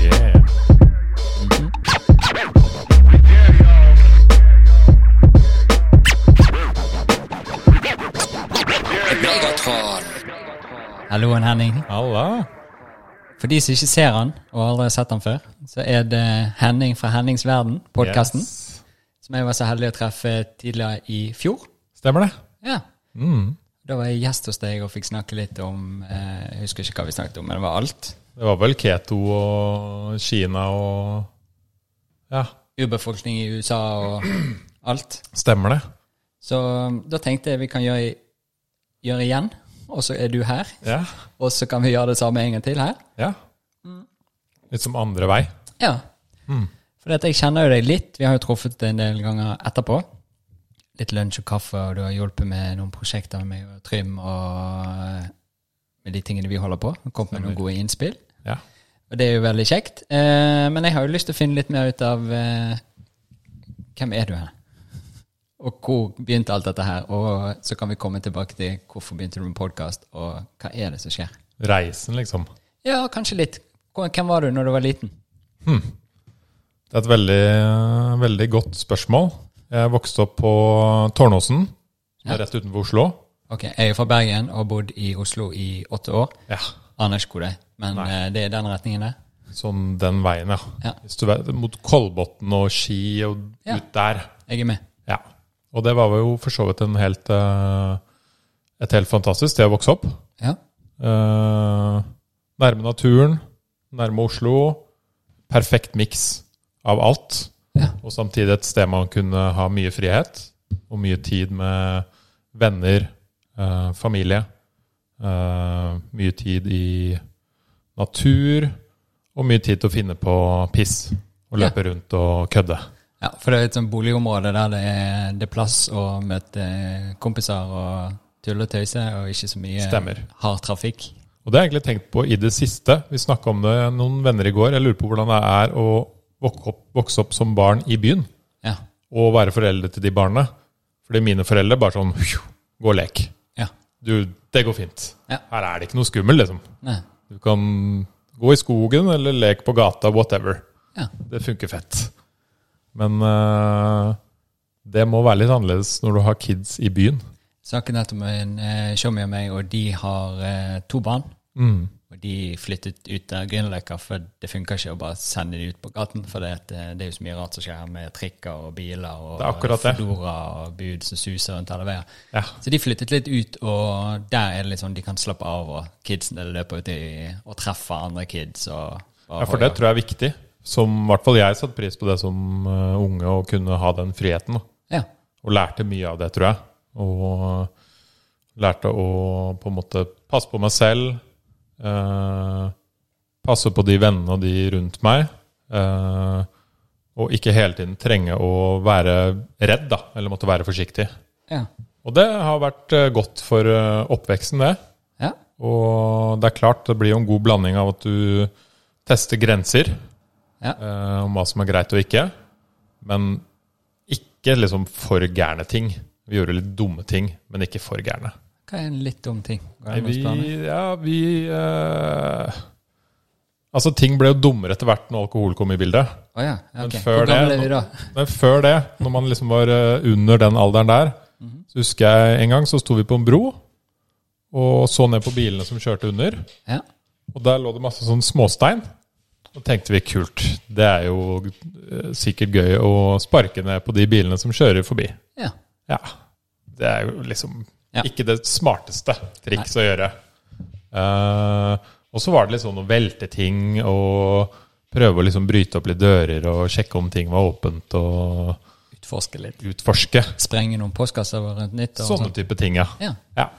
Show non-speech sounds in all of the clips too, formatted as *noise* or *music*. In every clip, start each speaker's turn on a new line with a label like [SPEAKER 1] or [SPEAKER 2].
[SPEAKER 1] Yeah.
[SPEAKER 2] Halloen, Henning.
[SPEAKER 1] Halla.
[SPEAKER 2] For de som ikke ser han, og aldri har sett han før, så er det Henning fra Hennings verden, podkasten,
[SPEAKER 1] Yes.
[SPEAKER 2] som jeg var så heldig å treffe tidligere i fjor.
[SPEAKER 1] Stemmer det?
[SPEAKER 2] Ja. Da var jeg gjest hos deg og fikk snakke litt om eh, Jeg husker ikke hva vi snakket om, men det var alt.
[SPEAKER 1] Det var vel Keto og Kina og Ja,
[SPEAKER 2] Urbefolkning i USA og *clears throat* alt.
[SPEAKER 1] stemmer det.
[SPEAKER 2] Så um, da tenkte jeg vi kan gjøre, gjøre igjen, og så er du her.
[SPEAKER 1] Ja.
[SPEAKER 2] Og så kan vi gjøre det samme en gang til her.
[SPEAKER 1] ja. Litt som andre vei.
[SPEAKER 2] Ja. Mm. For jeg kjenner jo deg litt. Vi har jo truffet en del ganger etterpå. Litt lunsj og kaffe, og du har hjulpet med noen prosjekter med meg og Trym og eh, med de tingene vi holder på. Kommet med noen gode innspill.
[SPEAKER 1] Ja.
[SPEAKER 2] Og det er jo veldig kjekt. Eh, men jeg har jo lyst til å finne litt mer ut av eh, Hvem er du her? Og hvor begynte alt dette her? Og så kan vi komme tilbake til hvorfor begynte du med podkast, og hva er det som skjer?
[SPEAKER 1] Reisen, liksom.
[SPEAKER 2] Ja, kanskje litt. Hvem var du når du var liten?
[SPEAKER 1] Det er et veldig, eh, veldig godt spørsmål. Jeg vokste opp på Tårnåsen, som er rett utenfor Oslo.
[SPEAKER 2] Ok, jeg er fra Bergen og har bodd i Oslo i åtte år.
[SPEAKER 1] Ja.
[SPEAKER 2] Aner ikke hvor det er, men eh, det er den retningen der.
[SPEAKER 1] Sånn den veien, ja.
[SPEAKER 2] Ja.
[SPEAKER 1] Hvis du vet, mot Kolbotn og Ski og
[SPEAKER 2] Ja.
[SPEAKER 1] ut der.
[SPEAKER 2] Jeg er med.
[SPEAKER 1] Ja. Og det var jo for så vidt en helt, eh, et helt fantastisk sted å vokse opp.
[SPEAKER 2] Ja.
[SPEAKER 1] Eh, nærme naturen, nærme Oslo. Perfekt miks av alt.
[SPEAKER 2] Ja.
[SPEAKER 1] Og samtidig et sted man kunne ha mye frihet og mye tid med venner, eh, familie. eh, mye tid i natur, og mye tid til å finne på piss. Og
[SPEAKER 2] Ja.
[SPEAKER 1] løpe rundt og kødde.
[SPEAKER 2] ja, for det er et sånt boligområde der det er, det er plass å møte eh, kompiser og tulle og tøyse, og ikke så mye
[SPEAKER 1] Stemmer.
[SPEAKER 2] hard trafikk.
[SPEAKER 1] Og det har jeg egentlig tenkt på i det siste. Vi snakka om det noen venner i går. Jeg lurer på hvordan det er å vokse opp, vokse opp som barn i byen,
[SPEAKER 2] Ja.
[SPEAKER 1] og være foreldre til de barna. Fordi mine foreldre bare sånn «Hjo, Gå og lek.
[SPEAKER 2] Ja.
[SPEAKER 1] Du, det går fint.
[SPEAKER 2] Ja.
[SPEAKER 1] Her er det ikke noe skummelt, liksom.
[SPEAKER 2] Nei.
[SPEAKER 1] Du kan gå i skogen eller leke på gata, whatever.
[SPEAKER 2] Ja.
[SPEAKER 1] Det funker fett. Men eh, det må være litt annerledes når du har kids i byen.
[SPEAKER 2] Snakket nettopp med en eh, showmie og meg, og de har eh, to barn.
[SPEAKER 1] Mm.
[SPEAKER 2] Og de flyttet ut av Grünerløkka, for det funker ikke å bare sende de ut på gaten. For det, at, eh, det er jo så mye rart som skjer her med trikker og biler og
[SPEAKER 1] Det er akkurat det.
[SPEAKER 2] flora og bud som suser rundt alle veier.
[SPEAKER 1] Ja.
[SPEAKER 2] Så de flyttet litt ut, og der er det litt sånn de kan slappe av, og kidsene løper ut i, og treffer andre kids. Og, og
[SPEAKER 1] Ja, for det tror jeg er viktig. Som i hvert fall jeg satte pris på det som eh, unge, å kunne ha den friheten. da.
[SPEAKER 2] Ja.
[SPEAKER 1] Og lærte mye av det, tror jeg. Og eh, lærte å på en måte passe på meg selv. eh, passe på de vennene og de rundt meg. eh, og ikke hele tiden trenge å være redd, da. Eller måtte være forsiktig.
[SPEAKER 2] Ja.
[SPEAKER 1] Og det har vært eh, godt for eh, oppveksten, det.
[SPEAKER 2] ja.
[SPEAKER 1] Og det er klart, det blir jo en god blanding av at du tester grenser
[SPEAKER 2] Ja.
[SPEAKER 1] eh, om hva som er greit og ikke, men ikke liksom for gærne ting. Vi gjorde litt dumme ting, men ikke for gærne.
[SPEAKER 2] Hva er en litt dum ting?
[SPEAKER 1] Nei,
[SPEAKER 2] Går det an å
[SPEAKER 1] vi,
[SPEAKER 2] spørre meg?
[SPEAKER 1] ja, vi eh, Altså, ting ble jo dummere etter hvert når alkohol kom i bildet.
[SPEAKER 2] Å ja. ja, ok.
[SPEAKER 1] Men før
[SPEAKER 2] Hvor gamle
[SPEAKER 1] det-
[SPEAKER 2] er vi da?
[SPEAKER 1] Men før det, når man liksom var eh, under den alderen der, så husker jeg en gang så sto vi på en bro og så ned på bilene som kjørte under.
[SPEAKER 2] Ja.
[SPEAKER 1] Og der lå det masse sånn småstein. Og tenkte vi kult, det er jo eh, sikkert gøy å sparke ned på de bilene som kjører forbi.
[SPEAKER 2] ja.
[SPEAKER 1] Ja, det er jo liksom
[SPEAKER 2] Ja.
[SPEAKER 1] ikke det smarteste triks å gjøre. Eh, og så var det litt sånn å velte ting og prøve å liksom bryte opp litt dører og sjekke om ting var åpent og
[SPEAKER 2] Utforske litt.
[SPEAKER 1] utforske.
[SPEAKER 2] sprenge noen postkasser rundt nyttår. og
[SPEAKER 1] Sånne
[SPEAKER 2] sånt.
[SPEAKER 1] type ting, ja.
[SPEAKER 2] sånn. Ja,
[SPEAKER 1] ja.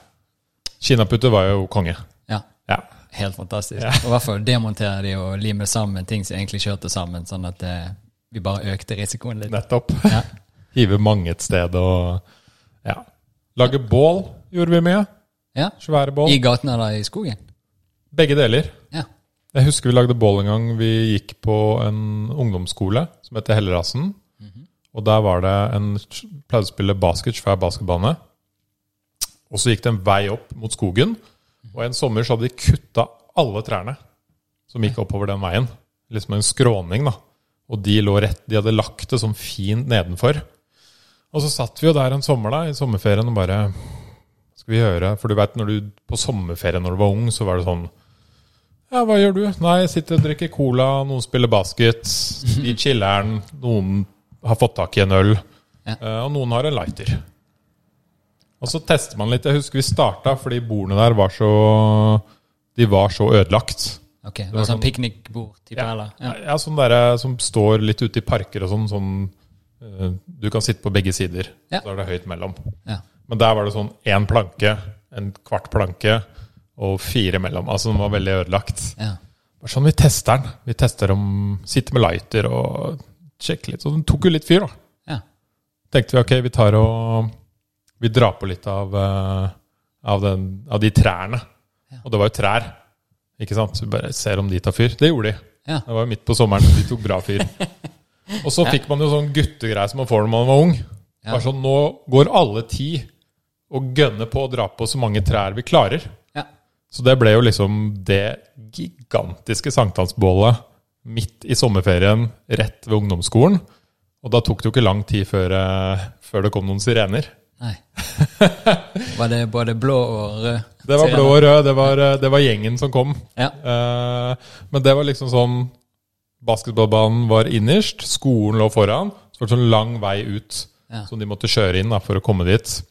[SPEAKER 1] Kinaputter var jo konge.
[SPEAKER 2] ja.
[SPEAKER 1] Ja.
[SPEAKER 2] Helt fantastisk. Og i hvert fall demontere de og lime sammen ting som egentlig kjørte sammen, sånn at eh, vi bare økte risikoen litt.
[SPEAKER 1] Nettopp.
[SPEAKER 2] Ja.
[SPEAKER 1] *laughs* Hive mange et sted og ja. Lage bål gjorde vi mye.
[SPEAKER 2] ja.
[SPEAKER 1] Svære bål.
[SPEAKER 2] I gaten eller i skogen.
[SPEAKER 1] Begge deler.
[SPEAKER 2] Ja.
[SPEAKER 1] Jeg husker vi lagde bål en gang vi gikk på en ungdomsskole som heter Hellerassen. Og der var det en pleide å spille basket, svær basketbane. Og så gikk det en vei opp mot skogen, Og en sommer så hadde de kutta alle trærne som gikk oppover den veien. Liksom en skråning, da. Og de lå rett, de hadde lagt det sånn fint nedenfor. Og så satt vi jo der en sommer da, i sommerferien og bare Skal vi gjøre For du veit når du på sommerferie når du var ung, så var det sånn Ja, hva gjør du? Nei, jeg sitter og drikker cola, noen spiller basket, vi chiller'n, noen har fått tak i en øl,
[SPEAKER 2] Ja.
[SPEAKER 1] eh, og noen har en lighter. Og så tester man litt. Jeg husker vi starta fordi bordene der var så De var så ødelagt.
[SPEAKER 2] Ok, det
[SPEAKER 1] var
[SPEAKER 2] var sånn
[SPEAKER 1] sånn-
[SPEAKER 2] piknikbord-type,
[SPEAKER 1] Ja.
[SPEAKER 2] eller?
[SPEAKER 1] Ja,
[SPEAKER 2] Ja.
[SPEAKER 1] sånn derre som står litt ute i parker og sånn. sånn eh, du kan sitte på begge sider.
[SPEAKER 2] Ja.
[SPEAKER 1] Så er det høyt mellom.
[SPEAKER 2] Ja.
[SPEAKER 1] Men der var det sånn én planke, en kvart planke og fire mellom. Altså den var veldig ødelagt.
[SPEAKER 2] ja.
[SPEAKER 1] Bare sånn, vi tester den. Vi tester om Sitter med lighter og sjekker litt. Så den tok jo litt fyr, da.
[SPEAKER 2] ja.
[SPEAKER 1] Tenkte vi ok, vi tar og Vi drar på litt av, eh, av, den, av de trærne.
[SPEAKER 2] Ja.
[SPEAKER 1] Og det var jo trær. Ikke sant? Så vi bare ser om de tar fyr. Det gjorde de.
[SPEAKER 2] Ja.
[SPEAKER 1] Det var jo midt på sommeren, så de tok bra
[SPEAKER 2] *laughs*
[SPEAKER 1] fyr. Og så fikk man jo sånn guttegreie som man får når man var ung.
[SPEAKER 2] Ja.
[SPEAKER 1] Bare sånn, Nå går alle ti og gønner på å dra på så mange trær vi klarer.
[SPEAKER 2] Ja.
[SPEAKER 1] Så det ble jo liksom det gigantiske sankthansbålet midt i sommerferien rett ved ungdomsskolen. Og da tok det jo ikke lang tid før, eh, før det kom noen sirener.
[SPEAKER 2] Nei.
[SPEAKER 1] *laughs*
[SPEAKER 2] Var det både blå og rød?
[SPEAKER 1] Det var
[SPEAKER 2] Sirener.
[SPEAKER 1] blå og rød, det var, eh, det var gjengen som kom.
[SPEAKER 2] Ja.
[SPEAKER 1] Eh, men det var liksom sånn Basketballbanen var innerst, skolen lå foran. Så var det sånn lang vei ut
[SPEAKER 2] Ja.
[SPEAKER 1] som de måtte kjøre inn da, for å komme dit.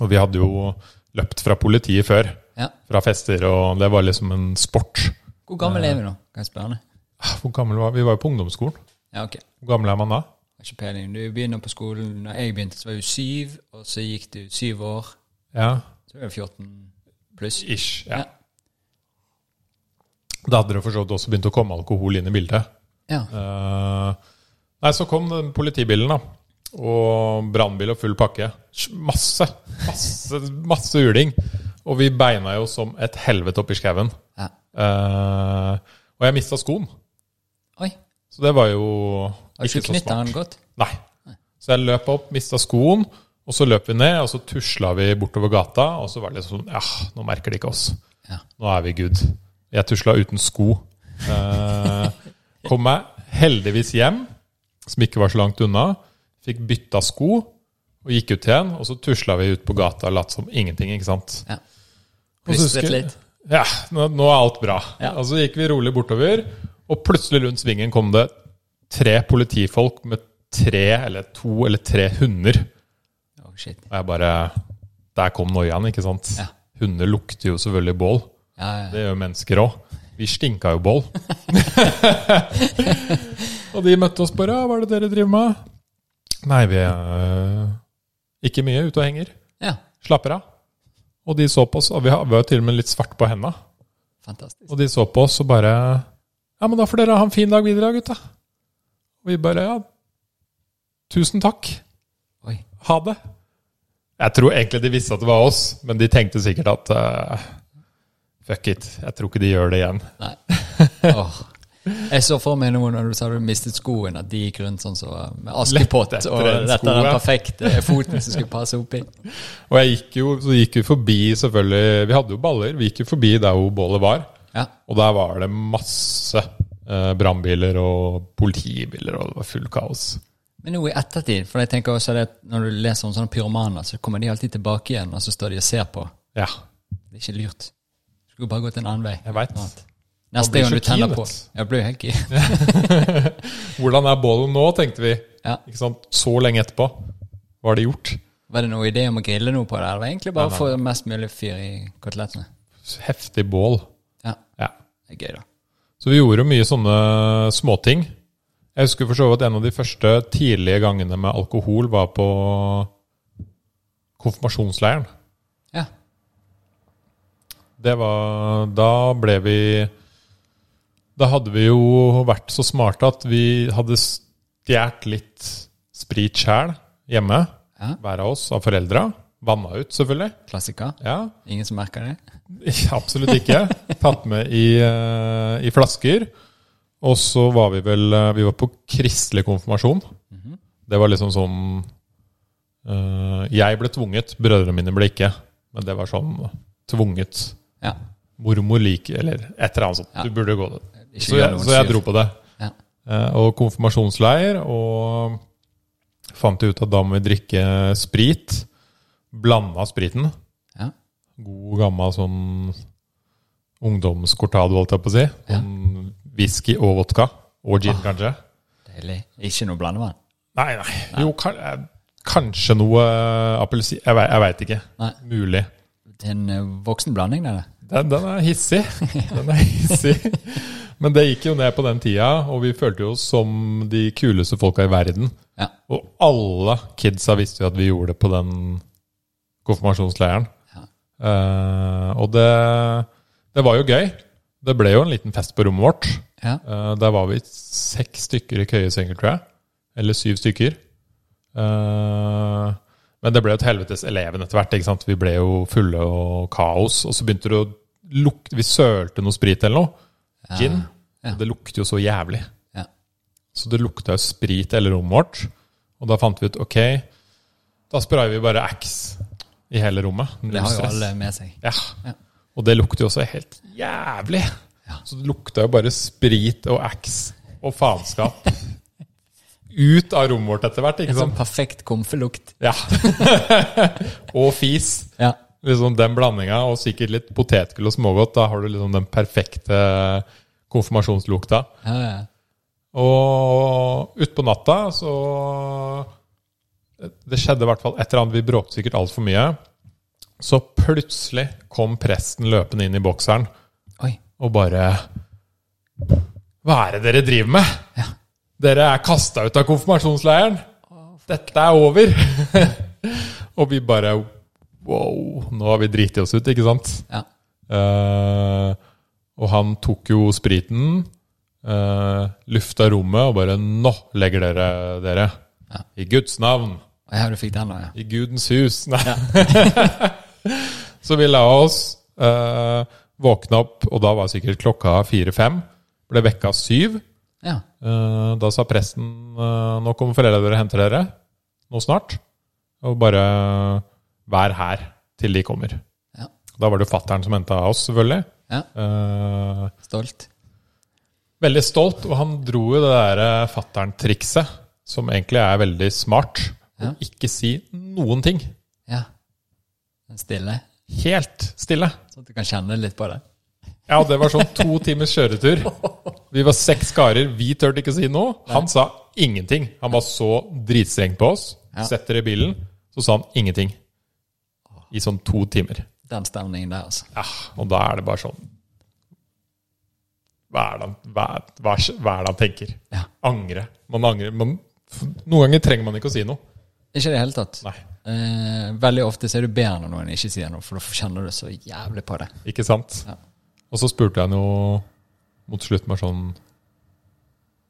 [SPEAKER 1] Og vi hadde jo løpt fra politiet før,
[SPEAKER 2] ja.
[SPEAKER 1] fra fester, og det var liksom en sport.
[SPEAKER 2] Hvor gammel er vi nå? Kan jeg spørre deg?
[SPEAKER 1] Ah, Hvor gammel var vi? Vi var jo på ungdomsskolen.
[SPEAKER 2] Ja, ok.
[SPEAKER 1] Hvor gammel er man da?
[SPEAKER 2] Har ikke peiling. Du begynner på skolen Når jeg begynte, så var du syv, og så gikk du syv år.
[SPEAKER 1] Ja,
[SPEAKER 2] Så er du 14 pluss.
[SPEAKER 1] ish.
[SPEAKER 2] Ja.
[SPEAKER 1] Ja. Da hadde det for så vidt også begynt å komme alkohol inn i bildet.
[SPEAKER 2] Ja.
[SPEAKER 1] Eh, nei, så kom den politibilen, da. Og brannbil og full pakke. Sj- Masse, masse, masse uling. Og vi beina jo som et helvete oppi skauen.
[SPEAKER 2] ja.
[SPEAKER 1] Eh, og jeg mista skoen.
[SPEAKER 2] Oi.
[SPEAKER 1] Så det var jo
[SPEAKER 2] Har du
[SPEAKER 1] ikke
[SPEAKER 2] ikke
[SPEAKER 1] så
[SPEAKER 2] knytta den
[SPEAKER 1] smart.
[SPEAKER 2] godt?
[SPEAKER 1] Nei. Så jeg løp opp, mista skoen, og så løp vi ned, og så tusla vi bortover gata, og så var det liksom Ja, nå merker de ikke oss.
[SPEAKER 2] Ja.
[SPEAKER 1] Nå er vi good. Jeg tusla uten sko. Eh, kom meg heldigvis hjem, som ikke var så langt unna. Fikk bytta sko og gikk ut igjen. Og så tusla vi ut på gata og latt som ingenting, ikke sant.
[SPEAKER 2] Ja.
[SPEAKER 1] Og så
[SPEAKER 2] Plystret
[SPEAKER 1] husker-
[SPEAKER 2] litt.
[SPEAKER 1] Ja, nå, nå er alt bra.
[SPEAKER 2] Ja.
[SPEAKER 1] Og så gikk vi rolig bortover, og plutselig rundt svingen kom det tre politifolk med tre eller to eller tre hunder.
[SPEAKER 2] Oh, shit.
[SPEAKER 1] Og jeg bare Der kom noiaen, ikke sant?
[SPEAKER 2] Ja.
[SPEAKER 1] Hunder lukter jo selvfølgelig bål.
[SPEAKER 2] Ja, ja.
[SPEAKER 1] Det gjør mennesker òg. Vi stinka jo bål. *laughs* og de møtte oss bare «Ja, 'Hva er det dere driver med?' Nei, vi er eh, ikke mye ute og henger.
[SPEAKER 2] ja.
[SPEAKER 1] Slapper av. Og de så på oss, og vi har- vi var jo til og med litt svart på henda.
[SPEAKER 2] Fantastisk.
[SPEAKER 1] Og de så på oss og bare Ja, men da får dere ha en fin dag videre, da, gutta. Og vi bare Ja, tusen takk.
[SPEAKER 2] Oi.
[SPEAKER 1] Ha det. Jeg tror egentlig de visste at det var oss, men de tenkte sikkert at eh, Fuck it, jeg tror ikke de gjør det igjen.
[SPEAKER 2] Nei. Åh. Jeg så for meg noe når du sa du mistet skoen, at de gikk rundt sånn så, med askepott.
[SPEAKER 1] Lett etter
[SPEAKER 2] Og
[SPEAKER 1] en
[SPEAKER 2] dette
[SPEAKER 1] sko,
[SPEAKER 2] er den
[SPEAKER 1] ja.
[SPEAKER 2] perfekte foten som skulle passe oppi.
[SPEAKER 1] Og jeg gikk jo, så gikk vi forbi, selvfølgelig Vi hadde jo baller. Vi gikk jo forbi der hvor bålet var.
[SPEAKER 2] Ja.
[SPEAKER 1] Og der var det masse eh, brannbiler og politibiler, og det var full kaos.
[SPEAKER 2] Men nå i ettertid, for jeg tenker også det at når du leser om sånne pyromaner, så kommer de alltid tilbake igjen, og så står de og ser på.
[SPEAKER 1] Ja,
[SPEAKER 2] Det er ikke lurt. Du skulle bare gått en annen vei.
[SPEAKER 1] jeg veit. Man
[SPEAKER 2] Neste
[SPEAKER 1] blir
[SPEAKER 2] gang du
[SPEAKER 1] så
[SPEAKER 2] tenner
[SPEAKER 1] keen,
[SPEAKER 2] på.
[SPEAKER 1] vet
[SPEAKER 2] Jeg blir jo helt keen.
[SPEAKER 1] Hvordan er bålet nå, tenkte vi.
[SPEAKER 2] Ja.
[SPEAKER 1] Ikke sant? Så lenge etterpå. Hva har de gjort?
[SPEAKER 2] Var det noen idé om å grille noe på det? eller var Det var egentlig bare
[SPEAKER 1] Nei,
[SPEAKER 2] å
[SPEAKER 1] nei.
[SPEAKER 2] få mest mulig fyr i kotelettene.
[SPEAKER 1] Heftig bål.
[SPEAKER 2] Ja,
[SPEAKER 1] Ja.
[SPEAKER 2] det er gøy, da.
[SPEAKER 1] Så vi gjorde jo mye sånne småting. Jeg husker for så vidt en av de første tidlige gangene med alkohol var på konfirmasjonsleiren.
[SPEAKER 2] Ja.
[SPEAKER 1] Det var Da ble vi Da hadde vi jo vært så smarte at vi hadde stjålet litt sprit sjæl hjemme,
[SPEAKER 2] Ja.
[SPEAKER 1] hver av oss, av foreldra. Vanna ut, selvfølgelig.
[SPEAKER 2] Klassiker.
[SPEAKER 1] Ja, *laughs*
[SPEAKER 2] Ingen som merker det?
[SPEAKER 1] Absolutt ikke. Tatt med i, eh, i flasker. Og så var vi vel eh, Vi var på kristelig konfirmasjon. Det var liksom sånn eh, Jeg ble eh, tvunget, brødrene mine ble ikke. Men det var sånn tvunget.
[SPEAKER 2] Ja.
[SPEAKER 1] Mormor liker Eller et eller annet sånt.
[SPEAKER 2] Ja.
[SPEAKER 1] Du burde gå det.
[SPEAKER 2] Ikke
[SPEAKER 1] Så
[SPEAKER 2] gjør
[SPEAKER 1] jeg,
[SPEAKER 2] noen
[SPEAKER 1] så jeg
[SPEAKER 2] sur.
[SPEAKER 1] dro på det.
[SPEAKER 2] Ja.
[SPEAKER 1] Eh, Og konfirmasjonsleir, og fant ut at da må vi drikke sprit. Blanda spriten.
[SPEAKER 2] Ja.
[SPEAKER 1] God, gammel sånn ungdomscortado, holdt jeg på å si.
[SPEAKER 2] Ja. Ah.
[SPEAKER 1] Sånn Whisky og vodka. Og gin, kanskje.
[SPEAKER 2] Deilig. Ikke noe blandevann?
[SPEAKER 1] Nei, nei. Jo, kan, eh, kanskje noe appelsin... Jeg, vei- jeg veit ikke.
[SPEAKER 2] Nei.
[SPEAKER 1] Mulig.
[SPEAKER 2] Det er en eh, voksen blanding, det. der.
[SPEAKER 1] Den, den er hissig. Den er hissig. Men det gikk jo ned på den tida, og vi følte jo oss som de kuleste folka i verden.
[SPEAKER 2] Ja.
[SPEAKER 1] Og alle kidsa visste jo at vi gjorde det på den konfirmasjonsleiren.
[SPEAKER 2] Ja.
[SPEAKER 1] Eh, og det, det var jo gøy. Det ble jo en liten fest på rommet vårt.
[SPEAKER 2] Ja.
[SPEAKER 1] Eh, der var vi seks stykker i køyesenger, tror jeg. Eller syv stykker. Eh, men det ble jo et helvetes eleven etter hvert. ikke sant? Vi ble jo fulle og kaos. Og så begynte det å lukte Vi sølte noe sprit eller noe. Gin.
[SPEAKER 2] Ja.
[SPEAKER 1] Og det lukter jo så jævlig.
[SPEAKER 2] Ja.
[SPEAKER 1] Så det lukta jo sprit i hele rommet vårt. Og da fant vi ut ok, da sprayer vi bare Axe i hele rommet. Null
[SPEAKER 2] Det har jo
[SPEAKER 1] stress.
[SPEAKER 2] alle med seg.
[SPEAKER 1] Ja.
[SPEAKER 2] Ja.
[SPEAKER 1] Og det lukter jo også helt jævlig.
[SPEAKER 2] Ja.
[SPEAKER 1] Så det lukta jo bare sprit og ax og faenskap ut av rommet vårt etter hvert, ikke
[SPEAKER 2] En sånn
[SPEAKER 1] sant?
[SPEAKER 2] perfekt komfelukt.
[SPEAKER 1] Ja. *laughs* og fis.
[SPEAKER 2] Ja.
[SPEAKER 1] Liksom den blandinga, og sikkert litt potetgull og smågodt. Da har du liksom den perfekte konfirmasjonslukta.
[SPEAKER 2] Ja, ja.
[SPEAKER 1] Og utpå natta så Det skjedde i hvert fall et eller annet. Vi bråkte sikkert altfor mye. Så plutselig kom presten løpende inn i bokseren
[SPEAKER 2] Oi.
[SPEAKER 1] og bare Hva er det dere driver med? Dere er kasta ut av konfirmasjonsleiren! Dette er over! *laughs* og vi bare Wow, nå har vi driti oss ut, ikke sant?
[SPEAKER 2] Ja.
[SPEAKER 1] Eh, og han tok jo spriten, eh, lufta rommet og bare Nå legger dere dere!
[SPEAKER 2] Ja.
[SPEAKER 1] I Guds navn!
[SPEAKER 2] Å, ja, du fikk den nå, ja.
[SPEAKER 1] I Gudens hus! *laughs* Nei. *laughs* så vi la oss, eh, våkna opp, og da var sikkert klokka fire-fem. Ble vekka syv.
[SPEAKER 2] Ja.
[SPEAKER 1] Eh, da sa presten eh, Nå kommer foreldrene dere og henter dere. Nå snart. Og bare vær her til de kommer.
[SPEAKER 2] Ja.
[SPEAKER 1] Da var det jo fattern som henta oss, selvfølgelig.
[SPEAKER 2] ja.
[SPEAKER 1] Eh,
[SPEAKER 2] Stolt.
[SPEAKER 1] veldig stolt, og han dro jo det der fattern-trikset, som egentlig er veldig smart. Å
[SPEAKER 2] Ja.
[SPEAKER 1] ikke si noen ting.
[SPEAKER 2] Ja. Den stille.
[SPEAKER 1] Helt stille.
[SPEAKER 2] Sånn at du kan kjenne litt på det.
[SPEAKER 1] Ja, det var sånn to timers kjøretur. Vi var seks karer, vi turte ikke å si noe. Han sa ingenting. Han var så dritstreng på oss.
[SPEAKER 2] Ja.
[SPEAKER 1] Sett dere i bilen, så sa han ingenting. I sånn to timer.
[SPEAKER 2] Den stemningen der, altså.
[SPEAKER 1] Ja, og da er det bare sånn Hva er det han, hva, er- hva, er- hva er det han tenker?
[SPEAKER 2] Ja.
[SPEAKER 1] Angre. Man angrer. Man, f- noen ganger trenger man ikke å si noe.
[SPEAKER 2] Ikke i det hele tatt.
[SPEAKER 1] Nei,
[SPEAKER 2] Eh, veldig ofte så er det bedre når noen ikke sier noe, for da kjenner du så jævlig på det.
[SPEAKER 1] ikke sant?
[SPEAKER 2] Ja.
[SPEAKER 1] Og så spurte jeg noe mot slutt med sånn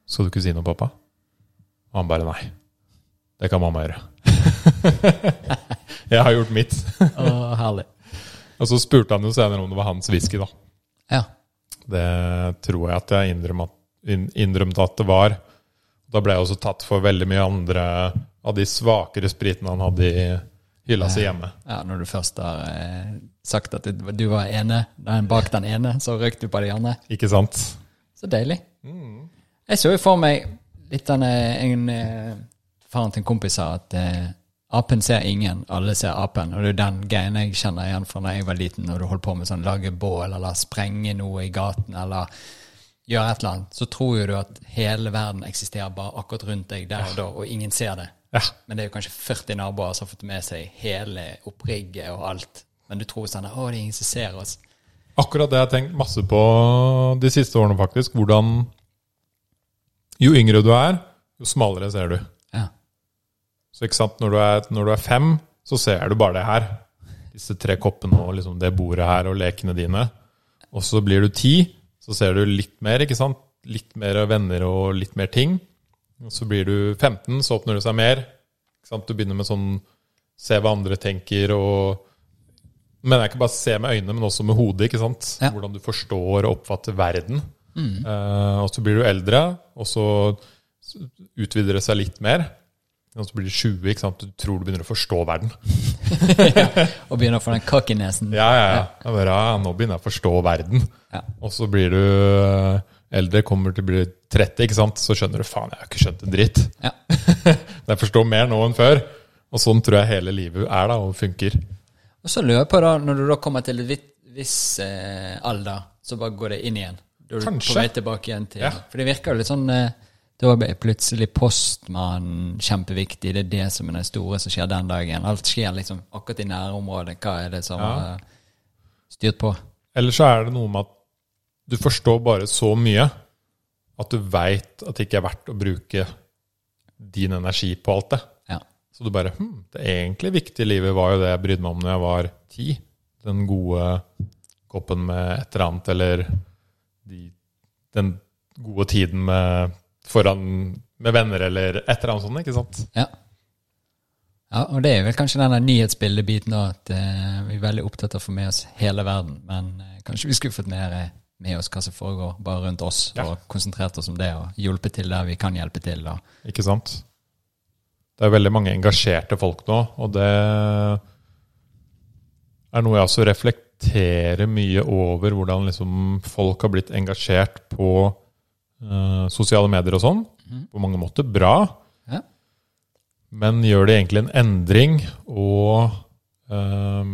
[SPEAKER 1] Skal du ikke si noe, pappa? Og han bare nei. Det kan mamma gjøre. *laughs* jeg har gjort mitt.
[SPEAKER 2] *laughs* Å, herlig.
[SPEAKER 1] Og så spurte han jo senere om det var hans whisky, da.
[SPEAKER 2] Ja.
[SPEAKER 1] Det tror jeg at jeg innrømmet, inn- innrømte at det var. Da ble jeg også tatt for veldig mye andre av de svakere spritene han hadde i hylla si hjemme.
[SPEAKER 2] ja. Når du først har eh, sagt at du, du var ene, den bak den ene, så røyk du på de andre.
[SPEAKER 1] Ikke sant?
[SPEAKER 2] Så deilig.
[SPEAKER 1] Mm.
[SPEAKER 2] Jeg så jo for meg litt den eh, en, eh, Faren til en kompis sa at eh, apen ser ingen, alle ser apen. Og det er jo den greien jeg kjenner igjen fra da jeg var liten, når du holdt på med sånn lage bål eller sprenge noe i gaten eller gjøre et eller annet, så tror jo du at hele verden eksisterer bare akkurat rundt deg der og da, og ingen ser det.
[SPEAKER 1] Ja.
[SPEAKER 2] Men det er jo kanskje 40 naboer som har fått med seg hele opprigget og alt. Men du tror sånn Å, det er ingen som ser oss.
[SPEAKER 1] Akkurat det jeg har tenkt masse på de siste årene, faktisk. Hvordan Jo yngre du er, jo smalere ser du.
[SPEAKER 2] Ja.
[SPEAKER 1] Så ikke sant, når du er, når du er fem, så ser du bare det her. Disse tre koppene og liksom det bordet her og lekene dine. Og så blir du ti, så ser du litt mer, ikke sant? Litt mer venner og litt mer ting. Og så blir du 15, så åpner det seg mer. Ikke sant? Du begynner med sånn se hva andre tenker og Men det er ikke bare se med øynene, men også med hodet. ikke sant?
[SPEAKER 2] Ja.
[SPEAKER 1] Hvordan du forstår og oppfatter verden. Eh, og så blir du eldre, og så utvider det seg litt mer. Og så blir du 20, ikke sant? du tror du begynner å forstå verden.
[SPEAKER 2] Og begynner å få den kakk i nesen.
[SPEAKER 1] Ja, ja, ja. Jeg Bare, ja nå begynner jeg å forstå verden.
[SPEAKER 2] Ja.
[SPEAKER 1] Og så blir du eh, eldre, kommer til å bli 30, ikke sant? så skjønner du faen, jeg har ikke skjønt en dritt.
[SPEAKER 2] Ja.
[SPEAKER 1] Men jeg forstår mer nå enn før. Og sånn tror jeg hele livet er da, og funker.
[SPEAKER 2] Og så lurer jeg på, da, når du da kommer til en viss, viss eh, alder, så bare går det inn igjen. Da er du
[SPEAKER 1] Kanskje.
[SPEAKER 2] på vei tilbake igjen til
[SPEAKER 1] Ja.
[SPEAKER 2] For det virker jo litt sånn eh, Da ble plutselig postmannen kjempeviktig, det er det som er det store som skjer den dagen. Alt skjer liksom akkurat i nærområdet. Hva er det som
[SPEAKER 1] Ja.
[SPEAKER 2] er styrt på?
[SPEAKER 1] Eller så er det noe med at du forstår bare så mye at du veit at det ikke er verdt å bruke din energi på alt det.
[SPEAKER 2] Ja.
[SPEAKER 1] Så du bare hm, Det egentlig viktige i livet var jo det jeg brydde meg om når jeg var ti. Den gode koppen med et eller annet, eller de, den gode tiden med, foran, med venner, eller et eller annet sånt. ikke sant?
[SPEAKER 2] Ja. ja, og det er vel kanskje denne nyhetsbildebiten da, at eh, vi er veldig opptatt av å få med oss hele verden, men eh, kanskje vi skulle fått mer eh, med oss hva som foregår bare rundt oss,
[SPEAKER 1] Ja.
[SPEAKER 2] og konsentrert oss om det, og hjulpet til der vi kan hjelpe til. Da.
[SPEAKER 1] Ikke sant? Det er veldig mange engasjerte folk nå, og det er noe jeg også reflekterer mye over, hvordan liksom folk har blitt engasjert på eh, sosiale medier og sånn. På mange måter bra,
[SPEAKER 2] Mhm. Ja.
[SPEAKER 1] men gjør det egentlig en endring, og eh,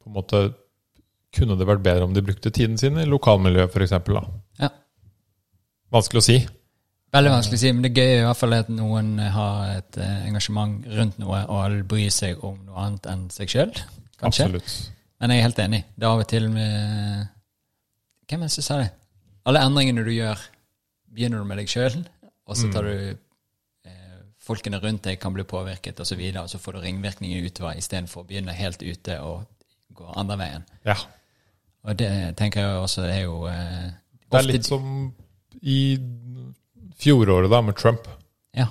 [SPEAKER 1] på en måte kunne det vært bedre om de brukte tiden sin i lokalmiljøet, f.eks.
[SPEAKER 2] Ja.
[SPEAKER 1] Vanskelig å si.
[SPEAKER 2] Veldig vanskelig å si, men det gøye er i hvert fall at noen har et eh, engasjement rundt noe, og bryr seg om noe annet enn seg sjøl, kanskje.
[SPEAKER 1] Absolutt.
[SPEAKER 2] Men jeg er helt enig. Det er av og til med Hvem er det som sa det? Alle endringene du gjør, begynner du med deg sjøl, og
[SPEAKER 1] Mm.
[SPEAKER 2] så tar du eh, Folkene rundt deg kan bli påvirket, og så videre, og så får du ringvirkninger utover istedenfor å begynne helt ute og gå andre veien.
[SPEAKER 1] Ja.
[SPEAKER 2] Og det tenker jeg også er jo eh,
[SPEAKER 1] Det er
[SPEAKER 2] ofte-
[SPEAKER 1] litt som i fjoråret da, med Trump.
[SPEAKER 2] Ja,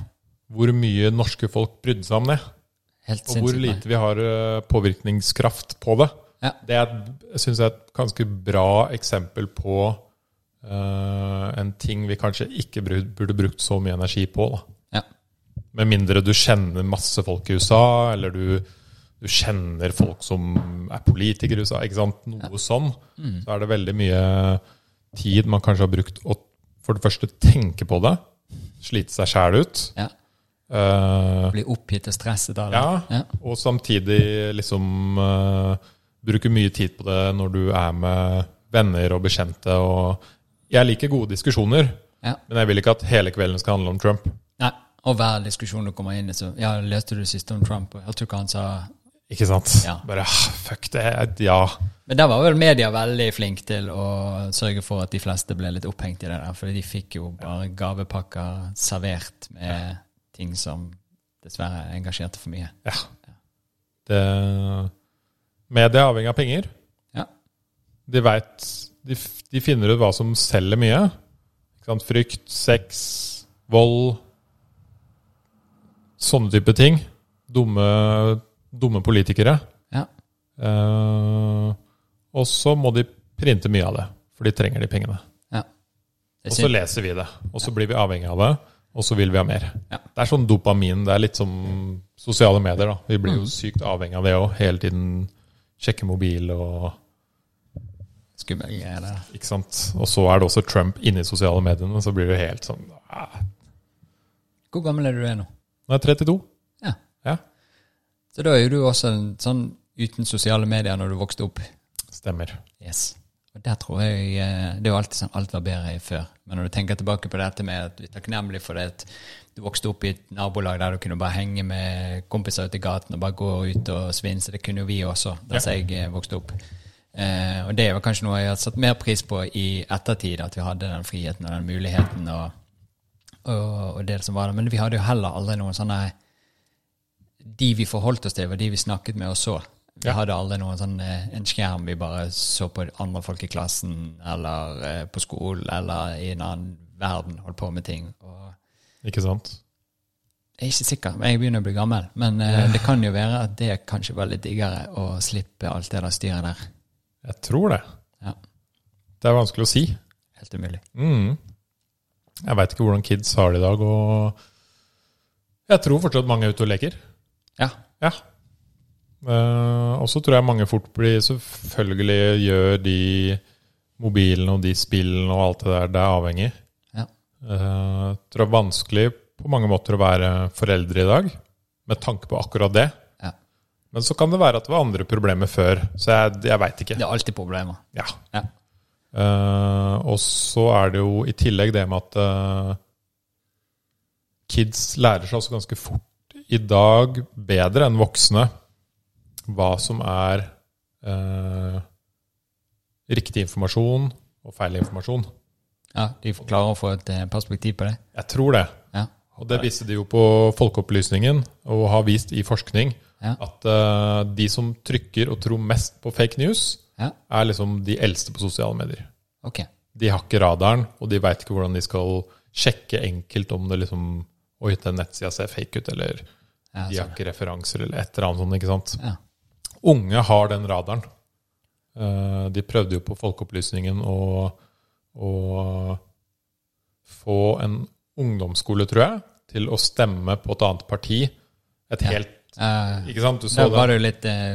[SPEAKER 1] Hvor mye norske folk brydde seg om det.
[SPEAKER 2] helt
[SPEAKER 1] Og hvor
[SPEAKER 2] sinnssykt.
[SPEAKER 1] lite vi har eh, påvirkningskraft på det.
[SPEAKER 2] Ja.
[SPEAKER 1] Det er, syns jeg er et ganske bra eksempel på eh, en ting vi kanskje ikke bru- burde brukt så mye energi på. Da.
[SPEAKER 2] Ja.
[SPEAKER 1] Med mindre du kjenner masse folk i USA, eller du, du kjenner folk som er politikere i USA, ikke sant? noe sånn,
[SPEAKER 2] Mm.
[SPEAKER 1] så er det veldig mye tid man kanskje har brukt å for det første tenke på det, slite seg sjæl ut,
[SPEAKER 2] ja.
[SPEAKER 1] eh,
[SPEAKER 2] Bli oppgitt og stresset av det.
[SPEAKER 1] ja,
[SPEAKER 2] Ja.
[SPEAKER 1] og samtidig liksom eh, bruke mye tid på det når du er med venner og bekjente. og Jeg liker gode diskusjoner,
[SPEAKER 2] Ja.
[SPEAKER 1] men jeg vil ikke at hele kvelden skal handle om Trump.
[SPEAKER 2] Nei, og hver diskusjon du kommer inn i, så ja, leste du siste om Trump, og hørte du hva han sa?
[SPEAKER 1] Ikke sant?
[SPEAKER 2] Ja.
[SPEAKER 1] Bare ah, fuck det, ja.
[SPEAKER 2] Men der var vel media veldig flink til å sørge for at de fleste ble litt opphengt i det der, for de fikk jo bare gavepakker servert med ting som dessverre engasjerte for mye.
[SPEAKER 1] ja. Det, media er avhengig av penger.
[SPEAKER 2] Ja.
[SPEAKER 1] De vet, de, f- de finner ut hva som selger mye. Ikke sant? Frykt, sex, vold. Sånne type ting. Dumme, dumme politikere.
[SPEAKER 2] Ja.
[SPEAKER 1] Eh, og så må de printe mye av det, for de trenger de pengene.
[SPEAKER 2] ja. Det
[SPEAKER 1] Og
[SPEAKER 2] er
[SPEAKER 1] så
[SPEAKER 2] synd.
[SPEAKER 1] leser vi det, og så blir vi avhengig av det, og så vil vi ha mer.
[SPEAKER 2] Ja.
[SPEAKER 1] Det er sånn dopamin, det er litt som sosiale medier. da. Vi
[SPEAKER 2] Mm.
[SPEAKER 1] blir jo sykt avhengig av det òg, hele tiden sjekke mobil og
[SPEAKER 2] Skummel greie, det der.
[SPEAKER 1] Ikke sant? Og så er det også Trump inne i sosiale mediene, så blir det helt sånn ah.
[SPEAKER 2] Hvor gammel er du er nå?
[SPEAKER 1] Nå er jeg 32.
[SPEAKER 2] Ja.
[SPEAKER 1] Ja,
[SPEAKER 2] Så da er jo du også en sånn uten sosiale medier når du vokste opp.
[SPEAKER 1] stemmer.
[SPEAKER 2] Yes. Og der tror jeg eh, Det er jo alltid sånn alt var bedre i før. Men når du tenker tilbake på dette med at vi er takknemlige for det at du vokste opp i et nabolag der du kunne bare henge med kompiser ute i gaten og bare gå ut og svinse, det kunne jo vi også der som jeg eh, vokste opp. Eh, og det var kanskje noe jeg har satt mer pris på i ettertid, at vi hadde den friheten og den muligheten og, og, og det som var der. Men vi hadde jo heller aldri noen sånne de vi forholdt oss til, var de vi snakket med og så. Vi
[SPEAKER 1] Ja.
[SPEAKER 2] hadde alle noen sånn, eh, en skjerm vi bare så på andre folk i klassen, eller eh, på skolen, eller i en annen verden, holdt på med ting. Og
[SPEAKER 1] Ikke sant?
[SPEAKER 2] jeg er ikke sikker, men jeg begynner å bli gammel. Men eh, det kan jo være at det kanskje var litt diggere å slippe alt det der styret der.
[SPEAKER 1] Jeg tror det.
[SPEAKER 2] Ja,
[SPEAKER 1] Det er vanskelig å si.
[SPEAKER 2] Helt umulig.
[SPEAKER 1] Mm. Jeg veit ikke hvordan kids har det i dag, og Jeg tror fortsatt mange er ute og leker.
[SPEAKER 2] Ja.
[SPEAKER 1] Ja. Eh, og så tror jeg mange fort blir Selvfølgelig gjør de mobilene og de spillene og alt det der det er avhengig.
[SPEAKER 2] Ja.
[SPEAKER 1] Eh, tror det er vanskelig på mange måter å være foreldre i dag, med tanke på akkurat det.
[SPEAKER 2] Ja.
[SPEAKER 1] Men så kan det være at det var andre problemer før, så jeg, jeg veit ikke.
[SPEAKER 2] Det er alltid problemer.
[SPEAKER 1] Ja.
[SPEAKER 2] Ja.
[SPEAKER 1] Eh, og så er det jo i tillegg det med at eh, kids lærer seg også ganske fort i dag, bedre enn voksne, hva som er eh, riktig informasjon og feil informasjon.
[SPEAKER 2] Ja, De klarer å få et eh, perspektiv på det.
[SPEAKER 1] Jeg tror det.
[SPEAKER 2] Ja.
[SPEAKER 1] Og det viste de jo på Folkeopplysningen, og har vist i forskning,
[SPEAKER 2] Ja.
[SPEAKER 1] at eh, de som trykker og tror mest på fake news,
[SPEAKER 2] ja.
[SPEAKER 1] er liksom de eldste på sosiale medier.
[SPEAKER 2] Ok.
[SPEAKER 1] De har ikke radaren, og de veit ikke hvordan de skal sjekke enkelt om det liksom Oi, den nettsida ser fake ut, eller
[SPEAKER 2] Ja,
[SPEAKER 1] de har ikke referanser, eller et eller annet sånt. ikke sant?
[SPEAKER 2] Ja.
[SPEAKER 1] Unge har den radaren. Eh, De prøvde jo på Folkeopplysningen å, å få en ungdomsskole, tror jeg, til å stemme på et annet parti. Et helt
[SPEAKER 2] Eh,
[SPEAKER 1] Ikke sant? Du så
[SPEAKER 2] der
[SPEAKER 1] det.
[SPEAKER 2] var det jo litt eh,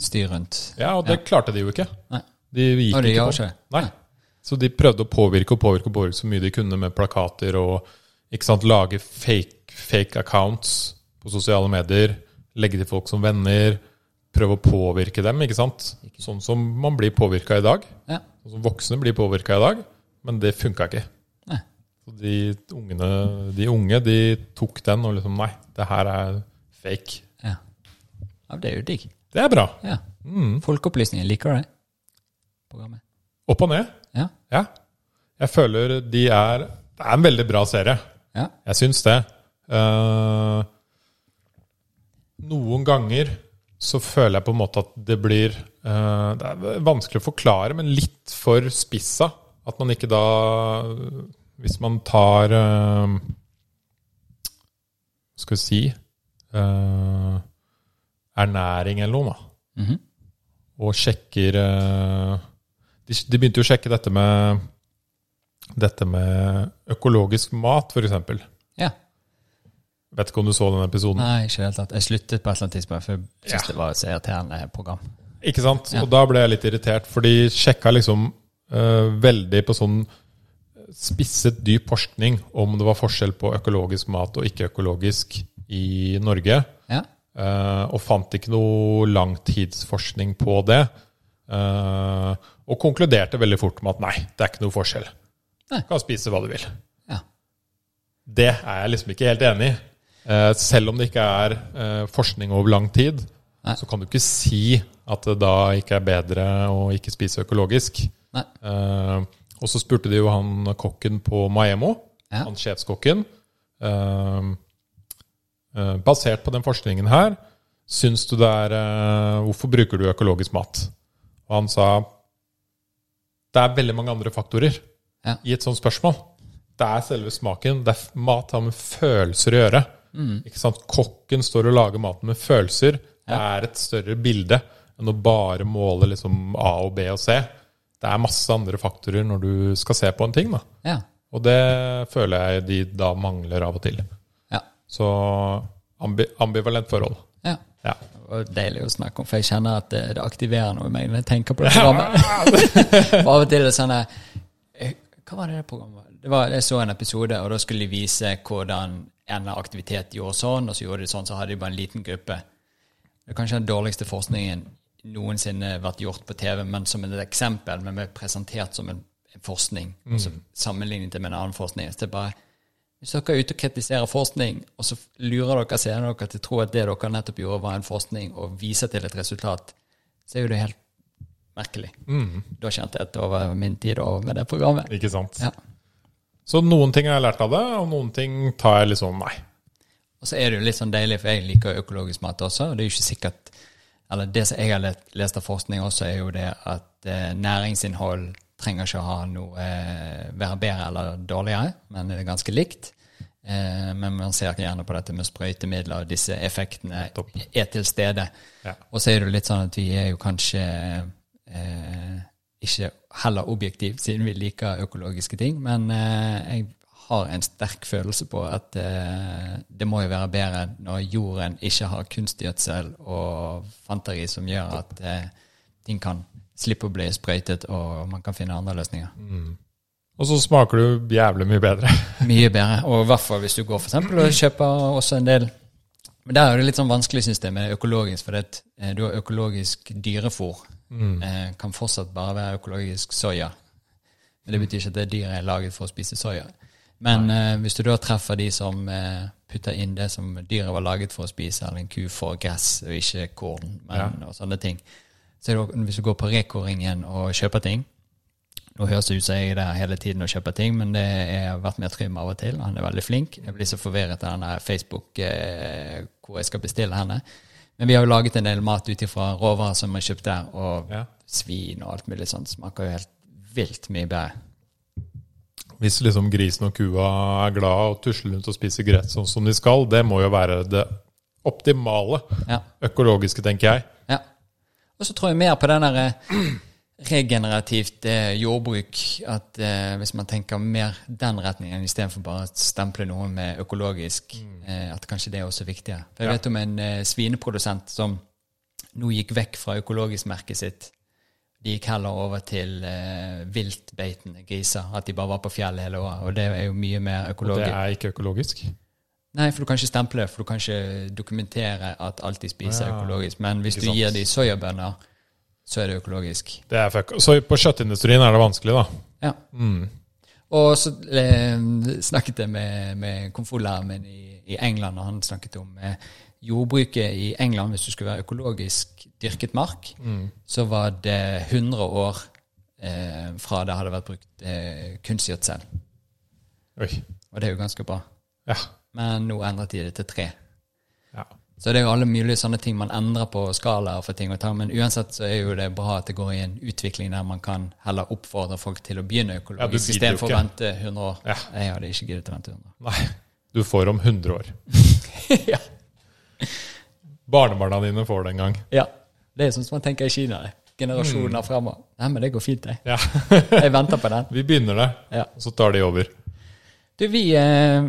[SPEAKER 2] styr rundt.
[SPEAKER 1] Ja, og det klarte de jo ikke.
[SPEAKER 2] Nei.
[SPEAKER 1] De gikk
[SPEAKER 2] Og det
[SPEAKER 1] ikke
[SPEAKER 2] gjør
[SPEAKER 1] på.
[SPEAKER 2] ikke det.
[SPEAKER 1] Nei. Så de prøvde å påvirke og påvirke og påvirke så mye de kunne med plakater og ikke sant, lage fake, fake accounts på sosiale medier, legge til folk som venner, prøve å påvirke dem, ikke sant? Sånn som man blir påvirka i dag.
[SPEAKER 2] Ja.
[SPEAKER 1] Sånn som voksne blir påvirka i dag, men det funka ikke.
[SPEAKER 2] Nei.
[SPEAKER 1] Så de, ungene, de unge de tok den og liksom Nei, det her er fake.
[SPEAKER 2] Ja. ja, det er jo digg.
[SPEAKER 1] Det er bra.
[SPEAKER 2] Ja.
[SPEAKER 1] Mm.
[SPEAKER 2] Folkeopplysningen, liker du det? Programmet.
[SPEAKER 1] Opp og ned.
[SPEAKER 2] Ja.
[SPEAKER 1] Ja. Jeg føler de er Det er en veldig bra serie.
[SPEAKER 2] Ja.
[SPEAKER 1] Jeg syns det. Eh, noen ganger så føler jeg på en måte at det blir eh, Det er vanskelig å forklare, men litt for spissa. At man ikke da Hvis man tar eh, Skal vi si eh, Ernæring eller noe, da
[SPEAKER 2] Mhm.
[SPEAKER 1] og sjekker eh, de, de begynte jo å sjekke dette med dette med økologisk mat, f.eks.
[SPEAKER 2] ja.
[SPEAKER 1] Vet ikke om du så den episoden.
[SPEAKER 2] Nei, ikke i det hele tatt. Jeg sluttet på et eller annet tidspunkt, for jeg syntes
[SPEAKER 1] Ja.
[SPEAKER 2] det var et så irriterende program.
[SPEAKER 1] Ikke sant?
[SPEAKER 2] Ja.
[SPEAKER 1] Og da ble jeg litt irritert, for de sjekka liksom eh, veldig på sånn spisset, dyp forskning om det var forskjell på økologisk mat og ikke-økologisk i Norge.
[SPEAKER 2] Ja.
[SPEAKER 1] Eh, og fant ikke noe langtidsforskning på det. Eh, og konkluderte veldig fort med at nei, det er ikke noe forskjell.
[SPEAKER 2] Nei.
[SPEAKER 1] Du kan spise hva du vil.
[SPEAKER 2] Ja.
[SPEAKER 1] Det er jeg liksom ikke helt enig i. Eh, selv om det ikke er eh, forskning over lang tid,
[SPEAKER 2] Nei.
[SPEAKER 1] så kan du ikke si at det da ikke er bedre å ikke spise økologisk.
[SPEAKER 2] Nei.
[SPEAKER 1] Eh, og så spurte de jo han kokken på Maemmo,
[SPEAKER 2] Ja.
[SPEAKER 1] han sjefskokken. Eh, eh, basert på den forskningen her, syns du det er eh, Hvorfor bruker du økologisk mat? Og han sa det er veldig mange andre faktorer
[SPEAKER 2] Ja.
[SPEAKER 1] i et sånt spørsmål. Det er selve smaken. Det er f- mat har med følelser å gjøre. Ikke sant? Kokken står og lager maten med følelser. Det er et større bilde enn å bare måle liksom A og B og C. Det er masse andre faktorer når du skal se på en ting. Da.
[SPEAKER 2] Ja.
[SPEAKER 1] Og det føler jeg de da mangler av og til.
[SPEAKER 2] Ja.
[SPEAKER 1] Så ambi ambivalent forhold.
[SPEAKER 2] ja.
[SPEAKER 1] Ja.
[SPEAKER 2] Det var deilig å snakke om, for jeg kjenner at det, det aktiverer noe i meg når jeg tenker på det programmet. For Av og til er det sånn der, eh, Hva var det det programmet var? Det var? Jeg så en episode, og da skulle de vise hvordan en aktivitet gjorde sånn, og så gjorde de sånn, så hadde de bare en liten gruppe. Det er kanskje den dårligste forskningen noensinne vært gjort på TV, men som et eksempel, men ble presentert som en en forskning, og så sammenlignet det med en annen forskning. Så det er bare, hvis dere er ute og kritiserer forskning, og så lurer dere seerne dere til å tro at det dere nettopp gjorde, var en forskning, og viser til et resultat, så er jo det helt merkelig. Da kjente jeg at det var min tid over med det programmet.
[SPEAKER 1] Ikke sant?
[SPEAKER 2] Ja.
[SPEAKER 1] Så noen ting har jeg lært av det, og noen ting tar jeg liksom nei.
[SPEAKER 2] Og så er det jo litt sånn deilig, for jeg liker jo økologisk mat også, og det er jo ikke sikkert Eller det som jeg har let- lest av forskning også, er jo det at eh, næringsinnhold trenger ikke å ha noe eh, være bedre eller dårligere, men det er ganske likt. Eh, men man ser gjerne på dette med sprøytemidler, og disse effektene er til stede.
[SPEAKER 1] Ja.
[SPEAKER 2] Og så er det jo litt sånn at vi er jo kanskje eh, ikke heller objektiv, siden vi liker økologiske ting, men eh, jeg har en sterk følelse på at eh, det må jo være bedre når jorden ikke har kunstgjødsel og fanteri som gjør at eh, ting kan slippe å bli sprøytet, og man kan finne andre løsninger.
[SPEAKER 1] Og så smaker det jo jævlig mye bedre. *laughs*
[SPEAKER 2] Mye bedre. Og i hvert fall hvis du går for eksempel og kjøper også en del Men der er det litt sånn vanskelig, syns jeg, med økologisk. For det, at, eh, du har økologisk dyrefôr. Eh, kan fortsatt bare være økologisk soya. Men det betyr ikke at det dyret er laget for å spise soya. Men eh, hvis du da treffer de som eh, putter inn det som dyret var laget for å spise, eller en ku får gress og ikke korn men, og sånne ting Så er det, jo- Hvis du går på Reko-ringen og kjøper ting Nå høres det ut som jeg er der hele tiden og kjøper ting, men det er vært med Trym av og til, og han er veldig flink. Jeg blir så forvirret av den der Facebook eh, hvor jeg skal bestille henne. Men vi har jo laget en del mat ut ifra råvarer som er kjøpt der, og
[SPEAKER 1] Ja.
[SPEAKER 2] svin og alt mulig sånt. Smaker jo helt vilt mye bedre.
[SPEAKER 1] Hvis liksom grisen og kua er glad og tusler rundt og spiser gress sånn som de skal, det må jo være det optimale
[SPEAKER 2] Ja.
[SPEAKER 1] økologiske, tenker jeg.
[SPEAKER 2] ja. Og så tror jeg mer på den der eh, regenerativt eh, jordbruk. At eh, hvis man tenker mer den retningen istedenfor bare å stemple noe med økologisk, eh, at kanskje det er også viktigere. For
[SPEAKER 1] Mm.
[SPEAKER 2] jeg
[SPEAKER 1] Ja.
[SPEAKER 2] vet om en eh, svineprodusent som nå gikk vekk fra økologisk-merket sitt. De gikk heller over til eh, viltbeitende griser. At de bare var på fjellet hele året. Og det er jo mye mer
[SPEAKER 1] Og det
[SPEAKER 2] økologisk.
[SPEAKER 1] er ikke økologisk.
[SPEAKER 2] Nei, for du kan ikke stemple det, for du kan ikke dokumentere at alt de spiser er
[SPEAKER 1] Ja,
[SPEAKER 2] økologisk. Men hvis
[SPEAKER 1] ikke
[SPEAKER 2] du gir
[SPEAKER 1] sant.
[SPEAKER 2] dem soyabønner, så er det økologisk.
[SPEAKER 1] Det er fuck. Så på kjøttindustrien er det vanskelig, da.
[SPEAKER 2] Ja.
[SPEAKER 1] Mm.
[SPEAKER 2] Og så eh, snakket jeg med, med komfortlæreren min i, i England, og han snakket om eh, jordbruket i England. Hvis du skulle være økologisk dyrket mark,
[SPEAKER 1] Mm.
[SPEAKER 2] så var det 100 år eh, fra det hadde vært brukt eh, kunstgjødsel.
[SPEAKER 1] Oi.
[SPEAKER 2] Og det er jo ganske bra.
[SPEAKER 1] Ja.
[SPEAKER 2] Men nå endret de det til tre.
[SPEAKER 1] ja.
[SPEAKER 2] Så det er jo alle mulige sånne ting man endrer på skalaer for ting og tang, men uansett så er jo det bra at det går i en utvikling der man kan heller oppfordre folk til å begynne
[SPEAKER 1] Ja, du
[SPEAKER 2] økologisk
[SPEAKER 1] gidder jo
[SPEAKER 2] istedenfor å
[SPEAKER 1] ikke.
[SPEAKER 2] vente 100 år.
[SPEAKER 1] Ja.
[SPEAKER 2] Jeg hadde ikke giddet å vente 100 år.
[SPEAKER 1] Nei. Du får om 100 år. *laughs*
[SPEAKER 2] ja.
[SPEAKER 1] Barnebarna dine får det en gang.
[SPEAKER 2] ja. Det er sånn som man tenker i Kina. det.
[SPEAKER 1] Mm.
[SPEAKER 2] Generasjoner fremover. Nei, men det går fint, jeg.
[SPEAKER 1] Ja.
[SPEAKER 2] Jeg venter på den.
[SPEAKER 1] Vi begynner det,
[SPEAKER 2] Ja.
[SPEAKER 1] og så tar de over.
[SPEAKER 2] Du, vi eh,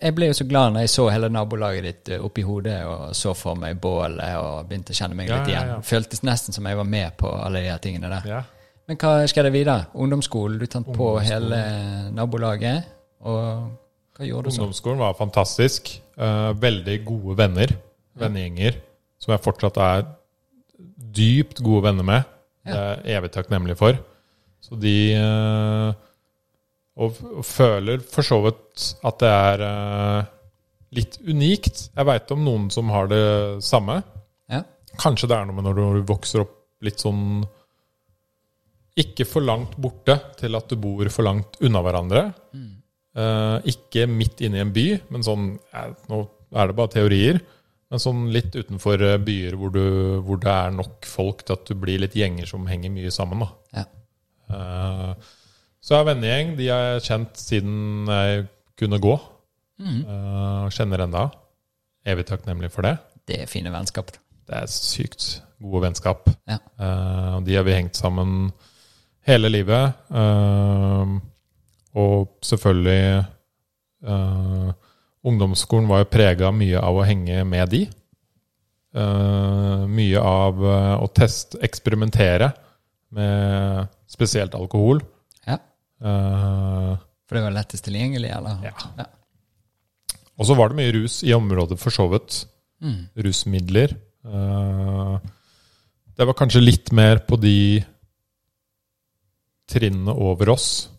[SPEAKER 2] Jeg ble jo så glad når jeg så hele nabolaget ditt eh, oppi hodet og så for meg bålet og begynte å kjenne meg
[SPEAKER 1] Ja, ja,
[SPEAKER 2] litt igjen.
[SPEAKER 1] ja.
[SPEAKER 2] Føltes nesten som jeg var med på alle de her tingene der.
[SPEAKER 1] Ja.
[SPEAKER 2] Men hva skjedde videre? Ungdomsskolen, du tente på hele eh, nabolaget. Og hva gjorde du så?
[SPEAKER 1] Ungdomsskolen var fantastisk. Eh, veldig gode venner. Vennegjenger. Som jeg fortsatt er dypt gode venner med. Det er jeg evig takknemlig for. Så de eh, og, og føler for så vidt at det er eh, litt unikt. Jeg veit om noen som har det samme.
[SPEAKER 2] Ja.
[SPEAKER 1] Kanskje det er noe med når du vokser opp litt sånn Ikke for langt borte til at du bor for langt unna hverandre. Eh, ikke midt inne i en by, men sånn eh, Nå er det bare teorier. Men sånn litt utenfor eh, byer hvor, du, hvor det er nok folk til at du blir litt gjenger som henger mye sammen. da.
[SPEAKER 2] Ja.
[SPEAKER 1] Eh, så jeg har vennegjeng. De har jeg kjent siden jeg kunne gå.
[SPEAKER 2] Mhm.
[SPEAKER 1] Eh, kjenner enda. Evig takknemlig for det.
[SPEAKER 2] Det er fine vennskap. da.
[SPEAKER 1] Det er sykt gode vennskap.
[SPEAKER 2] Ja.
[SPEAKER 1] Eh, og de har vi hengt sammen hele livet. Eh, og selvfølgelig eh, Ungdomsskolen var jo prega mye av å henge med de. Eh, mye av eh, å teste, eksperimentere med spesielt alkohol.
[SPEAKER 2] Ja.
[SPEAKER 1] Eh,
[SPEAKER 2] For det var lettest tilgjengelig, eller?
[SPEAKER 1] Ja. og så var det mye rus i området, for så vidt.
[SPEAKER 2] Mm.
[SPEAKER 1] rusmidler. Eh, Det var kanskje litt mer på de trinnene over oss.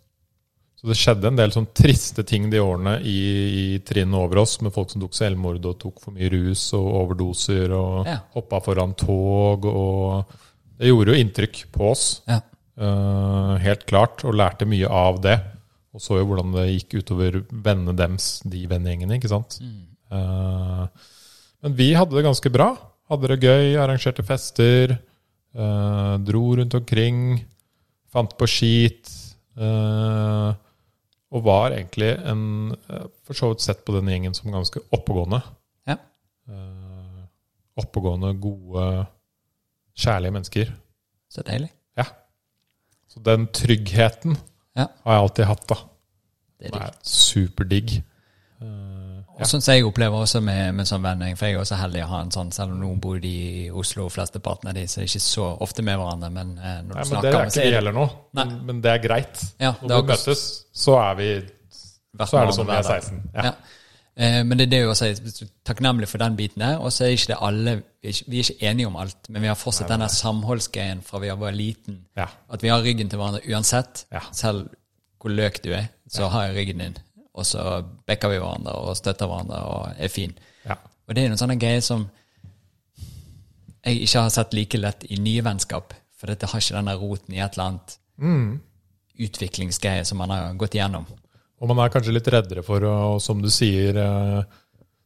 [SPEAKER 1] Så det skjedde en del sånn triste ting de årene i, i trinnene over oss, med folk som tok selvmord og tok for mye rus og overdoser og
[SPEAKER 2] Ja.
[SPEAKER 1] hoppa foran tog og Det gjorde jo inntrykk på oss,
[SPEAKER 2] Ja.
[SPEAKER 1] eh, helt klart, og lærte mye av det. Og så jo hvordan det gikk utover vennene dems, de vennegjengene, ikke sant.
[SPEAKER 2] mm.
[SPEAKER 1] Eh, men vi hadde det ganske bra. Hadde det gøy, arrangerte fester, eh, dro rundt omkring, fant på skit. eh, og var egentlig en eh, For så vidt sett på den gjengen som ganske oppegående.
[SPEAKER 2] Ja.
[SPEAKER 1] Eh, oppegående, gode, kjærlige mennesker.
[SPEAKER 2] Så deilig.
[SPEAKER 1] Ja. Så den tryggheten
[SPEAKER 2] Ja.
[SPEAKER 1] har jeg alltid hatt, da.
[SPEAKER 2] Det er
[SPEAKER 1] Den
[SPEAKER 2] digg.
[SPEAKER 1] er superdigg. Eh,
[SPEAKER 2] Og sånn som jeg opplever også med, med sånn vennegjeng, for jeg er også heldig å ha en sånn, selv om nå bor de i Oslo, flesteparten av de, så er det ikke så ofte med hverandre, men eh,
[SPEAKER 1] Nei,
[SPEAKER 2] når du
[SPEAKER 1] men Det
[SPEAKER 2] snakker
[SPEAKER 1] er
[SPEAKER 2] med
[SPEAKER 1] ikke
[SPEAKER 2] så
[SPEAKER 1] vi
[SPEAKER 2] er det
[SPEAKER 1] heller nå, men,
[SPEAKER 2] Nei.
[SPEAKER 1] men det er greit.
[SPEAKER 2] Ja, det
[SPEAKER 1] Når
[SPEAKER 2] er
[SPEAKER 1] vi
[SPEAKER 2] akkurat-
[SPEAKER 1] møtes, så er vi
[SPEAKER 2] vært
[SPEAKER 1] så er
[SPEAKER 2] med
[SPEAKER 1] det som vi er
[SPEAKER 2] hverandre hver dag.
[SPEAKER 1] 16.
[SPEAKER 2] Ja.
[SPEAKER 1] Ja.
[SPEAKER 2] Eh, Men det er det jo også, jeg er takknemlig for den biten der, og så er ikke det alle, vi er ikke, vi er ikke enige om alt, men vi har fortsatt denne samholdsgreien fra vi var liten,
[SPEAKER 1] Ja.
[SPEAKER 2] at vi har ryggen til hverandre uansett,
[SPEAKER 1] Ja.
[SPEAKER 2] selv hvor løk du er, så har jeg ryggen din, og så backer vi hverandre og støtter hverandre og er fin.
[SPEAKER 1] ja.
[SPEAKER 2] Og det er noen sånne greier som jeg ikke har sett like lett i nye vennskap, for dette har ikke denne roten i et eller annet
[SPEAKER 1] Mm.
[SPEAKER 2] utviklingsgreie som man har gått igjennom.
[SPEAKER 1] Og man er kanskje litt reddere for å, som du sier, eh,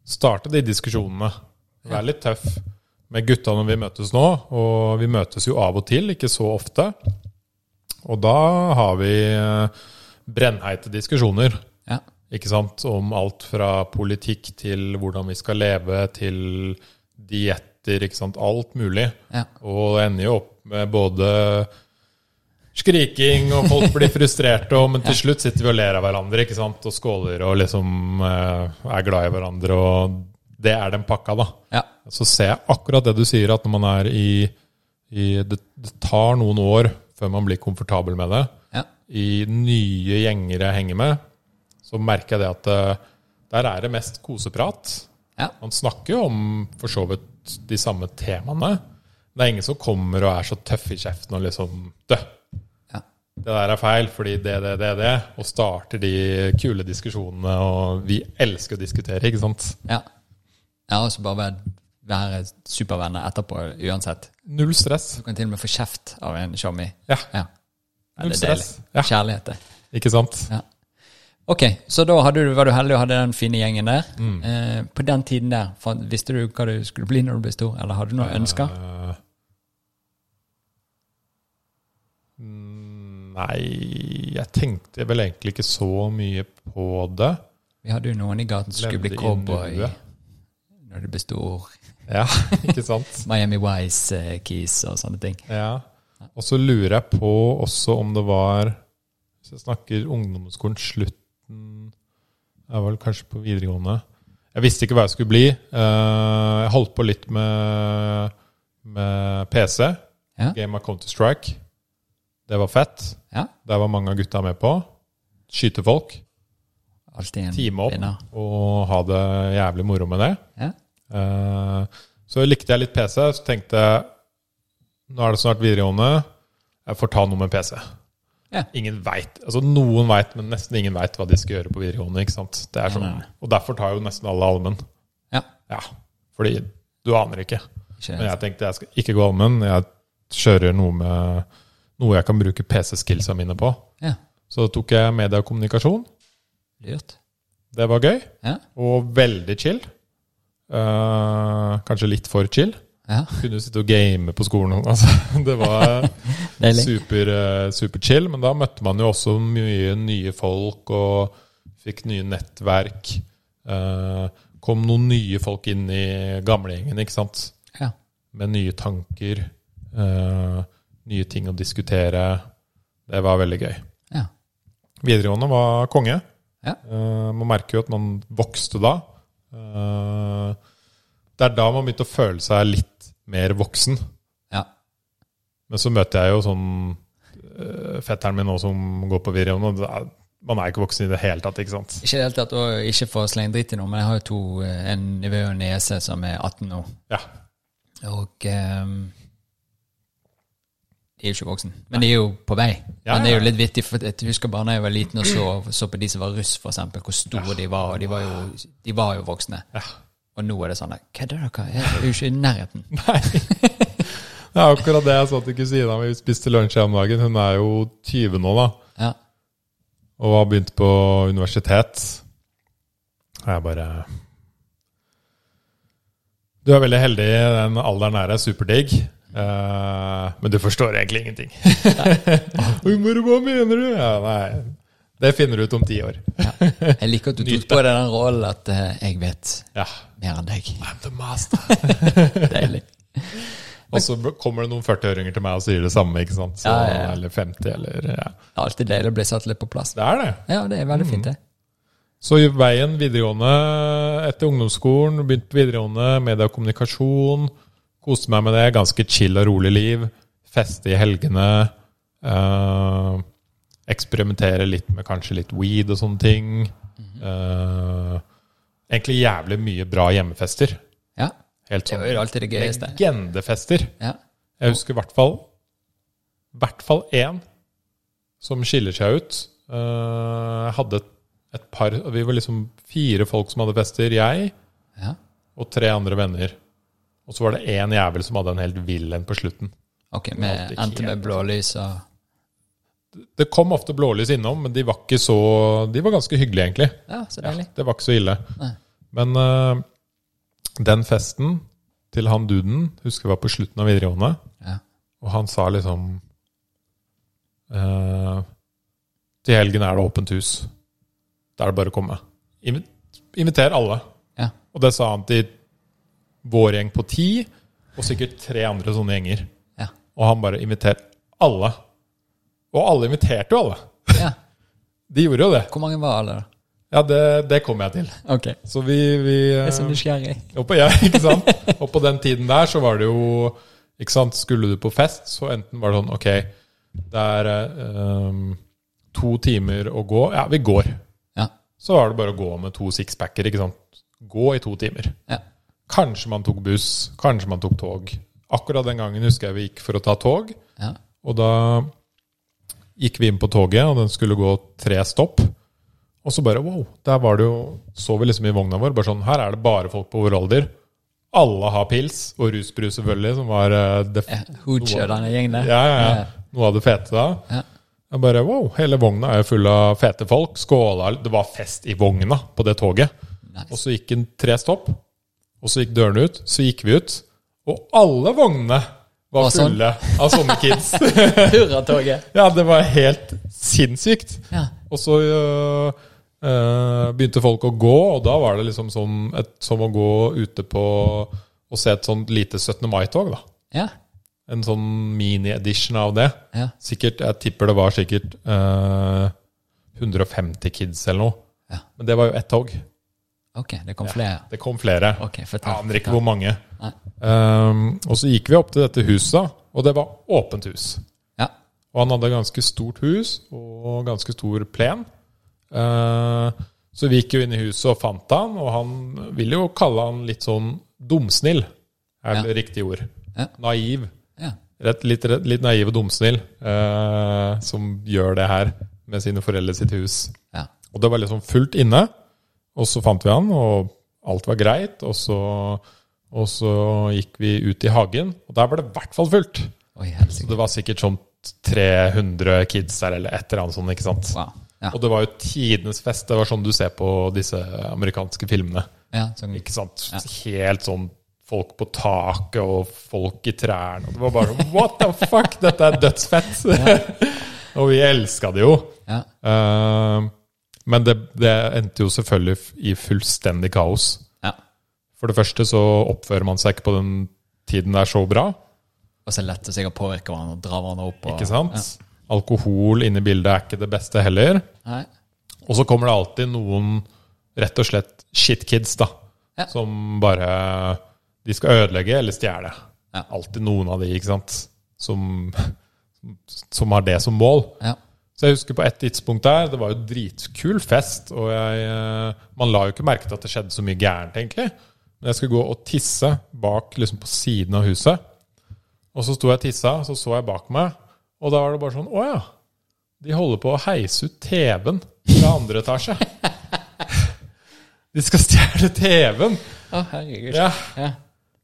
[SPEAKER 1] starte de diskusjonene. Være litt tøff med gutta når vi møtes nå, og vi møtes jo av og til, ikke så ofte. Og da har vi eh, brennheite diskusjoner,
[SPEAKER 2] Ja.
[SPEAKER 1] ikke sant, om alt fra politikk til hvordan vi skal leve, til dietter, ikke sant, alt mulig.
[SPEAKER 2] Ja.
[SPEAKER 1] Og det ender jo opp med både skriking, og folk blir frustrerte, og, men til slutt sitter vi og ler av hverandre ikke sant? og skåler og liksom eh, er glad i hverandre. Og det er den pakka, da.
[SPEAKER 2] ja.
[SPEAKER 1] Så ser jeg akkurat det du sier, at når man er i, i det, det tar noen år før man blir komfortabel med det.
[SPEAKER 2] ja.
[SPEAKER 1] I nye gjenger jeg henger med, så merker jeg det at eh, der er det mest koseprat.
[SPEAKER 2] ja.
[SPEAKER 1] Man snakker jo om for så vidt de samme temaene. Det er ingen som kommer og er så tøff i kjeften og liksom Dø!
[SPEAKER 2] Ja.
[SPEAKER 1] Det der er feil, fordi det, det, det, det. Og starter de kule diskusjonene, og vi elsker å diskutere, ikke sant?
[SPEAKER 2] ja. ja og så bare være, være supervenner etterpå uansett.
[SPEAKER 1] Null stress.
[SPEAKER 2] Du kan til og med få kjeft av en sjommi.
[SPEAKER 1] Ja.
[SPEAKER 2] Ja. Ja,
[SPEAKER 1] Null
[SPEAKER 2] det er deilig.
[SPEAKER 1] stress. Ja,
[SPEAKER 2] Kjærlighet, det.
[SPEAKER 1] ikke sant?
[SPEAKER 2] Ja. Ok, så da hadde du, var du heldig og hadde den fine gjengen der.
[SPEAKER 1] Mm.
[SPEAKER 2] Eh, på den tiden der, fant- visste du hva du skulle bli når du ble stor, eller hadde du noen ønsker?
[SPEAKER 1] Eh, mm, Nei, jeg tenkte vel egentlig ikke så mye på det.
[SPEAKER 2] Vi hadde jo noen i gaten som skulle bli
[SPEAKER 1] Levde i
[SPEAKER 2] cowboy
[SPEAKER 1] nuet.
[SPEAKER 2] når du ble stor.
[SPEAKER 1] Ja, *laughs* ikke sant?
[SPEAKER 2] Miami Wise-keys og sånne ting.
[SPEAKER 1] Ja. Og så lurer jeg på også om det var Hvis jeg snakker ungdomsskolen slutten Jeg var vel kanskje på videregående. Jeg visste ikke hva jeg skulle bli. Eh, Jeg holdt på litt med, med PC.
[SPEAKER 2] Ja.
[SPEAKER 1] Game av Counter-Strike. Det var fett.
[SPEAKER 2] Ja.
[SPEAKER 1] Der var mange av gutta med på. Skyte folk,
[SPEAKER 2] Alltid en
[SPEAKER 1] time opp
[SPEAKER 2] vinner.
[SPEAKER 1] og ha det jævlig moro med det.
[SPEAKER 2] Ja.
[SPEAKER 1] Eh, Så likte jeg litt PC, så tenkte jeg nå er det snart videregående, jeg får ta noe med PC.
[SPEAKER 2] Ja.
[SPEAKER 1] Ingen veit. Altså, noen veit, men nesten ingen veit hva de skal gjøre på videregående. ikke sant? Det er
[SPEAKER 2] Nei,
[SPEAKER 1] sånn,
[SPEAKER 2] nei.
[SPEAKER 1] og derfor tar jo nesten alle allmenn.
[SPEAKER 2] ja.
[SPEAKER 1] Ja, fordi du aner ikke.
[SPEAKER 2] Ikke
[SPEAKER 1] Men jeg tenkte jeg skal ikke gå allmenn, jeg kjører noe med noe jeg kan bruke PC-skillsa mine på.
[SPEAKER 2] Ja.
[SPEAKER 1] Så tok jeg media og kommunikasjon.
[SPEAKER 2] Lurt.
[SPEAKER 1] Det var gøy,
[SPEAKER 2] Ja.
[SPEAKER 1] og veldig chill. Eh, kanskje litt for chill.
[SPEAKER 2] ja.
[SPEAKER 1] Kunne jo sitte og game på skolen. *laughs* Altså, det var
[SPEAKER 2] Deilig.
[SPEAKER 1] super, eh, super chill. Men da møtte man jo også mye nye folk og fikk nye nettverk. Eh, kom noen nye folk inn i gamlegjengen, ikke sant?
[SPEAKER 2] Ja.
[SPEAKER 1] Med nye tanker. eh, nye ting å diskutere. Det var veldig gøy.
[SPEAKER 2] Ja.
[SPEAKER 1] Videregående var konge.
[SPEAKER 2] Ja.
[SPEAKER 1] Eh, man merker jo at man vokste da. Eh, det er da man begynte å føle seg litt mer voksen.
[SPEAKER 2] ja.
[SPEAKER 1] Men så møter jeg jo sånn øh, fetteren min nå som går på videregående. og det er- Man er ikke voksen i det hele tatt, ikke sant?
[SPEAKER 2] Ikke i det hele tatt, og ikke for å slenge dritt i noe, men jeg har jo to, eh, en nevø og en niese som er 18 nå.
[SPEAKER 1] Ja. *laughs*
[SPEAKER 2] Og ehm, de er jo ikke voksen, men de er jo på vei.
[SPEAKER 1] Ja,
[SPEAKER 2] men det er
[SPEAKER 1] ja.
[SPEAKER 2] jo litt vittig, for jeg husker bare da jeg var liten og så, så på de som var russ, for eksempel, hvor store de var, og de var jo, de var jo voksne. Og nå er det sånn, kødder dere? Jeg er jo ikke i nærheten.
[SPEAKER 1] Det er akkurat det jeg sa til kusina mi. Vi spiste lunsj her om dagen. Hun er jo 20 nå, da.
[SPEAKER 2] Ja,
[SPEAKER 1] Og har begynt på universitet. Og jeg bare Du er veldig heldig. Den alderen her er superdigg. Eh, men du forstår egentlig
[SPEAKER 2] *laughs*
[SPEAKER 1] ingenting. Oi, Moro, hva mener du? Ja, nei, det finner du ut om ti år.
[SPEAKER 2] jeg liker at du tok
[SPEAKER 1] Nyt det.
[SPEAKER 2] på deg den rollen at eh, jeg vet
[SPEAKER 1] Ja.
[SPEAKER 2] mer enn deg. *laughs*
[SPEAKER 1] I'm the master.
[SPEAKER 2] Deilig.
[SPEAKER 1] Og så b- kommer det noen 40-øringer til meg og sier det samme. ikke sant? Så,
[SPEAKER 2] Ja, ja, ja.
[SPEAKER 1] Eller 50, eller ja.
[SPEAKER 2] Det er alltid deilig å bli satt litt på plass.
[SPEAKER 1] Det er det.
[SPEAKER 2] Ja, det er veldig fint, det.
[SPEAKER 1] Så i veien videregående etter ungdomsskolen, begynte på videregående, media og kommunikasjon. Koste meg med det. Ganske chill og rolig liv. Feste i helgene. Eh, eksperimentere litt med kanskje litt weed og sånne ting.
[SPEAKER 2] Mhm.
[SPEAKER 1] Eh, egentlig jævlig mye bra hjemmefester.
[SPEAKER 2] Ja.
[SPEAKER 1] Helt
[SPEAKER 2] Det
[SPEAKER 1] sånn
[SPEAKER 2] var jo alltid det gøyeste.
[SPEAKER 1] legendefester.
[SPEAKER 2] Ja.
[SPEAKER 1] Jeg husker i hvert fall hvert fall én som skiller seg ut. Eh, Jeg hadde et, et par Vi var liksom fire folk som hadde fester. Jeg
[SPEAKER 2] ja.
[SPEAKER 1] og tre andre venner. Og så var det én jævel som hadde en helt vill en på slutten.
[SPEAKER 2] Ok, vi
[SPEAKER 1] alltid
[SPEAKER 2] endte med
[SPEAKER 1] helt- sånn.
[SPEAKER 2] blålys og
[SPEAKER 1] Det kom ofte blålys innom, men de var ikke så De var ganske hyggelige, egentlig.
[SPEAKER 2] Ja, så
[SPEAKER 1] Ja,
[SPEAKER 2] deilig.
[SPEAKER 1] det var ikke så ille.
[SPEAKER 2] Nei.
[SPEAKER 1] Men eh, den festen til han duden husker jeg var på slutten av videregående.
[SPEAKER 2] Ja.
[SPEAKER 1] Og han sa liksom eh, Til helgen er det åpent hus. Da er det bare å komme. Invi- Inviter alle.
[SPEAKER 2] Ja.
[SPEAKER 1] Og det sa han til vår gjeng på ti, og sikkert tre andre sånne gjenger.
[SPEAKER 2] Ja.
[SPEAKER 1] Og han bare inviter alle. Og alle inviterte jo alle.
[SPEAKER 2] ja.
[SPEAKER 1] De gjorde jo det.
[SPEAKER 2] Hvor mange var alle, da?
[SPEAKER 1] Ja, det, det kom jeg til.
[SPEAKER 2] Ok. Jeg
[SPEAKER 1] Så vi, vi
[SPEAKER 2] er så
[SPEAKER 1] eh,
[SPEAKER 2] nysgjerrig.
[SPEAKER 1] og på, ja, *laughs* ikke sant? Og på den tiden der så var det jo ikke sant, Skulle du på fest, så enten var det sånn Ok, det er eh, to timer å gå. Ja, vi går.
[SPEAKER 2] Ja.
[SPEAKER 1] Så var det bare å gå med to sixpacker. ikke sant? Gå i to timer.
[SPEAKER 2] Ja.
[SPEAKER 1] Kanskje man tok buss, kanskje man tok tog. Akkurat den gangen husker jeg vi gikk for å ta tog.
[SPEAKER 2] Ja.
[SPEAKER 1] Og da gikk vi inn på toget, og den skulle gå tre stopp. Og så bare wow, der var det jo Så vi liksom i vogna vår, bare sånn Her er det bare folk på vår alder. Alle har pils, og rusbrus selvfølgelig, som var eh, det,
[SPEAKER 2] Ja, Hoocher, denne gjengen der.
[SPEAKER 1] ja, ja, ja. Noe av det fete da.
[SPEAKER 2] Ja.
[SPEAKER 1] Jeg bare wow, hele vogna er jo full av fete folk. Skåla Det var fest i vogna på det toget.
[SPEAKER 2] Nice.
[SPEAKER 1] Og så gikk den tre stopp, og så gikk dørene ut. Så gikk vi ut, og alle vognene var
[SPEAKER 2] Var sånn.
[SPEAKER 1] fulle av sånne
[SPEAKER 2] *laughs*
[SPEAKER 1] kids.
[SPEAKER 2] *laughs* Hurratoget.
[SPEAKER 1] ja, det var helt sinnssykt.
[SPEAKER 2] Ja.
[SPEAKER 1] Og så øh, øh, begynte folk å gå, og da var det liksom som, et, som å gå ute på og se et sånt lite 17. mai-tog, da.
[SPEAKER 2] Ja.
[SPEAKER 1] En sånn mini-edition av det.
[SPEAKER 2] Ja.
[SPEAKER 1] Sikkert, Jeg tipper det var sikkert eh, 150 kids eller noe.
[SPEAKER 2] Ja.
[SPEAKER 1] Men det var jo ett tog.
[SPEAKER 2] Ok, det kom flere.
[SPEAKER 1] Det kom flere.
[SPEAKER 2] Ok,
[SPEAKER 1] Jeg
[SPEAKER 2] fortell.
[SPEAKER 1] aner ikke hvor mange.
[SPEAKER 2] Nei.
[SPEAKER 1] Ehm, og så gikk vi opp til dette huset, da, og det var åpent hus.
[SPEAKER 2] Ja.
[SPEAKER 1] Og han hadde ganske stort hus og ganske stor plen. Eh, så vi gikk jo inn i huset og fant han, og han vil jo kalle han litt sånn dumsnill. Er det riktig ord?
[SPEAKER 2] Ja.
[SPEAKER 1] Naiv.
[SPEAKER 2] Ja.
[SPEAKER 1] Rett, litt, rett, litt naiv og dumsnill eh, som gjør det her med sine foreldre sitt hus.
[SPEAKER 2] Ja.
[SPEAKER 1] Og det var liksom fullt inne. Og så fant vi han, og alt var greit. Og så, og så gikk vi ut i hagen, og der var det i hvert fall fullt.
[SPEAKER 2] Oi,
[SPEAKER 1] Så
[SPEAKER 2] helsike.
[SPEAKER 1] det var sikkert sånn 300 kids der, eller et eller annet sånt. ikke sant?
[SPEAKER 2] Wow. Ja.
[SPEAKER 1] Og det var jo tidenes fest. Det var sånn du ser på disse amerikanske filmene.
[SPEAKER 2] ja sånn.
[SPEAKER 1] ikke sant? Helt sånn folk på taket og folk i trærne. og Det var bare sånn, what the fuck, dette er dødsfett! *laughs* og vi elska det jo.
[SPEAKER 2] Ja.
[SPEAKER 1] Eh, men det, det endte jo selvfølgelig f- i fullstendig kaos.
[SPEAKER 2] ja.
[SPEAKER 1] For det første så oppfører man seg ikke på den tiden det er så bra,
[SPEAKER 2] Og så lett å sikkert påvirke hverandre og dra hverandre opp. Og,
[SPEAKER 1] ikke sant? Alkohol inne i bildet er ikke det beste heller.
[SPEAKER 2] Nei.
[SPEAKER 1] Og så kommer det alltid noen rett og slett shitkids, da.
[SPEAKER 2] Ja.
[SPEAKER 1] Som bare De skal ødelegge eller stjele.
[SPEAKER 2] Ja.
[SPEAKER 1] Alltid noen av de, ikke sant? Som, *laughs* som har det som mål.
[SPEAKER 2] Ja.
[SPEAKER 1] Så jeg husker på et tidspunkt der, det var jo dritkul fest, og jeg, eh, man la jo ikke merke til at det skjedde så mye gærent, egentlig. Men jeg skulle gå og tisse bak, liksom på siden av huset. Og så sto jeg og tissa, så så jeg bak meg, og da var det bare sånn, å ja, de holder på å heise ut TV-en fra andre etasje. De skal stjele TV-en!
[SPEAKER 2] Å, herregud.
[SPEAKER 1] Ja.
[SPEAKER 2] Ja.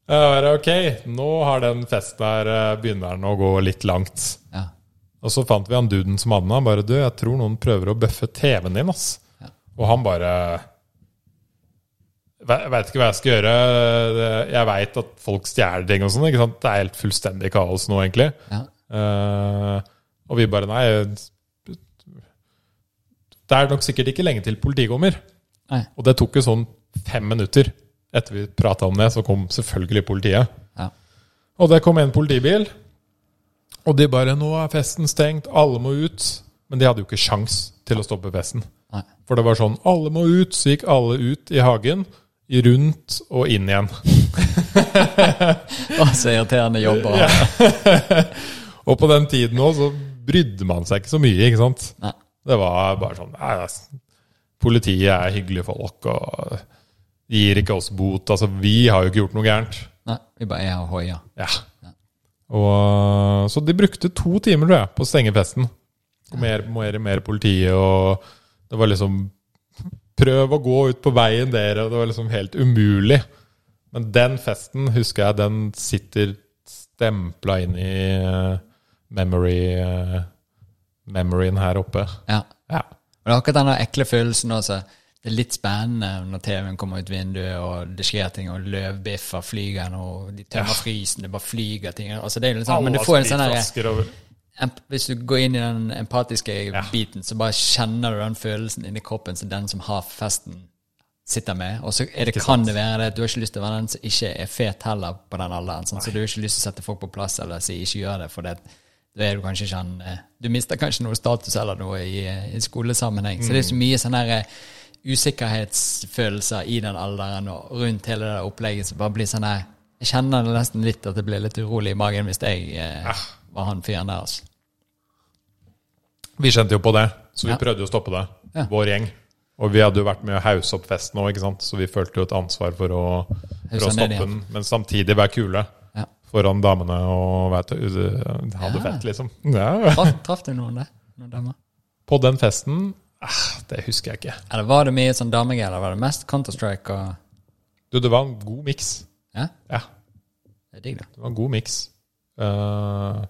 [SPEAKER 1] Jeg bare, ok, nå har den festen her, eh, begynner den å gå litt langt.
[SPEAKER 2] Ja.
[SPEAKER 1] Og så fant vi han duden som hadde den. Han bare Du, jeg tror noen prøver å bøffe TV-en din, ass.
[SPEAKER 2] Ja.
[SPEAKER 1] Og han bare Jeg veit ikke hva jeg skal gjøre. Jeg veit at folk stjeler ting og sånn. ikke sant? Det er helt fullstendig kaos nå, egentlig.
[SPEAKER 2] Ja.
[SPEAKER 1] Eh, og vi bare Nei. Det er nok sikkert ikke lenge til politiet kommer.
[SPEAKER 2] Nei.
[SPEAKER 1] Og det tok jo sånn fem minutter etter vi prata om det, så kom selvfølgelig politiet.
[SPEAKER 2] Ja.
[SPEAKER 1] Og det kom en politibil, og de bare 'Nå er festen stengt, alle må ut.' Men de hadde jo ikke sjans til å stoppe festen.
[SPEAKER 2] Nei.
[SPEAKER 1] For det var sånn 'Alle må ut', så gikk alle ut i hagen, i rundt og inn igjen.
[SPEAKER 2] *laughs* Å, så irriterende jobber.
[SPEAKER 1] Ja. og på den tiden òg så brydde man seg ikke så mye, ikke sant?
[SPEAKER 2] Nei.
[SPEAKER 1] Det var bare sånn nei, ass, Politiet er hyggelige folk, og de gir ikke oss bot. Altså, vi har jo ikke gjort noe gærent.
[SPEAKER 2] Nei, vi bare er her og hoier.
[SPEAKER 1] Ja. Og, så de brukte to timer, tror jeg, på å stenge festen. Mer, mer, mer politi, og det var liksom Prøv å gå ut på veien dere, og det var liksom helt umulig. Men den festen, husker jeg, den sitter stempla inn i eh, memory eh, memoryen her oppe.
[SPEAKER 2] Ja.
[SPEAKER 1] Ja.
[SPEAKER 2] Og det er akkurat den der ekle følelsen også. Det er litt spennende når TV-en kommer ut vinduet, og det skjer ting, og løvbiffer flyger nå, og de tømmer frysen, det bare flyger ting. Altså, det er jo litt sånn, men du får en sånn der,
[SPEAKER 1] Spritflasker over.
[SPEAKER 2] emp- Hvis du går inn i den empatiske biten, så bare kjenner du den følelsen inni kroppen som den som har festen, sitter med. Og så er det, kan det være det at du har ikke lyst til å være den som ikke er fet heller på den alderen. Sånn, så du har ikke lyst til å sette folk på plass eller si 'ikke gjør det', for det, da er du kanskje ikke en, eh, Du mister kanskje noe status eller noe i, eh, i skolesammenheng. Så det er så mye sånn her eh, usikkerhetsfølelser i den alderen og rundt hele det opplegget som bare blir sånn her Jeg kjenner det nesten litt at det blir litt urolig i magen hvis jeg eh, var han fyren der, altså.
[SPEAKER 1] Vi kjente jo på det, så vi
[SPEAKER 2] Ja.
[SPEAKER 1] prøvde jo å stoppe det.
[SPEAKER 2] Ja.
[SPEAKER 1] Vår gjeng. Og vi hadde jo vært med å hause opp festen òg, så vi følte jo et ansvar for å, for å
[SPEAKER 2] Hausse ned
[SPEAKER 1] stoppe
[SPEAKER 2] igjen.
[SPEAKER 1] den. Men samtidig være kule
[SPEAKER 2] Ja.
[SPEAKER 1] foran damene og vet, du, uh, ha det
[SPEAKER 2] Ja.
[SPEAKER 1] fett, liksom. Ja.
[SPEAKER 2] Traff, traff du noen der? Noen damer?
[SPEAKER 1] På den festen eh, Det husker jeg ikke.
[SPEAKER 2] Eller var det mye sånn damegreier? eller Var det mest Counter-Strike og
[SPEAKER 1] Du, det var en god miks.
[SPEAKER 2] Ja,
[SPEAKER 1] Ja,
[SPEAKER 2] det er eh, digg, da.
[SPEAKER 1] det var en god miks. Uh,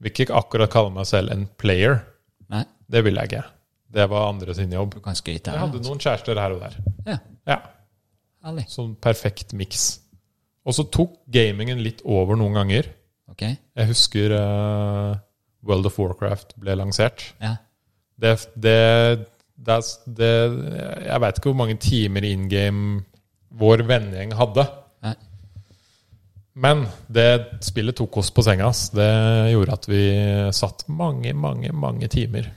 [SPEAKER 1] vil ikke akkurat kalle meg selv en player.
[SPEAKER 2] Nei,
[SPEAKER 1] Det ville jeg ikke. Det var andre sin jobb.
[SPEAKER 2] du kan skryte.
[SPEAKER 1] Jeg
[SPEAKER 2] av
[SPEAKER 1] hadde
[SPEAKER 2] det,
[SPEAKER 1] noen kjærester her og der.
[SPEAKER 2] altså. Ja,
[SPEAKER 1] Ja.
[SPEAKER 2] herlig.
[SPEAKER 1] Sånn perfekt miks. Og så tok gamingen litt over noen ganger.
[SPEAKER 2] Ok.
[SPEAKER 1] Jeg husker eh, World of Warcraft ble lansert.
[SPEAKER 2] Ja.
[SPEAKER 1] Det, det, det, det Jeg veit ikke hvor mange timer in game vår vennegjeng hadde.
[SPEAKER 2] Nei.
[SPEAKER 1] Men det spillet tok oss på senga. ass. Det gjorde at vi satt mange, mange, mange timer.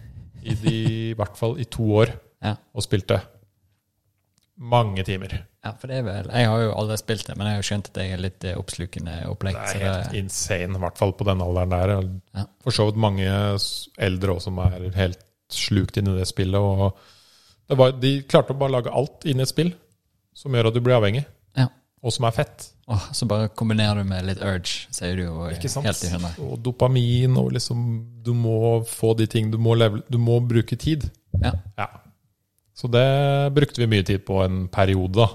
[SPEAKER 1] I, de, I hvert fall i to år
[SPEAKER 2] Ja.
[SPEAKER 1] og spilte. Mange timer.
[SPEAKER 2] ja, for det er vel Jeg har jo aldri spilt det, men jeg har jo skjønt at jeg er litt eh, oppslukende opplegg.
[SPEAKER 1] Det
[SPEAKER 2] så
[SPEAKER 1] er helt
[SPEAKER 2] det,
[SPEAKER 1] insane, i hvert fall på den alderen der. Og
[SPEAKER 2] Ja.
[SPEAKER 1] For så vidt mange s- eldre også som er helt slukt inn i det spillet. Og det var, de klarte å bare lage alt inn i et spill som gjør at du blir avhengig,
[SPEAKER 2] ja.
[SPEAKER 1] og som er fett.
[SPEAKER 2] Åh, så bare kombinerer du med litt urge, så er du jo eh,
[SPEAKER 1] Ikke sant?
[SPEAKER 2] helt i hundre.
[SPEAKER 1] Og dopamin, og liksom Du må få de ting du må leve Du må bruke tid.
[SPEAKER 2] Ja.
[SPEAKER 1] Ja. Så det brukte vi mye tid på en periode, da.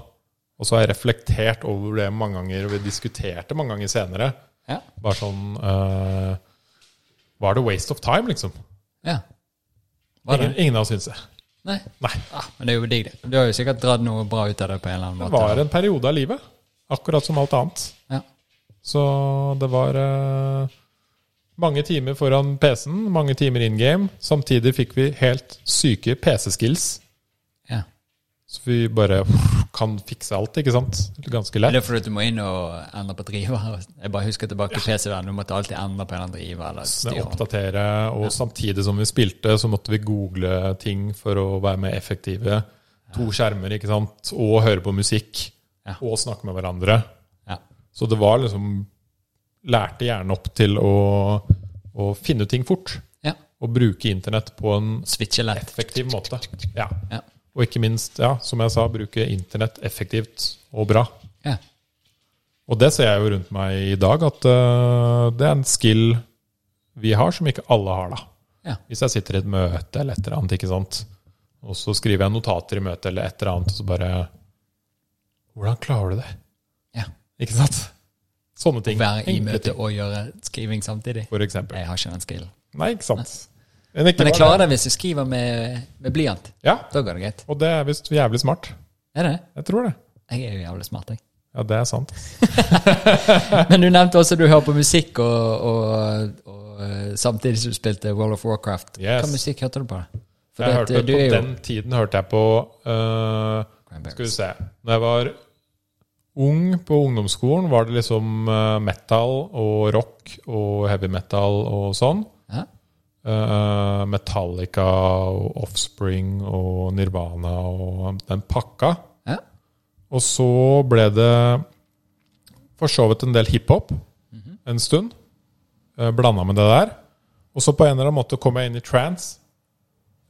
[SPEAKER 1] Og så har jeg reflektert over det mange ganger, og vi diskuterte mange ganger senere.
[SPEAKER 2] Ja.
[SPEAKER 1] Bare sånn eh, Var det waste of time, liksom?
[SPEAKER 2] ja. Var det?
[SPEAKER 1] Ingen, ingen av oss syns det.
[SPEAKER 2] Nei.
[SPEAKER 1] Nei.
[SPEAKER 2] Ah, men det er jo digg, det. Du har jo sikkert dratt noe bra ut av det på en eller annen
[SPEAKER 1] Det
[SPEAKER 2] måte.
[SPEAKER 1] var en periode av livet, akkurat som alt annet.
[SPEAKER 2] Ja.
[SPEAKER 1] Så det var eh, mange timer foran PC-en, mange timer in game. Samtidig fikk vi helt syke PC-skills,
[SPEAKER 2] ja.
[SPEAKER 1] så vi bare kan fikse alt, ikke sant? Ganske
[SPEAKER 2] Er
[SPEAKER 1] lett.
[SPEAKER 2] det fordi du må inn og endre på driver? Jeg bare husker tilbake til PC-verden. Du måtte alltid endre på en eller annen driver. Eller
[SPEAKER 1] Med å
[SPEAKER 2] styre.
[SPEAKER 1] oppdatere, og samtidig som vi spilte, så måtte vi google ting for å være mer effektive. To skjermer, ikke sant? Og høre på musikk.
[SPEAKER 2] Ja.
[SPEAKER 1] Og snakke med hverandre.
[SPEAKER 2] Ja.
[SPEAKER 1] Så det var liksom Lærte hjernen opp til å, å finne ut ting fort.
[SPEAKER 2] ja.
[SPEAKER 1] Og bruke internett på en
[SPEAKER 2] Switche lett.
[SPEAKER 1] effektiv måte. Ja.
[SPEAKER 2] Ja.
[SPEAKER 1] Og ikke minst, ja, som jeg sa, bruke internett effektivt og bra.
[SPEAKER 2] Ja.
[SPEAKER 1] Og det ser jeg jo rundt meg i dag, at øh, det er en skill vi har som ikke alle har, da.
[SPEAKER 2] Ja.
[SPEAKER 1] Hvis jeg sitter i et møte eller et eller annet, ikke sant? og så skriver jeg notater i møtet eller et eller annet, og så bare Hvordan klarer du det?
[SPEAKER 2] ja.
[SPEAKER 1] Ikke sant? Sånne ting.
[SPEAKER 2] Være i
[SPEAKER 1] Enkle
[SPEAKER 2] møte
[SPEAKER 1] ting,
[SPEAKER 2] og gjøre skriving samtidig.
[SPEAKER 1] For eksempel.
[SPEAKER 2] Jeg har ikke den skillen.
[SPEAKER 1] Nei, ikke sant.
[SPEAKER 2] Men jeg klarer det hvis jeg skriver med, med blyant.
[SPEAKER 1] Ja,
[SPEAKER 2] Da går det greit.
[SPEAKER 1] og det er visst jævlig smart.
[SPEAKER 2] Er det det?
[SPEAKER 1] Jeg tror det.
[SPEAKER 2] Jeg er jo jævlig smart, jeg. *laughs*
[SPEAKER 1] Ja, det er sant.
[SPEAKER 2] Men du nevnte også at du hører på musikk og, og, og eh, samtidig som du spilte World of Warcraft.
[SPEAKER 1] Yes.
[SPEAKER 2] Hva musikk hørte du på? da? For
[SPEAKER 1] Jeg
[SPEAKER 2] det at, eh,
[SPEAKER 1] hørte
[SPEAKER 2] du
[SPEAKER 1] på
[SPEAKER 2] er jo-
[SPEAKER 1] den tiden hørte jeg på øh, Skal vi
[SPEAKER 2] Cranberries.
[SPEAKER 1] se Når jeg var ung på ungdomsskolen var det liksom eh, metal og rock og heavy metal og sånn.
[SPEAKER 2] Ja.
[SPEAKER 1] Eh, Metallica og Offspring og Nirvana og den pakka.
[SPEAKER 2] Ja.
[SPEAKER 1] Og så ble det for så vidt en del hiphop
[SPEAKER 2] Mhm.
[SPEAKER 1] en stund. eh, Blanda med det der. Og så på en eller annen måte kom jeg inn i trans.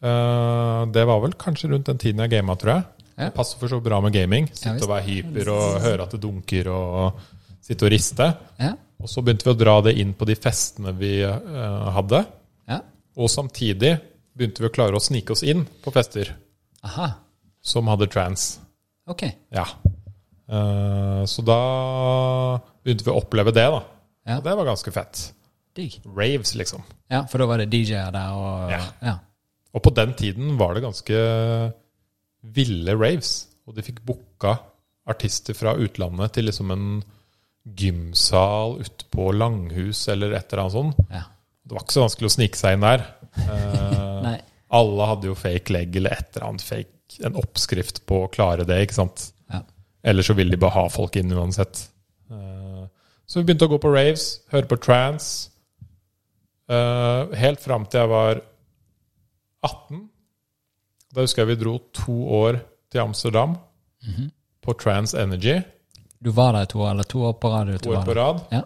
[SPEAKER 1] det var vel kanskje rundt den tiden jeg gama, tror jeg.
[SPEAKER 2] Ja.
[SPEAKER 1] Det passer for så bra med gaming.
[SPEAKER 2] Ja,
[SPEAKER 1] Sitte
[SPEAKER 2] visst.
[SPEAKER 1] og være hyper og høre at det dunker og sitte og riste.
[SPEAKER 2] Ja.
[SPEAKER 1] Og så begynte vi å dra det inn på de festene vi eh, hadde.
[SPEAKER 2] ja.
[SPEAKER 1] Og samtidig begynte vi å klare å snike oss inn på fester
[SPEAKER 2] Aha.
[SPEAKER 1] som hadde trans.
[SPEAKER 2] Ok.
[SPEAKER 1] Ja. Eh, så da begynte vi å oppleve det, da.
[SPEAKER 2] Ja.
[SPEAKER 1] Og det var ganske fett.
[SPEAKER 2] Digg.
[SPEAKER 1] Raves, liksom.
[SPEAKER 2] Ja, for da var det DJ-er der og
[SPEAKER 1] Ja.
[SPEAKER 2] ja.
[SPEAKER 1] Og på den tiden var det ganske ville raves. Og de fikk booka artister fra utlandet til liksom en gymsal utpå Langhus eller et eller annet sånt.
[SPEAKER 2] ja.
[SPEAKER 1] Det var ikke så vanskelig å snike seg inn der. Eh,
[SPEAKER 2] Nei.
[SPEAKER 1] Alle hadde jo fake leg eller et eller annet fake, en oppskrift på å klare det, ikke sant?
[SPEAKER 2] Ja.
[SPEAKER 1] Eller så ville de bare ha folk inn uansett. Eh, Så vi begynte å gå på raves, høre på trans, eh, helt fram til jeg var 18. Da husker jeg vi dro to år til Amsterdam
[SPEAKER 2] Mhm.
[SPEAKER 1] på Trans Energy,
[SPEAKER 2] Du var der i to år, eller to år på rad? ute
[SPEAKER 1] to år
[SPEAKER 2] var
[SPEAKER 1] på
[SPEAKER 2] der.
[SPEAKER 1] rad.
[SPEAKER 2] Ja.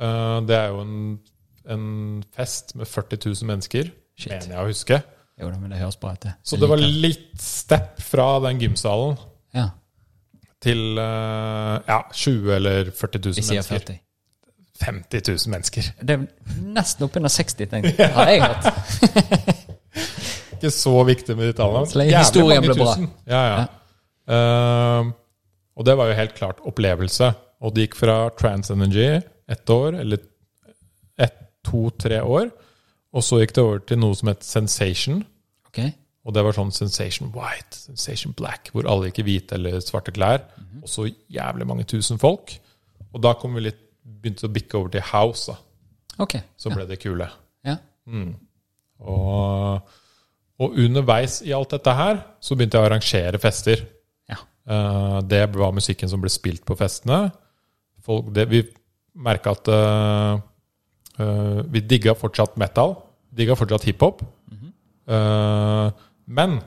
[SPEAKER 1] Eh, Det er jo en, en fest med 40 000 mennesker,
[SPEAKER 2] Shit.
[SPEAKER 1] mener jeg å huske.
[SPEAKER 2] Jo da, men det høres bra ut, det.
[SPEAKER 1] Så
[SPEAKER 2] Jeg
[SPEAKER 1] det var
[SPEAKER 2] liker
[SPEAKER 1] litt step fra den gymsalen
[SPEAKER 2] Ja,
[SPEAKER 1] til eh, ja, 20 eller 40
[SPEAKER 2] vi
[SPEAKER 1] 000
[SPEAKER 2] sier
[SPEAKER 1] mennesker.
[SPEAKER 2] 40.
[SPEAKER 1] 50 000 mennesker.
[SPEAKER 2] Det er nesten oppunder 60,
[SPEAKER 1] *laughs*
[SPEAKER 2] tenkte jeg. Har jeg hørt.
[SPEAKER 1] Ikke så viktig med de tallene.
[SPEAKER 2] Så lenge
[SPEAKER 1] Jævlig
[SPEAKER 2] historien
[SPEAKER 1] mange
[SPEAKER 2] ble bra.
[SPEAKER 1] tusen. Ja, ja. Ehm, og det var jo helt klart opplevelse. Og det gikk fra Trans Energy ett år, eller ett, to, tre år. Og så gikk det over til noe som het Sensation.
[SPEAKER 2] Ok.
[SPEAKER 1] Og det var sånn Sensation White, Sensation Black, hvor alle gikk i hvite eller svarte klær. Og så jævlig mange tusen folk. Og da kom vi litt, begynte å bikke over til House, da.
[SPEAKER 2] Ok.
[SPEAKER 1] Så ble det kule. Mm.
[SPEAKER 2] Ja.
[SPEAKER 1] Og, og underveis i alt dette her, så begynte jeg å arrangere fester.
[SPEAKER 2] Ja.
[SPEAKER 1] Eh, det var musikken som ble spilt på festene. Folk, det, vi merka at eh, eh, Vi digga fortsatt metal. Digga fortsatt hiphop.
[SPEAKER 2] Mhm.
[SPEAKER 1] Eh, men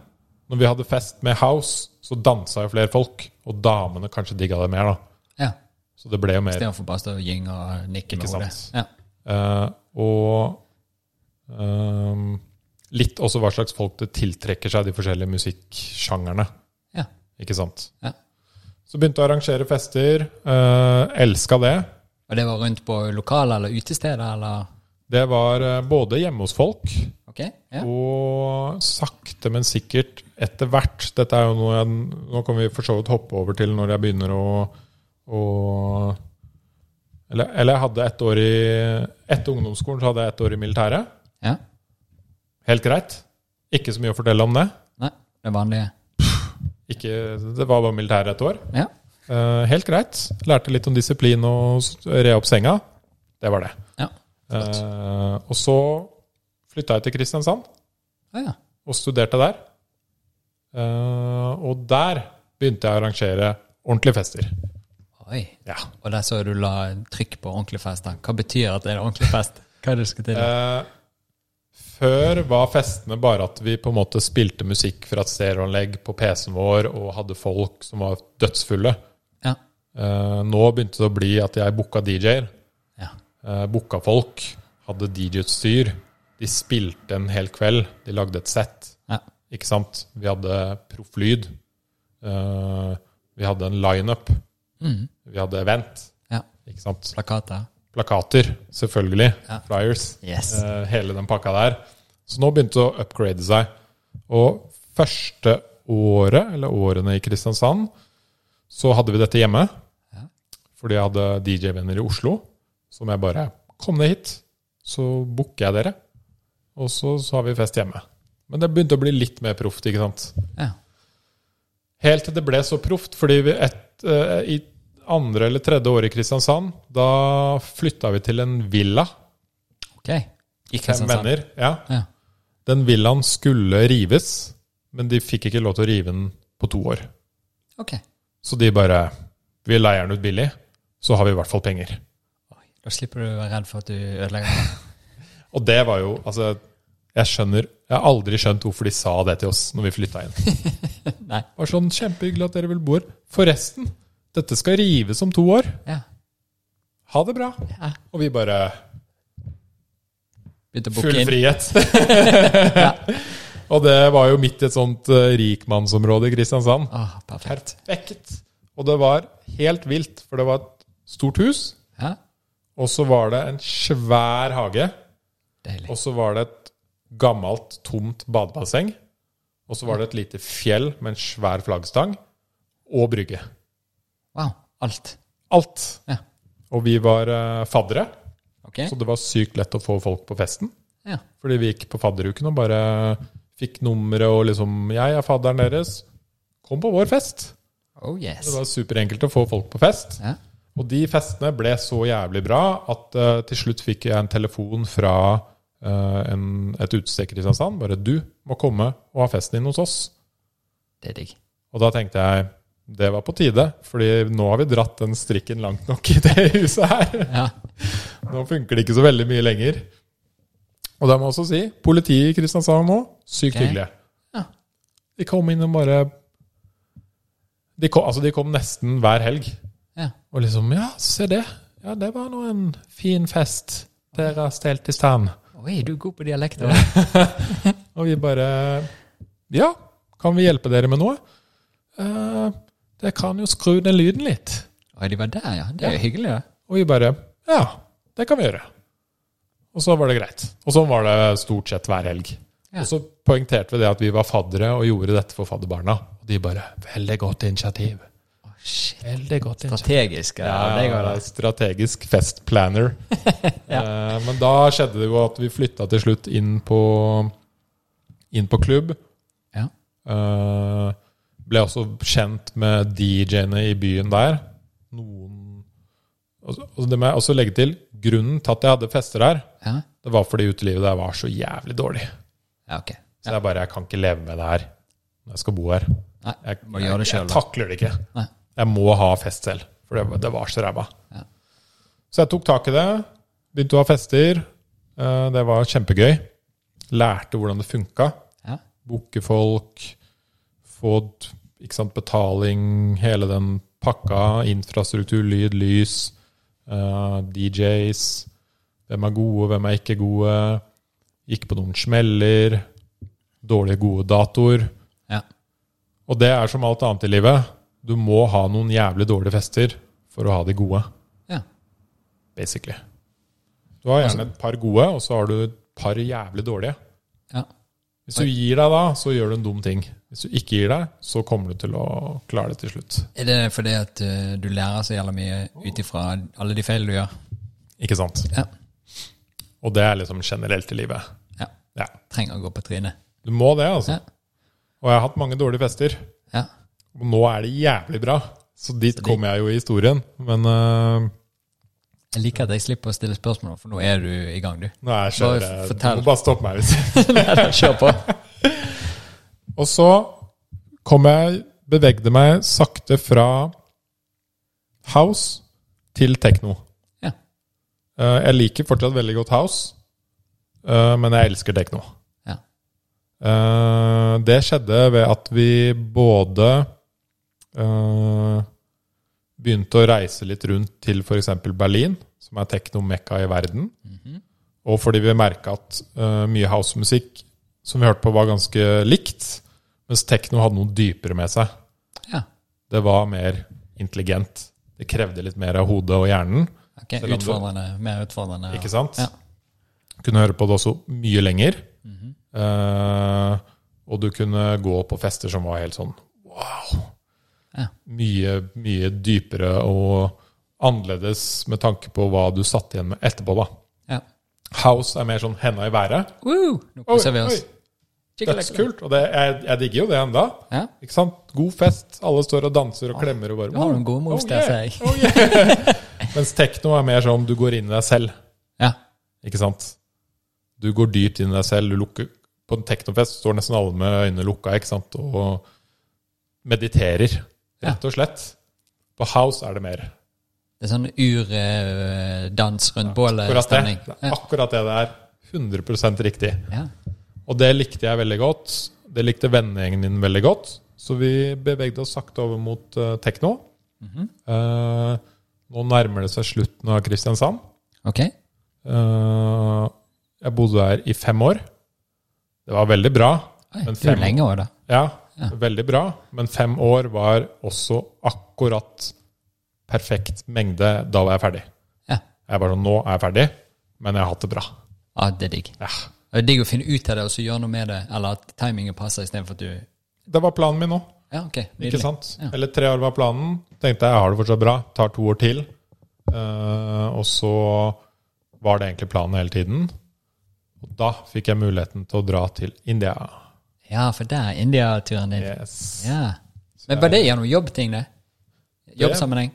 [SPEAKER 1] når vi hadde fest med House, så dansa jo flere folk. Og damene kanskje digga det mer, da.
[SPEAKER 2] ja.
[SPEAKER 1] Så det ble jo mer.
[SPEAKER 2] Istedenfor bare å stå og gynge og nikke med
[SPEAKER 1] Ikke
[SPEAKER 2] hodet.
[SPEAKER 1] sant.
[SPEAKER 2] Ja.
[SPEAKER 1] Eh, og ehm, litt også hva slags folk det tiltrekker seg, de forskjellige musikksjangerne.
[SPEAKER 2] Ja.
[SPEAKER 1] Ikke sant?
[SPEAKER 2] Ja.
[SPEAKER 1] Så begynte å arrangere fester. Uh, Elska det.
[SPEAKER 2] Og det var rundt på lokaler eller utesteder eller
[SPEAKER 1] Det var eh, både hjemme hos folk
[SPEAKER 2] Ok? Ja.
[SPEAKER 1] og sakte, men sikkert etter hvert Dette er jo noe jeg, Nå kan vi for så vidt hoppe over til når jeg begynner å, å eller, eller jeg hadde ett år i Etter ungdomsskolen så hadde jeg ett år i militæret.
[SPEAKER 2] ja.
[SPEAKER 1] Helt greit. Ikke så mye å fortelle om det.
[SPEAKER 2] Nei, det vanlige.
[SPEAKER 1] Ikke, det var bare militæret et år.
[SPEAKER 2] Ja.
[SPEAKER 1] Eh, helt greit. Lærte litt om disiplin og s- re opp senga. Det var det.
[SPEAKER 2] Ja.
[SPEAKER 1] Eh, og så flytta jeg til Kristiansand
[SPEAKER 2] Ja, ja.
[SPEAKER 1] og studerte der. Eh, og der begynte jeg å arrangere ordentlige fester.
[SPEAKER 2] Oi.
[SPEAKER 1] Ja.
[SPEAKER 2] Og der så jeg du la trykk på ordentlig fest. da. Hva betyr at det er ordentlig
[SPEAKER 1] *laughs*
[SPEAKER 2] fest? Hva er det du skal til?
[SPEAKER 1] Eh, før var festene bare at vi på en måte spilte musikk fra et stereoanlegg på PC-en vår og hadde folk som var dødsfulle.
[SPEAKER 2] Ja.
[SPEAKER 1] Eh, nå begynte det å bli at jeg booka DJ-er.
[SPEAKER 2] Ja.
[SPEAKER 1] Eh, booka folk. Hadde DJ-utstyr. De spilte en hel kveld. De lagde et sett.
[SPEAKER 2] Ja.
[SPEAKER 1] Ikke sant? Vi hadde profflyd. Eh, vi hadde en lineup.
[SPEAKER 2] Mm.
[SPEAKER 1] Vi hadde event.
[SPEAKER 2] ja.
[SPEAKER 1] Ikke sant?
[SPEAKER 2] Plakater.
[SPEAKER 1] Plakater, selvfølgelig.
[SPEAKER 2] Ja.
[SPEAKER 1] Flyers.
[SPEAKER 2] Yes.
[SPEAKER 1] Eh, hele den pakka der. Så nå begynte det å upgrade seg. Og første året, eller årene i Kristiansand, så hadde vi dette hjemme.
[SPEAKER 2] Ja.
[SPEAKER 1] Fordi jeg hadde DJ-venner i Oslo, som jeg bare Kom ned hit, så booker jeg dere. Og så, så har vi fest hjemme. Men det begynte å bli litt mer proft, ikke sant.
[SPEAKER 2] Ja.
[SPEAKER 1] Helt til det ble så proft, fordi vi et, eh, i andre eller tredje året i Kristiansand, da flytta vi til en villa.
[SPEAKER 2] Ok. I
[SPEAKER 1] Fem
[SPEAKER 2] Kristiansand.
[SPEAKER 1] venner. Ja.
[SPEAKER 2] Ja.
[SPEAKER 1] Den villaen skulle rives, men de fikk ikke lov til å rive den på to år.
[SPEAKER 2] Ok.
[SPEAKER 1] Så de bare vi leier den ut billig, så har vi i hvert fall penger.
[SPEAKER 2] Oi, Da slipper du å være redd for at du ødelegger den.
[SPEAKER 1] Og det var jo Altså, jeg skjønner Jeg har aldri skjønt hvorfor de sa det til oss når vi flytta inn.
[SPEAKER 2] *laughs* Nei.
[SPEAKER 1] Det var sånn kjempehyggelig at dere vil bo her. Forresten, dette skal rives om to år.
[SPEAKER 2] Ja.
[SPEAKER 1] Ha det bra.
[SPEAKER 2] Ja.
[SPEAKER 1] Og vi bare
[SPEAKER 2] Begynte å booke
[SPEAKER 1] Full
[SPEAKER 2] inn.
[SPEAKER 1] frihet.
[SPEAKER 2] *laughs*
[SPEAKER 1] *laughs* Og det var jo midt i et sånt eh, rikmannsområde i Kristiansand.
[SPEAKER 2] Åh, perfekt.
[SPEAKER 1] Perfekt. Og det var helt vilt, for det var et stort hus,
[SPEAKER 2] Ja,
[SPEAKER 1] og så var det en svær hage,
[SPEAKER 2] deilig.
[SPEAKER 1] og så var det et gammelt, tomt badebasseng, og så var det et lite fjell med en svær flaggstang, og brygge.
[SPEAKER 2] Wow. Alt.
[SPEAKER 1] Alt.
[SPEAKER 2] Ja.
[SPEAKER 1] Og vi var eh, faddere,
[SPEAKER 2] Ok?
[SPEAKER 1] så det var sykt lett å få folk på festen.
[SPEAKER 2] Ja.
[SPEAKER 1] Fordi vi gikk på fadderuken og bare fikk nummeret og liksom Jeg er fadderen deres. Kom på vår fest.
[SPEAKER 2] Oh yes.
[SPEAKER 1] Det var superenkelt å få folk på fest.
[SPEAKER 2] Ja.
[SPEAKER 1] Og de festene ble så jævlig bra at eh, til slutt fikk jeg en telefon fra eh, en, et utested i Kristiansand. Bare 'du må komme og ha festen din hos oss'.
[SPEAKER 2] Det er digg.
[SPEAKER 1] Og da tenkte jeg det var på tide, fordi nå har vi dratt den strikken langt nok i det huset her.
[SPEAKER 2] Ja.
[SPEAKER 1] Nå funker det ikke så veldig mye lenger. Og da må jeg også si, politiet i Kristiansand nå, sykt
[SPEAKER 2] Ok.
[SPEAKER 1] hyggelige.
[SPEAKER 2] Ja.
[SPEAKER 1] De kom inn og bare de kom, Altså, de kom nesten hver helg.
[SPEAKER 2] Ja.
[SPEAKER 1] Og liksom Ja, se det. Ja, det var nå en fin fest dere stelt i stand.
[SPEAKER 2] Oi, du er god på dialekter.
[SPEAKER 1] Og vi bare Ja, kan vi hjelpe dere med noe? Eh, dere kan jo skru ned lyden litt.
[SPEAKER 2] Oi, de var der, ja. Det er jo hyggelig, da.
[SPEAKER 1] Og vi bare Ja, det kan vi gjøre. Og så var det greit. Og sånn var det stort sett hver helg.
[SPEAKER 2] Ja.
[SPEAKER 1] Og så poengterte vi det at vi var faddere og gjorde dette for fadderbarna. Og de bare Veldig godt initiativ.
[SPEAKER 2] Å, Oh, shit.
[SPEAKER 1] Veldig godt initiativ.
[SPEAKER 2] Strategisk. Ja, det går da.
[SPEAKER 1] strategisk
[SPEAKER 2] *laughs*
[SPEAKER 1] festplanner. eh, men da skjedde det jo at vi flytta til slutt inn på, inn på klubb.
[SPEAKER 2] Ja.
[SPEAKER 1] Eh, ble også kjent med DJ-ene i byen der. Noen Og så- og det må jeg også legge til. Grunnen til at jeg hadde fester der,
[SPEAKER 2] Ja.
[SPEAKER 1] det var fordi utelivet der var så jævlig dårlig.
[SPEAKER 2] ja, ok.
[SPEAKER 1] Så jeg bare Jeg kan ikke leve med det her når jeg skal bo her.
[SPEAKER 2] Nei,
[SPEAKER 1] Jeg,
[SPEAKER 2] må gjøre det
[SPEAKER 1] jeg,
[SPEAKER 2] selv,
[SPEAKER 1] jeg
[SPEAKER 2] da.
[SPEAKER 1] takler det ikke.
[SPEAKER 2] Nei.
[SPEAKER 1] Jeg må ha fest selv, for det, var- det var så ræva.
[SPEAKER 2] Ja.
[SPEAKER 1] Så jeg tok tak i det, begynte å ha fester. Eh, Det var kjempegøy. Lærte hvordan det funka.
[SPEAKER 2] Ja.
[SPEAKER 1] Booke folk, få t- ikke sant, betaling, hele den pakka. Infrastruktur, lyd, lys, eh, DJs. Hvem er gode, hvem er ikke gode. Gikk på noen smeller. Dårlige, gode datoer.
[SPEAKER 2] Ja.
[SPEAKER 1] Og det er som alt annet i livet. Du må ha noen jævlig dårlige fester for å ha de gode,
[SPEAKER 2] ja.
[SPEAKER 1] basically. Du har gjerne et par gode, og så har du et par jævlig dårlige.
[SPEAKER 2] ja.
[SPEAKER 1] Hvis du gir deg da, så gjør du en dum ting. Hvis du ikke gir deg, så kommer du til å klare det til slutt.
[SPEAKER 2] Er det fordi at eh, du lærer så jævla mye ut ifra alle de feil du gjør?
[SPEAKER 1] Ikke sant?
[SPEAKER 2] Ja.
[SPEAKER 1] Og det er liksom generelt i livet.
[SPEAKER 2] ja.
[SPEAKER 1] Ja.
[SPEAKER 2] Trenger å gå på trynet.
[SPEAKER 1] Du må det, altså.
[SPEAKER 2] Ja.
[SPEAKER 1] Og jeg har hatt mange dårlige fester.
[SPEAKER 2] Ja.
[SPEAKER 1] Og nå er det jævlig bra. Så dit
[SPEAKER 2] de-
[SPEAKER 1] kommer jeg jo i historien. Men øh,
[SPEAKER 2] Jeg liker at jeg slipper å stille spørsmål, for nå er du i *laughs* gang, du.
[SPEAKER 1] nå er jeg
[SPEAKER 2] Bare
[SPEAKER 1] kjører. Du
[SPEAKER 2] fortell.
[SPEAKER 1] må bare stoppe meg hvis
[SPEAKER 2] Kjør på.
[SPEAKER 1] Og så kom jeg, bevegde meg sakte fra house til techno.
[SPEAKER 2] Ja.
[SPEAKER 1] Eh, Jeg liker fortsatt veldig godt house, eh, men jeg elsker techno.
[SPEAKER 2] Ja.
[SPEAKER 1] Eh, Det skjedde ved at vi både eh, begynte å reise litt rundt til f.eks. Berlin, som er teknomekka i verden.
[SPEAKER 2] Mhm.
[SPEAKER 1] Og fordi vi merka at eh, mye housemusikk som vi hørte på, var ganske likt, mens tekno hadde noe dypere med seg.
[SPEAKER 2] ja.
[SPEAKER 1] Det var mer intelligent. Det krevde litt mer av hodet og hjernen.
[SPEAKER 2] Ok,
[SPEAKER 1] Selv om du-
[SPEAKER 2] utfordrende. Mer utfordrende.
[SPEAKER 1] Ikke sant?
[SPEAKER 2] Ja.
[SPEAKER 1] Kunne høre på det også mye lenger.
[SPEAKER 2] Mhm.
[SPEAKER 1] Eh, og du kunne gå på fester som var helt sånn wow!
[SPEAKER 2] Ja.
[SPEAKER 1] Mye, mye dypere og annerledes med tanke på hva du satt igjen med etterpå, da.
[SPEAKER 2] Ja.
[SPEAKER 1] House er mer sånn henda i været.
[SPEAKER 2] Woo!
[SPEAKER 1] Oi,
[SPEAKER 2] Nå koser vi
[SPEAKER 1] oi,
[SPEAKER 2] oss.
[SPEAKER 1] dødskult! Og det, jeg, jeg digger jo det enda.
[SPEAKER 2] Ja.
[SPEAKER 1] Ikke sant? God fest, alle står og danser og klemmer og bare
[SPEAKER 2] Du har noen gode moves
[SPEAKER 1] oh,
[SPEAKER 2] der,
[SPEAKER 1] yeah,
[SPEAKER 2] ser jeg.
[SPEAKER 1] oh, yeah. *laughs* Mens tekno er mer sånn du går inn i deg selv.
[SPEAKER 2] Ja.
[SPEAKER 1] Ikke sant? Du går dypt inn i deg selv. Du lukker, på en teknofest står nesten alle med øynene lukka ikke sant? og mediterer, rett og slett. På House er det mer.
[SPEAKER 2] Det er sånn urdans rundt
[SPEAKER 1] Akkurat det.
[SPEAKER 2] bålet-stemning.
[SPEAKER 1] det er
[SPEAKER 2] Ja.
[SPEAKER 1] akkurat det det er. 100 riktig.
[SPEAKER 2] Ja.
[SPEAKER 1] Og det likte jeg veldig godt. Det likte vennegjengen min veldig godt. Så vi bevegde oss sakte over mot eh, tekno.
[SPEAKER 2] Mhm.
[SPEAKER 1] Eh, nå nærmer det seg slutten av Kristiansand.
[SPEAKER 2] Ok.
[SPEAKER 1] Eh, jeg bodde der i fem år. Det var veldig bra.
[SPEAKER 2] Oi,
[SPEAKER 1] Men
[SPEAKER 2] det er
[SPEAKER 1] fem-
[SPEAKER 2] jo lenge òg, da.
[SPEAKER 1] Ja,
[SPEAKER 2] Ja.
[SPEAKER 1] veldig bra. Men fem år var også akkurat perfekt mengde. Da var jeg ferdig.
[SPEAKER 2] Ja.
[SPEAKER 1] Jeg var sånn, nå er jeg ferdig, men jeg har hatt det bra.
[SPEAKER 2] ja, Ah, det er digg.
[SPEAKER 1] Ja.
[SPEAKER 2] Og Det er digg å finne ut av det og så gjøre noe med det, eller at timingen passer istedenfor at du
[SPEAKER 1] Det var planen min nå.
[SPEAKER 2] Ja, ok.
[SPEAKER 1] Ikke
[SPEAKER 2] Nydelig.
[SPEAKER 1] sant?
[SPEAKER 2] Ja.
[SPEAKER 1] Eller tre år var planen. Tenkte jeg jeg har det fortsatt bra, tar to år til. Eh, og så var det egentlig planen hele tiden. Og da fikk jeg muligheten til å dra til India.
[SPEAKER 2] Ja, for der er India-turen din.
[SPEAKER 1] Yes.
[SPEAKER 2] Ja. Men var det gjennom jobbting, det? Jobbsammenheng?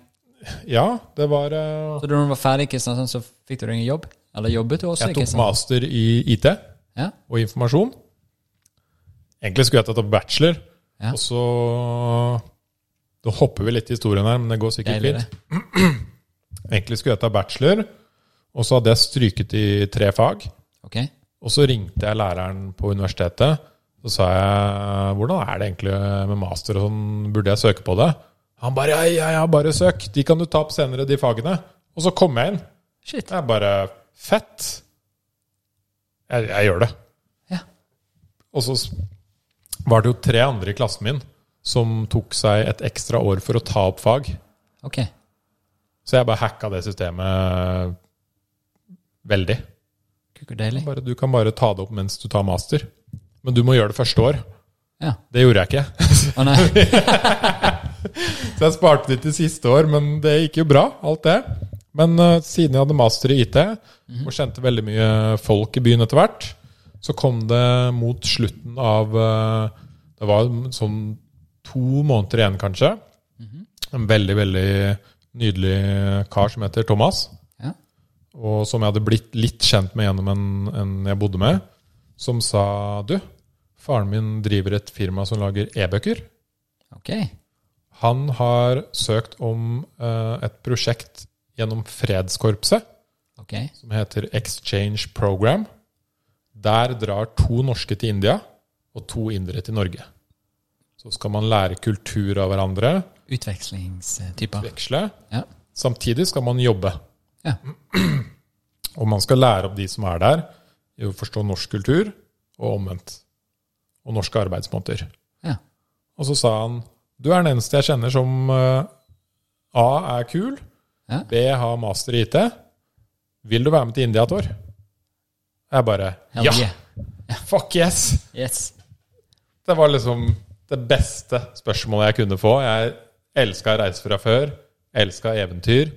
[SPEAKER 1] Ja, det var eh,
[SPEAKER 2] Så da du var ferdig i Kristiansand, så fikk du deg en jobb? Eller jobbet du også
[SPEAKER 1] Jeg
[SPEAKER 2] i
[SPEAKER 1] tok
[SPEAKER 2] Kristiansand?
[SPEAKER 1] master i IT og
[SPEAKER 2] Ja.
[SPEAKER 1] informasjon. Egentlig skulle jeg tatt opp bachelor,
[SPEAKER 2] Ja.
[SPEAKER 1] og så Da hopper vi litt i historien her, men det går sikkert
[SPEAKER 2] Deilig,
[SPEAKER 1] fint. Egentlig skulle jeg ta bachelor, og så hadde jeg stryket i tre fag.
[SPEAKER 2] Ok.
[SPEAKER 1] Og så ringte jeg læreren på universitetet. Så sa jeg hvordan er det egentlig med master og sånn, burde jeg søke på det? Han bare ja, ja, ja, bare søk. De kan du ta opp senere, de fagene. Og så kom jeg inn.
[SPEAKER 2] Shit.
[SPEAKER 1] Jeg bare fett. Jeg, jeg gjør det.
[SPEAKER 2] Ja.
[SPEAKER 1] Og så s- var det jo tre andre i klassen min som tok seg et ekstra år for å ta opp fag.
[SPEAKER 2] Ok.
[SPEAKER 1] Så jeg bare hacka det systemet veldig.
[SPEAKER 2] Kukk og deilig.
[SPEAKER 1] Bare, du kan bare ta det opp mens du tar master. Men du må gjøre det første år.
[SPEAKER 2] Ja.
[SPEAKER 1] Det gjorde jeg ikke.
[SPEAKER 2] Å
[SPEAKER 1] *laughs*
[SPEAKER 2] nei.
[SPEAKER 1] Så jeg sparte det til siste år, men det gikk jo bra, alt det. Men eh, siden jeg hadde master i IT, og kjente veldig mye folk i byen etter hvert, så kom det mot slutten av eh, Det var sånn to måneder igjen, kanskje. En veldig, veldig nydelig kar som heter Thomas.
[SPEAKER 2] Ja.
[SPEAKER 1] og som jeg hadde blitt litt kjent med gjennom en, en jeg bodde med, som sa Du, faren min driver et firma som lager e-bøker.
[SPEAKER 2] Ok.
[SPEAKER 1] Han har søkt om eh, et prosjekt gjennom Fredskorpset
[SPEAKER 2] Ok.
[SPEAKER 1] som heter Exchange Program. Der drar to norske til India og to indere til Norge. Så skal man lære kultur av hverandre,
[SPEAKER 2] Utvekslingstyper.
[SPEAKER 1] veksle.
[SPEAKER 2] Ja.
[SPEAKER 1] Samtidig skal man jobbe.
[SPEAKER 2] Ja.
[SPEAKER 1] *clears throat* Og man skal lære opp de som er der, i å forstå norsk kultur, og omvendt. Og norske arbeidsmåter.
[SPEAKER 2] Ja.
[SPEAKER 1] Og så sa han Du er den eneste jeg kjenner som eh, A er kul,
[SPEAKER 2] Ja.
[SPEAKER 1] B har master i IT. Vil du være med til India et år? Jeg bare
[SPEAKER 2] Hell
[SPEAKER 1] Ja!
[SPEAKER 2] yeah.
[SPEAKER 1] Fuck yes!
[SPEAKER 2] Yes.
[SPEAKER 1] Det var liksom det beste spørsmålet jeg kunne få. Jeg elska å reise fra før. Elska eventyr.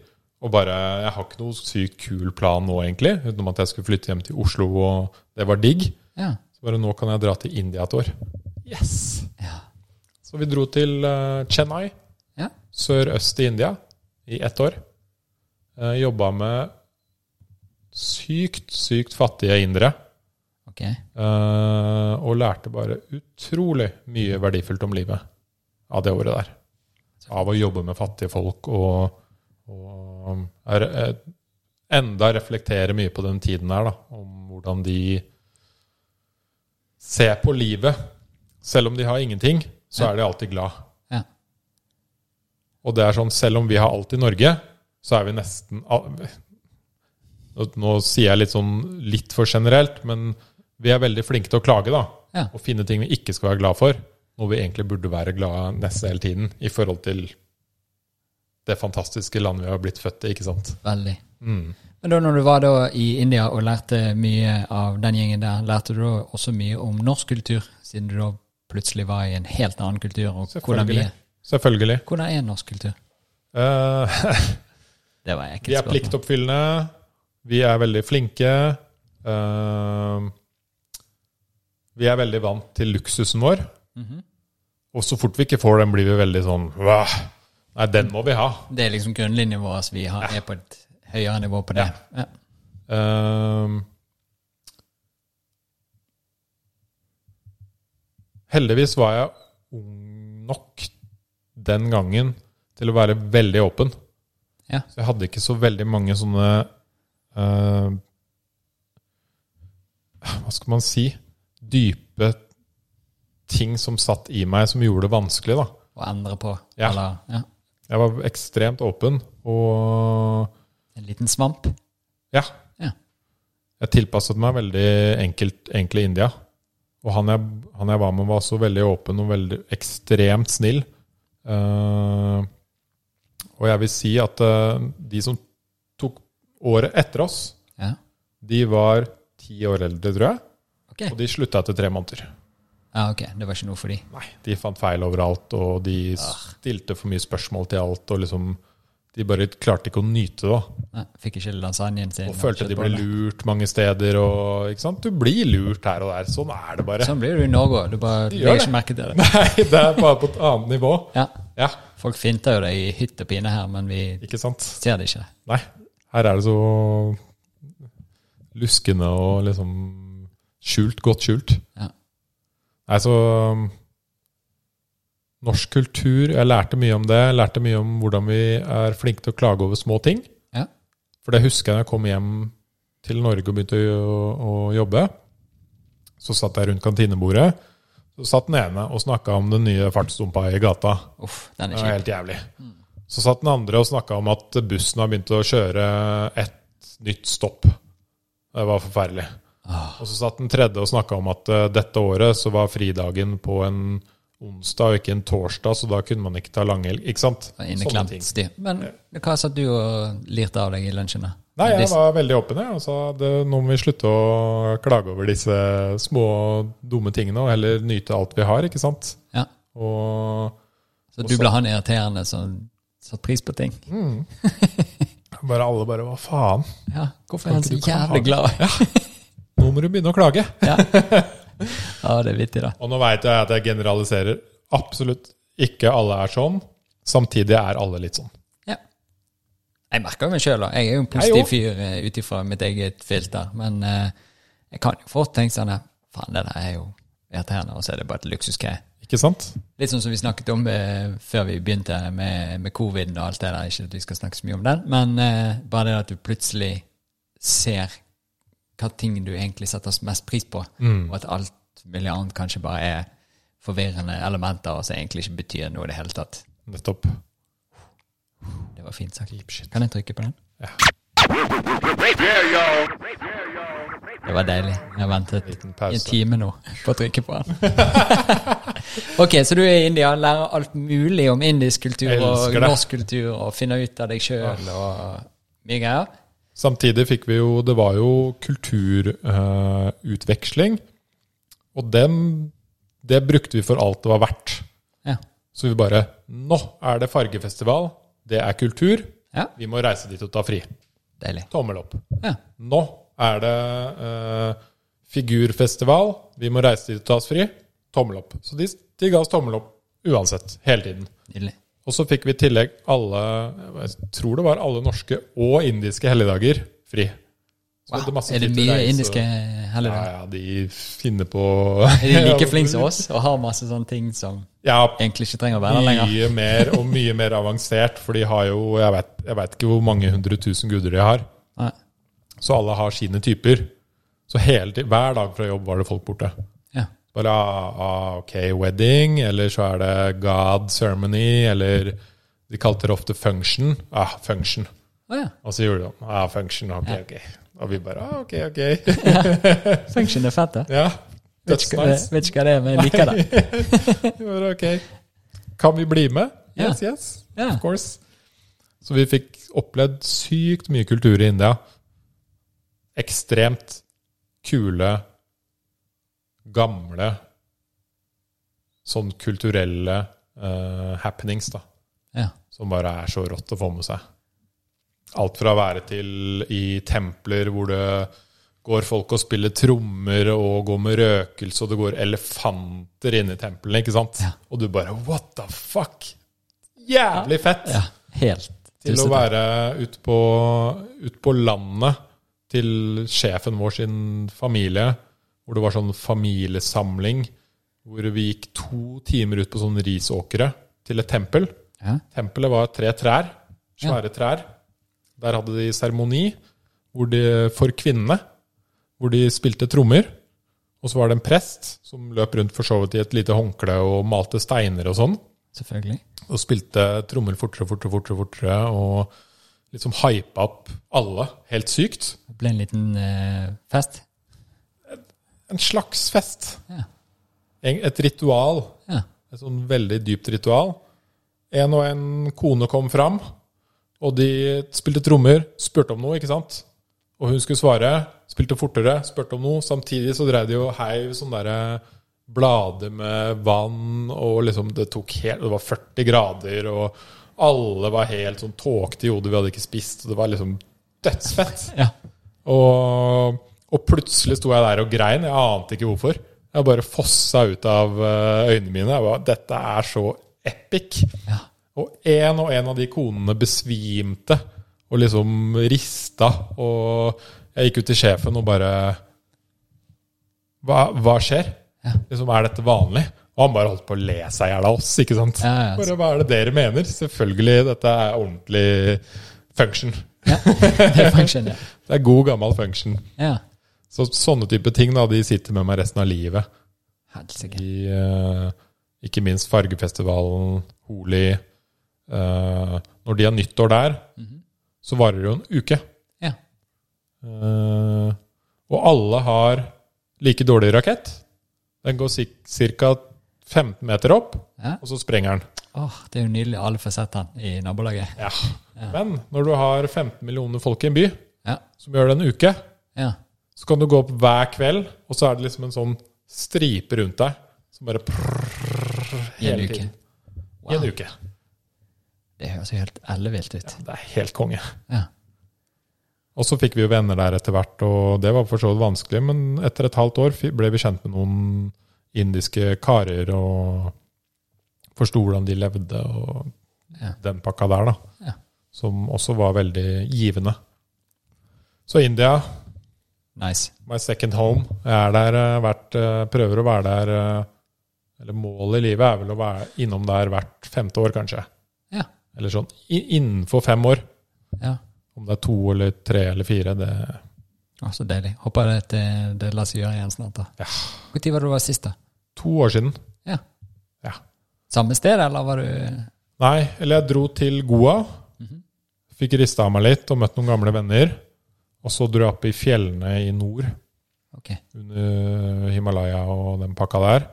[SPEAKER 1] Og bare Jeg har ikke noe sykt kul plan nå, egentlig, utenom at jeg skulle flytte hjem til Oslo, og det var digg.
[SPEAKER 2] Ja.
[SPEAKER 1] Så bare nå kan jeg dra til India et år. Yes!
[SPEAKER 2] Ja.
[SPEAKER 1] Så vi dro til eh, Chennai,
[SPEAKER 2] Ja.
[SPEAKER 1] sørøst i India, i ett år. Uh, Jobba med sykt, sykt fattige indere.
[SPEAKER 2] Ok.
[SPEAKER 1] Eh, og lærte bare utrolig mye verdifullt om livet av det året der. Av å jobbe med fattige folk og, og er, er, enda reflektere mye på den tiden her, da. Om hvordan de ser på livet. Selv om de har ingenting, så er de alltid glad.
[SPEAKER 2] Ja.
[SPEAKER 1] Og det er sånn, selv om vi har alt i Norge, så er vi nesten al- Nå nå sier jeg litt sånn litt for generelt, men vi er veldig flinke til å klage, da.
[SPEAKER 2] Ja.
[SPEAKER 1] Og finne ting vi ikke skal være glad for. Noe vi egentlig burde være glad nesten hele tiden i forhold til det fantastiske landet vi har blitt født i, ikke sant. Mm.
[SPEAKER 2] Veldig. Men da når du var da i India og lærte mye av den gjengen der, lærte du da også mye om norsk kultur, siden du da plutselig var i en helt annen kultur? Og hvordan, vi
[SPEAKER 1] Selvfølgelig.
[SPEAKER 2] er.
[SPEAKER 1] Selvfølgelig.
[SPEAKER 2] hvordan er norsk kultur?
[SPEAKER 1] Eh, *laughs*
[SPEAKER 2] Det var ekkelt
[SPEAKER 1] vi er
[SPEAKER 2] spørsmål.
[SPEAKER 1] pliktoppfyllende. Vi er veldig flinke. eh, vi er veldig vant til luksusen vår.
[SPEAKER 2] Mhm.
[SPEAKER 1] Og så fort vi ikke får den, blir vi veldig sånn «Wah, Nei, den må vi ha.
[SPEAKER 2] Det er liksom grunnlinjen vår. Vi har, er på et høyere nivå på det. Ja.
[SPEAKER 1] Ehm. heldigvis var jeg ung nok den gangen til å være veldig åpen.
[SPEAKER 2] Ja.
[SPEAKER 1] Så jeg hadde ikke så veldig mange sånne eh, Hva skal man si? Dype ting som satt i meg, som gjorde det vanskelig. da.
[SPEAKER 2] Å endre på.
[SPEAKER 1] Ja.
[SPEAKER 2] Eller ja.
[SPEAKER 1] Jeg var ekstremt åpen, og
[SPEAKER 2] en liten svamp.
[SPEAKER 1] ja.
[SPEAKER 2] Ja.
[SPEAKER 1] Jeg tilpasset meg veldig enkelt egentlig India. Og han jeg, han jeg var med, var også veldig åpen og veldig ekstremt snill. Eh, og jeg vil si at eh, de som tok året etter oss,
[SPEAKER 2] Ja.
[SPEAKER 1] de var ti år eldre, tror jeg.
[SPEAKER 2] Ok.
[SPEAKER 1] Og de slutta etter tre måneder.
[SPEAKER 2] Ja, ok. Det var ikke noe for de.
[SPEAKER 1] Nei, de fant feil overalt, og de stilte for mye spørsmål til alt. Og liksom, de bare klarte ikke å nyte det. da.
[SPEAKER 2] Nei, fikk ikke lasagnen sin.
[SPEAKER 1] Og følte de ble
[SPEAKER 2] kjøttboller.
[SPEAKER 1] lurt mange steder. Og, ikke sant? Du blir lurt her og der. Sånn er det bare.
[SPEAKER 2] Sånn blir du i Norge òg. Du bare
[SPEAKER 1] De gjør
[SPEAKER 2] legger
[SPEAKER 1] det.
[SPEAKER 2] ikke merke til det.
[SPEAKER 1] *laughs* Nei, det er bare på et annet nivå.
[SPEAKER 2] Ja,
[SPEAKER 1] Ja,
[SPEAKER 2] Folk finter jo deg i hytt og pine her, men vi
[SPEAKER 1] ikke sant?
[SPEAKER 2] ser det ikke.
[SPEAKER 1] Nei, her er det så luskende og liksom skjult, godt skjult.
[SPEAKER 2] Ja.
[SPEAKER 1] Nei, så um, Norsk kultur Jeg lærte mye om det. Jeg lærte mye om hvordan vi er flinke til å klage over små ting.
[SPEAKER 2] Ja.
[SPEAKER 1] For det husker jeg da jeg kom hjem til Norge og begynte å, å jobbe. Så satt jeg rundt kantinebordet. Så satt den ene og snakka om den nye fartsdumpa i gata.
[SPEAKER 2] Uff, den
[SPEAKER 1] Det
[SPEAKER 2] er
[SPEAKER 1] var
[SPEAKER 2] kjip.
[SPEAKER 1] helt jævlig. Så satt den andre og snakka om at bussen har begynt å kjøre ett nytt stopp. Det var forferdelig.
[SPEAKER 2] Ah.
[SPEAKER 1] Og så satt den tredje og snakka om at eh, dette året så var fridagen på en onsdag og ikke en torsdag, så da kunne man ikke ta langhelg. Ikke sant?
[SPEAKER 2] Det var Inneklemt styr. Men hva satt du og lirte av deg i lunsjen, da?
[SPEAKER 1] Nei, jeg
[SPEAKER 2] Disse-
[SPEAKER 1] var veldig åpen jeg, og sa at eh, nå må vi slutte å klage over disse små, dumme tingene, og heller nyte alt vi har, ikke sant?
[SPEAKER 2] ja.
[SPEAKER 1] Og
[SPEAKER 2] Så du ble han irriterende som satte pris på ting?
[SPEAKER 1] Mm. *laughs* bare alle bare Hva faen?
[SPEAKER 2] Ja, hvorfor er han
[SPEAKER 1] ikke
[SPEAKER 2] så
[SPEAKER 1] du klage?
[SPEAKER 2] jævlig glad?
[SPEAKER 1] Nå må du begynne å klage!
[SPEAKER 2] Ja, *laughs* ja det er vittig, da.
[SPEAKER 1] Og nå veit jeg at jeg generaliserer. Absolutt ikke alle er sånn. Samtidig er alle litt sånn.
[SPEAKER 2] Ja. Jeg merker jo meg sjøl, da. Jeg er jo en
[SPEAKER 1] Jeg
[SPEAKER 2] positiv
[SPEAKER 1] òg.
[SPEAKER 2] fyr eh, ut ifra mitt eget filter. Men eh, jeg kan jo fort tenke sånn at faen, det der er jo irriterende, og så er det bare et luksusgreie.
[SPEAKER 1] Ikke sant?
[SPEAKER 2] Litt sånn som vi snakket om eh, før vi begynte med, med covid-en og alt det der. Ikke at vi skal snakke så mye om den, men eh, bare det at du plutselig ser hva ting du egentlig setter mest pris på, og at alt mulig annet kanskje bare er forvirrende elementer og som egentlig ikke betyr noe i det hele tatt.
[SPEAKER 1] Nettopp.
[SPEAKER 2] Det var fint sagt. Kan jeg trykke på den? Det var deilig. Jeg har ventet
[SPEAKER 1] Liten
[SPEAKER 2] i en
[SPEAKER 1] pause.
[SPEAKER 2] time nå på å trykke på den. *laughs* ok, så du er i India, lærer alt mulig om indisk kultur
[SPEAKER 1] Elsker
[SPEAKER 2] og
[SPEAKER 1] det.
[SPEAKER 2] norsk kultur, og finner ut av deg sjøl og mye greier.
[SPEAKER 1] Samtidig fikk vi jo Det var jo kulturutveksling. og den Det brukte vi for alt det var verdt.
[SPEAKER 2] Ja.
[SPEAKER 1] Så vi bare Nå er det fargefestival. Det er kultur.
[SPEAKER 2] ja.
[SPEAKER 1] Vi må reise dit og ta fri.
[SPEAKER 2] Deilig.
[SPEAKER 1] Tommel opp.
[SPEAKER 2] Ja.
[SPEAKER 1] Nå er det eh, figurfestival. Vi må reise dit og ta oss fri. Tommel opp. Så de, de ga oss tommel opp uansett, hele tiden.
[SPEAKER 2] Nydelig.
[SPEAKER 1] Og så fikk vi i tillegg alle Jeg tror det var alle norske og indiske helligdager fri. Så
[SPEAKER 2] Wow.
[SPEAKER 1] hadde masse
[SPEAKER 2] Er det
[SPEAKER 1] tid til å
[SPEAKER 2] mye
[SPEAKER 1] reise og-
[SPEAKER 2] indiske
[SPEAKER 1] Ja,
[SPEAKER 2] helligdager?
[SPEAKER 1] ja, de finner på
[SPEAKER 2] Er de
[SPEAKER 1] *laughs*
[SPEAKER 2] like flinke som oss og har masse sånne ting som
[SPEAKER 1] Ja,
[SPEAKER 2] egentlig ikke trenger å være der lenger?
[SPEAKER 1] mye mer og mye mer avansert, for de har jo Jeg vet, jeg vet ikke hvor mange hundre tusen guder de har.
[SPEAKER 2] Nei.
[SPEAKER 1] Så alle har sine typer. Så hele, ti- hver dag fra jobb var det folk borte.
[SPEAKER 2] Ja.
[SPEAKER 1] Bare ah, ah, OK, wedding, eller så er det God ceremony, eller De kalte det ofte function. Ah, function.
[SPEAKER 2] Å ja.
[SPEAKER 1] Og så gjorde de det. Ah, function, OK, ok. Og vi bare ah, OK, OK. *laughs*
[SPEAKER 2] Function er fett, da.
[SPEAKER 1] ja.
[SPEAKER 2] Vet ikke, hva det,
[SPEAKER 1] Dødsnice.
[SPEAKER 2] vet ikke hva det er, men jeg liker det.
[SPEAKER 1] *laughs* Vi bare, OK. Kan vi bli med?
[SPEAKER 2] Ja.
[SPEAKER 1] Yes, yes.
[SPEAKER 2] Ja.
[SPEAKER 1] Of course. Så vi fikk opplevd sykt mye kultur i India. Ekstremt kule, gamle, sånn kulturelle eh, happenings, da.
[SPEAKER 2] Ja.
[SPEAKER 1] Som bare er så rått å få med seg. Alt fra å være til i templer hvor det går folk og spiller trommer og går med røkelse, og det går elefanter inn i templene, ikke sant?
[SPEAKER 2] Ja.
[SPEAKER 1] Og du bare What the fuck? Jævlig fett!
[SPEAKER 2] ja. Helt.
[SPEAKER 1] Til å
[SPEAKER 2] tusen takk.
[SPEAKER 1] være ute på, ut på landet til sjefen vår sin familie, hvor det var sånn familiesamling, hvor vi gikk to timer ut på sånne risåkere sånn til et tempel.
[SPEAKER 2] Ja.
[SPEAKER 1] Tempelet var tre trær, svære trær. Der hadde de seremoni hvor de- for kvinnene, hvor de spilte trommer. Og så var det en prest som løp rundt for så vidt i et lite håndkle og malte steiner og sånn.
[SPEAKER 2] Selvfølgelig.
[SPEAKER 1] Og spilte trommer fortere, fortere, fortere, fortere, og liksom hypa opp alle helt sykt.
[SPEAKER 2] Det ble en liten eh, fest.
[SPEAKER 1] En slags fest.
[SPEAKER 2] Ja.
[SPEAKER 1] En- Et ritual.
[SPEAKER 2] Ja.
[SPEAKER 1] Et sånn veldig dypt ritual. En og en kone kom fram, og de spilte trommer, spurte om noe, ikke sant? Og hun skulle svare, spilte fortere, spurte om noe. Samtidig så drev de og heiv sånne der blader med vann, og liksom det tok helt Det var 40 grader, og alle var helt sånn tåkete i hodet, vi hadde ikke spist, og det var liksom dødsfett.
[SPEAKER 2] ja.
[SPEAKER 1] Og, og plutselig sto jeg der og grein. Jeg ante ikke hvorfor. Jeg bare fossa ut av eh, øynene mine. Jeg bare, Dette er så epic.
[SPEAKER 2] Ja.
[SPEAKER 1] Og én og én av de konene besvimte og liksom rista. Og jeg gikk ut til sjefen og bare Hva, hva skjer?
[SPEAKER 2] Ja.
[SPEAKER 1] Liksom, Er dette vanlig? Og han bare holdt på å le seg i hjel av oss. ikke sant?
[SPEAKER 2] Ja, ja.
[SPEAKER 1] Bare, Hva er det dere mener? Selvfølgelig, dette er ordentlig function.
[SPEAKER 2] Det funksjonerer.
[SPEAKER 1] Det er god, gammel function.
[SPEAKER 2] Ja.
[SPEAKER 1] Så sånne type ting da, de sitter med meg resten av livet.
[SPEAKER 2] Helsike.
[SPEAKER 1] I, eh, ikke minst Fargefestivalen, Holi. Eh, når de har nyttår der, så varer det jo en uke.
[SPEAKER 2] Ja.
[SPEAKER 1] Eh, og alle har like dårlig rakett. Den går ca. 15 meter opp,
[SPEAKER 2] Ja.
[SPEAKER 1] og så sprenger den.
[SPEAKER 2] Åh, det er jo nydelig. Alle får sett han i nabolaget.
[SPEAKER 1] Ja. Men når du har 15 millioner folk i en by
[SPEAKER 2] Ja.
[SPEAKER 1] som gjør det en uke,
[SPEAKER 2] Ja.
[SPEAKER 1] så kan du gå opp hver kveld, og så er det liksom en sånn stripe rundt deg som bare prrrr,
[SPEAKER 2] I en
[SPEAKER 1] hele
[SPEAKER 2] uke.
[SPEAKER 1] tiden. I
[SPEAKER 2] Wow.
[SPEAKER 1] en uke.
[SPEAKER 2] Det høres jo helt ellevilt ut.
[SPEAKER 1] Det er helt konge.
[SPEAKER 2] Ja.
[SPEAKER 1] Og så fikk vi jo venner der etter hvert, og det var for så vidt vanskelig, men etter et halvt år fi- ble vi kjent med noen indiske karer og forsto hvordan de levde, og
[SPEAKER 2] Ja.
[SPEAKER 1] den pakka der, da.
[SPEAKER 2] Ja.
[SPEAKER 1] Som også var veldig givende. Så India,
[SPEAKER 2] Nice.
[SPEAKER 1] my second home. Jeg er der eh, hvert eh, Prøver å være der eh, Eller målet i livet er vel å være innom der hvert femte år, kanskje.
[SPEAKER 2] Ja.
[SPEAKER 1] Eller sånn i- innenfor fem år.
[SPEAKER 2] Ja.
[SPEAKER 1] Om det er to eller tre eller fire, det er
[SPEAKER 2] Å, så deilig. Håper det, det, det lar seg gjøre igjen snart, da.
[SPEAKER 1] Ja.
[SPEAKER 2] Hvor tid var det du var sist, da?
[SPEAKER 1] to år siden.
[SPEAKER 2] Ja.
[SPEAKER 1] Ja.
[SPEAKER 2] Samme sted, eller var du
[SPEAKER 1] Nei, eller jeg dro til Goa.
[SPEAKER 2] Mhm.
[SPEAKER 1] Fikk rista av meg litt og møtt noen gamle venner. Og så dro jeg opp i fjellene i nord,
[SPEAKER 2] Ok.
[SPEAKER 1] under Himalaya og den pakka der.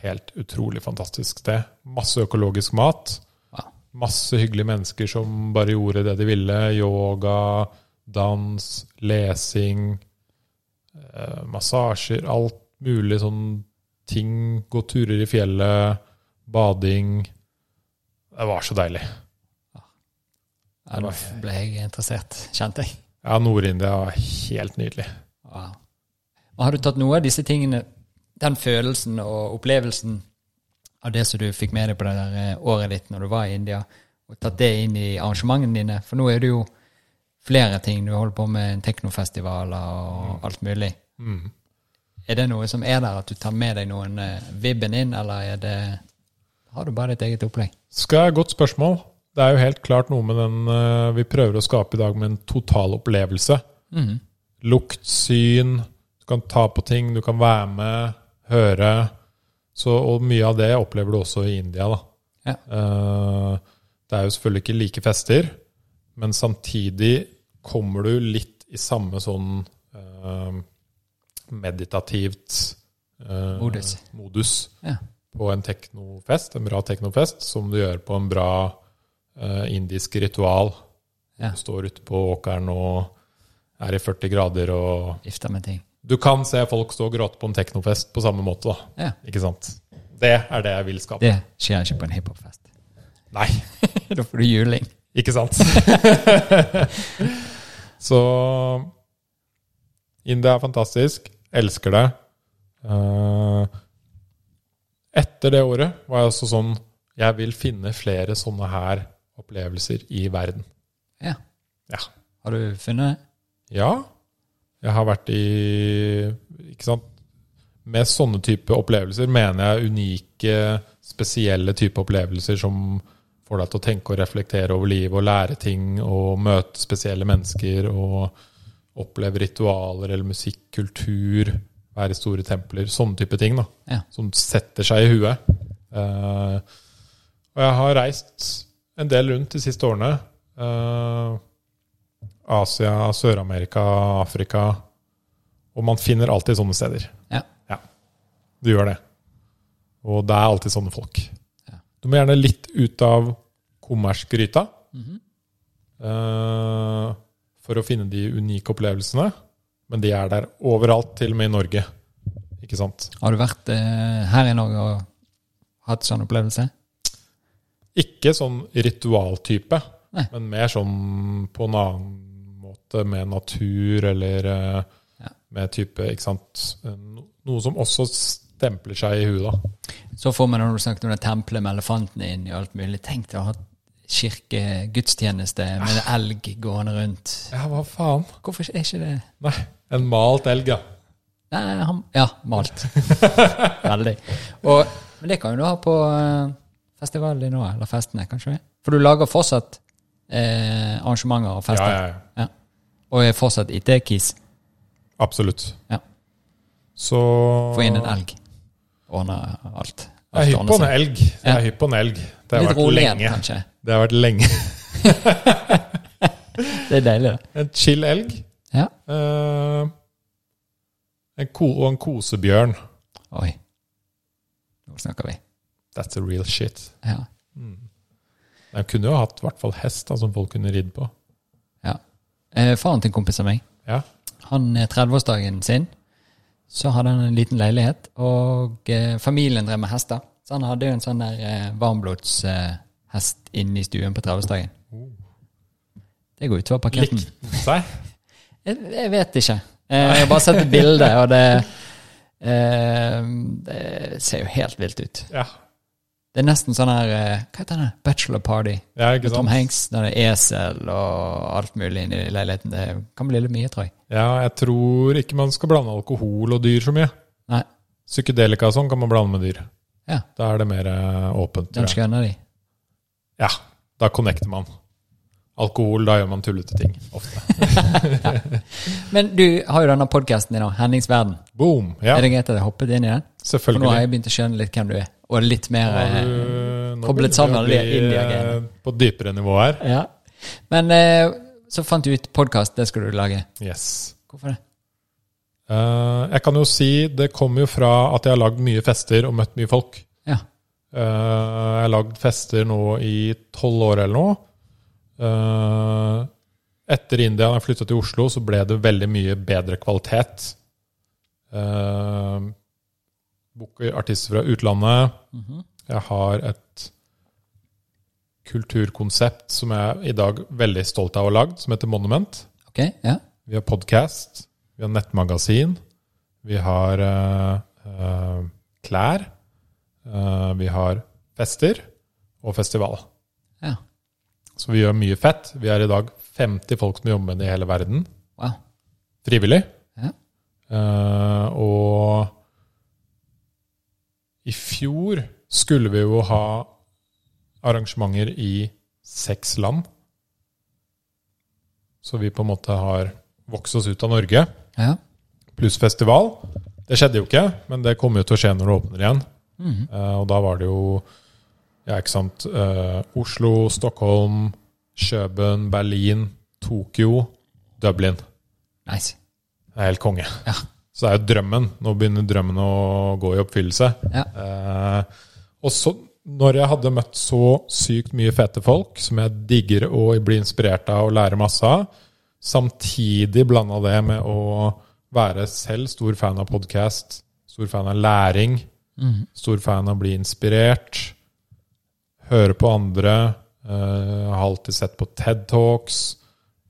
[SPEAKER 1] Helt utrolig fantastisk sted. Masse økologisk mat.
[SPEAKER 2] Wow.
[SPEAKER 1] Masse hyggelige mennesker som bare gjorde det de ville. Yoga, dans, lesing, eh, massasjer, alt mulig sånn ting. Gå turer i fjellet, bading. Det var så deilig.
[SPEAKER 2] Ja, nå ble jeg interessert, kjente jeg.
[SPEAKER 1] Ja, Nord-India var helt nydelig.
[SPEAKER 2] Wow. Og har du tatt noe av disse tingene, den følelsen og opplevelsen av det som du fikk med deg på det der eh, året ditt når du var i India, og tatt det inn i arrangementene dine? For nå er det jo flere ting. Du holder på med en teknofestival og alt mulig.
[SPEAKER 1] Mm.
[SPEAKER 2] Er det noe som er der, at du tar med deg noen eh, vibben inn, eller er det har du bare ditt eget opplegg?
[SPEAKER 1] Skal jeg Godt spørsmål. Det er jo helt klart noe med den eh, vi prøver å skape i dag, med en totalopplevelse.
[SPEAKER 2] Mhm.
[SPEAKER 1] Lukt, syn, du kan ta på ting, du kan være med, høre. Så, og mye av det opplever du også i India. Da.
[SPEAKER 2] Ja.
[SPEAKER 1] Eh, det er jo selvfølgelig ikke like fester, men samtidig kommer du litt i samme sånn eh, meditativt eh,
[SPEAKER 2] Modus.
[SPEAKER 1] modus
[SPEAKER 2] Ja.
[SPEAKER 1] på en teknofest, en bra teknofest, som du gjør på en bra eh, indisk ritual.
[SPEAKER 2] Ja.
[SPEAKER 1] Du står ute på åkeren og er i 40 grader, og
[SPEAKER 2] Vifter med ting.
[SPEAKER 1] du kan se folk stå og gråte på en teknofest på samme måte, da.
[SPEAKER 2] Ja.
[SPEAKER 1] Ikke sant? Det er det jeg vil skape.
[SPEAKER 2] Det skjer ikke på en hiphopfest. *laughs*
[SPEAKER 1] Nei,
[SPEAKER 2] da får du juling.
[SPEAKER 1] ikke sant? Så India er fantastisk. Elsker det. Eh, etter det året var jeg også sånn Jeg vil finne flere sånne her opplevelser i verden.
[SPEAKER 2] Ja.
[SPEAKER 1] Ja.
[SPEAKER 2] Har du funnet det?
[SPEAKER 1] Ja. Jeg har vært i Ikke sant? Med sånne type opplevelser mener jeg unike, spesielle type opplevelser som får deg til å tenke og reflektere over livet og lære ting og møte spesielle mennesker og oppleve ritualer eller musikk, kultur, være i store templer. Sånne type ting da,
[SPEAKER 2] Ja.
[SPEAKER 1] som setter seg i huet. Eh, og jeg har reist en del rundt de siste årene. Eh, Asia, Sør-Amerika, Afrika. Og man finner alltid sånne steder.
[SPEAKER 2] Ja.
[SPEAKER 1] Du gjør det. Og det er alltid sånne folk.
[SPEAKER 2] Ja.
[SPEAKER 1] Du må gjerne litt ut av kommersgryta
[SPEAKER 2] Mhm.
[SPEAKER 1] eh, for å finne de unike opplevelsene. Men de er der overalt, til og med i Norge. Ikke sant?
[SPEAKER 2] Har du vært eh, her i Norge og hatt sånn opplevelse?
[SPEAKER 1] Ikke sånn ritualtype,
[SPEAKER 2] Nei.
[SPEAKER 1] men mer sånn på en annen måte med natur eller eh,
[SPEAKER 2] Ja.
[SPEAKER 1] med type Ikke sant? No- Noe som også stempler seg i huet, da.
[SPEAKER 2] Så får man når du snakket om det tempelet med elefantene inn i alt mulig. Tenk deg å ha kirke, gudstjeneste med en elg gående rundt.
[SPEAKER 1] Ja, hva faen?
[SPEAKER 2] Hvorfor er ikke det
[SPEAKER 1] Nei. En malt elg, ja.
[SPEAKER 2] Nei, han, ja,
[SPEAKER 1] *laughs*
[SPEAKER 2] malt. Veldig. Og, men det kan jo du ha på eh, festivalen din nå, eller festene, kanskje? For du lager fortsatt eh, arrangementer og
[SPEAKER 1] Ja,
[SPEAKER 2] fester,
[SPEAKER 1] ja, ja.
[SPEAKER 2] og er fortsatt IT-kis.
[SPEAKER 1] Absolutt.
[SPEAKER 2] Ja.
[SPEAKER 1] Så
[SPEAKER 2] Få inn en elg. Ordne alt.
[SPEAKER 1] Jeg er hypp på en
[SPEAKER 2] elg.
[SPEAKER 1] elg. Jeg
[SPEAKER 2] Ja.
[SPEAKER 1] er hypp på en elg. Det har
[SPEAKER 2] Litt
[SPEAKER 1] vært
[SPEAKER 2] rolig igjen,
[SPEAKER 1] lenge.
[SPEAKER 2] kanskje.
[SPEAKER 1] Det har vært lenge. *laughs*
[SPEAKER 2] Det er deilig, det.
[SPEAKER 1] En chill elg.
[SPEAKER 2] Ja.
[SPEAKER 1] Eh, en ko og en kosebjørn.
[SPEAKER 2] Oi. Nå snakker vi.
[SPEAKER 1] That's the real shit.
[SPEAKER 2] Ja.
[SPEAKER 1] De Mm. kunne jo hatt i hvert fall hest da, som folk kunne ridd på.
[SPEAKER 2] ja. Eh, faren til en kompis av meg,
[SPEAKER 1] Ja.
[SPEAKER 2] han eh, 30-årsdagen sin, så hadde han en liten leilighet, og eh, familien drev med hester. Så han hadde jo en sånn der eh, varmblodshest eh, hest inne i stuen på 30-årsdagen. Det går utover parketten.
[SPEAKER 1] Likte seg.
[SPEAKER 2] Jeg, jeg vet ikke. Eh, jeg har bare sett et bilde, og det, eh, det ser jo helt vilt ut.
[SPEAKER 1] Ja.
[SPEAKER 2] Det er nesten sånn her eh, Hva heter det? Bachelor party.
[SPEAKER 1] ja, ikke
[SPEAKER 2] Med Tom
[SPEAKER 1] sant?
[SPEAKER 2] Hanks, der det er esel og alt mulig inni leiligheten. Det kan bli litt mye, tror jeg.
[SPEAKER 1] Ja, jeg tror ikke man skal blande alkohol og dyr så mye.
[SPEAKER 2] Nei.
[SPEAKER 1] Psykedelika og sånn kan man blande med dyr.
[SPEAKER 2] Ja.
[SPEAKER 1] Da er det mer eh, åpent. tror
[SPEAKER 2] Den
[SPEAKER 1] jeg.
[SPEAKER 2] skjønner de.
[SPEAKER 1] Ja, da connecter man. Alkohol, da gjør man tullete ting. Ofte. *laughs*
[SPEAKER 2] Men du har jo denne podkasten din nå, Hennings verden.
[SPEAKER 1] Boom! Ja,
[SPEAKER 2] Er det greit at jeg hoppet inn i den? For nå har
[SPEAKER 1] selvfølgelig.
[SPEAKER 2] jeg begynt å skjønne litt hvem du er, og litt mer
[SPEAKER 1] Har
[SPEAKER 2] eh,
[SPEAKER 1] du- nå begynner vi
[SPEAKER 2] koblet
[SPEAKER 1] å
[SPEAKER 2] sammen
[SPEAKER 1] bli,
[SPEAKER 2] det inn i
[SPEAKER 1] eh,
[SPEAKER 2] agenda.
[SPEAKER 1] På dypere nivå her.
[SPEAKER 2] Ja. Men eh, så fant du ut podkast, det skulle du lage.
[SPEAKER 1] Yes.
[SPEAKER 2] Hvorfor det?
[SPEAKER 1] Eh, jeg kan jo si det kommer jo fra at jeg har lagd mye fester og møtt mye folk.
[SPEAKER 2] Ja.
[SPEAKER 1] Eh, jeg har lagd fester nå i tolv år eller noe. Eh, etter India, da jeg flytta til Oslo, så ble det veldig mye bedre kvalitet. Eh, Booker artister fra utlandet.
[SPEAKER 2] Mhm.
[SPEAKER 1] Jeg har et kulturkonsept som jeg er i dag veldig stolt av å ha lagd, som heter Monument.
[SPEAKER 2] Ok, ja.
[SPEAKER 1] Vi har podkast, vi har nettmagasin, vi har eh, eh, klær, eh, vi har fester og festival.
[SPEAKER 2] ja.
[SPEAKER 1] Så vi gjør mye fett. Vi er i dag 50 folk som jobber med det i hele verden,
[SPEAKER 2] Wow.
[SPEAKER 1] frivillig.
[SPEAKER 2] Ja.
[SPEAKER 1] Eh, og i fjor skulle vi jo ha arrangementer i seks land. Så vi på en måte har vokst oss ut av Norge,
[SPEAKER 2] Ja.
[SPEAKER 1] pluss festival. Det skjedde jo ikke, men det kommer jo til å skje når det åpner igjen.
[SPEAKER 2] Mhm.
[SPEAKER 1] Eh, og da var det jo ja, ikke sant, eh, Oslo, Stockholm, Kjøben, Berlin, Tokyo, Dublin.
[SPEAKER 2] Nice.
[SPEAKER 1] Det er helt konge.
[SPEAKER 2] Ja.
[SPEAKER 1] Så det er jo drømmen. Nå begynner drømmen å gå i oppfyllelse.
[SPEAKER 2] Ja.
[SPEAKER 1] Eh, og så, når jeg hadde møtt så sykt mye fete folk, som jeg digger og blir inspirert av og lærer masse av, samtidig blanda det med å være selv stor fan av podkast, stor fan av læring,
[SPEAKER 2] Mhm.
[SPEAKER 1] stor fan av å bli inspirert, høre på andre, eh, har alltid sett på TED Talks,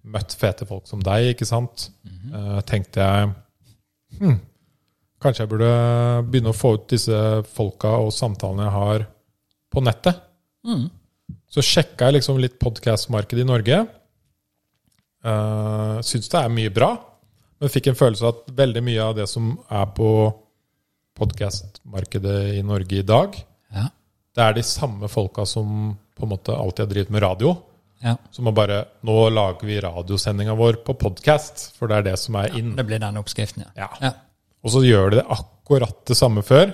[SPEAKER 1] møtt fete folk som deg, ikke sant? Eh, tenkte jeg hm, Kanskje jeg burde begynne å få ut disse folka og samtalene jeg har, på nettet.
[SPEAKER 2] Mhm.
[SPEAKER 1] Så sjekka jeg liksom litt podkastmarkedet i Norge. Uh, Syns det er mye bra, men fikk en følelse av at veldig mye av det som er på podkastmarkedet i Norge i dag,
[SPEAKER 2] Ja.
[SPEAKER 1] det er de samme folka som på en måte alltid har drevet med radio.
[SPEAKER 2] Ja.
[SPEAKER 1] Så må bare Nå lager vi radiosendinga vår på podkast, for det er det som er in.
[SPEAKER 2] Det blir den oppskriften, ja.
[SPEAKER 1] Mm. Ja.
[SPEAKER 2] ja.
[SPEAKER 1] Og så gjør de det akkurat det samme før,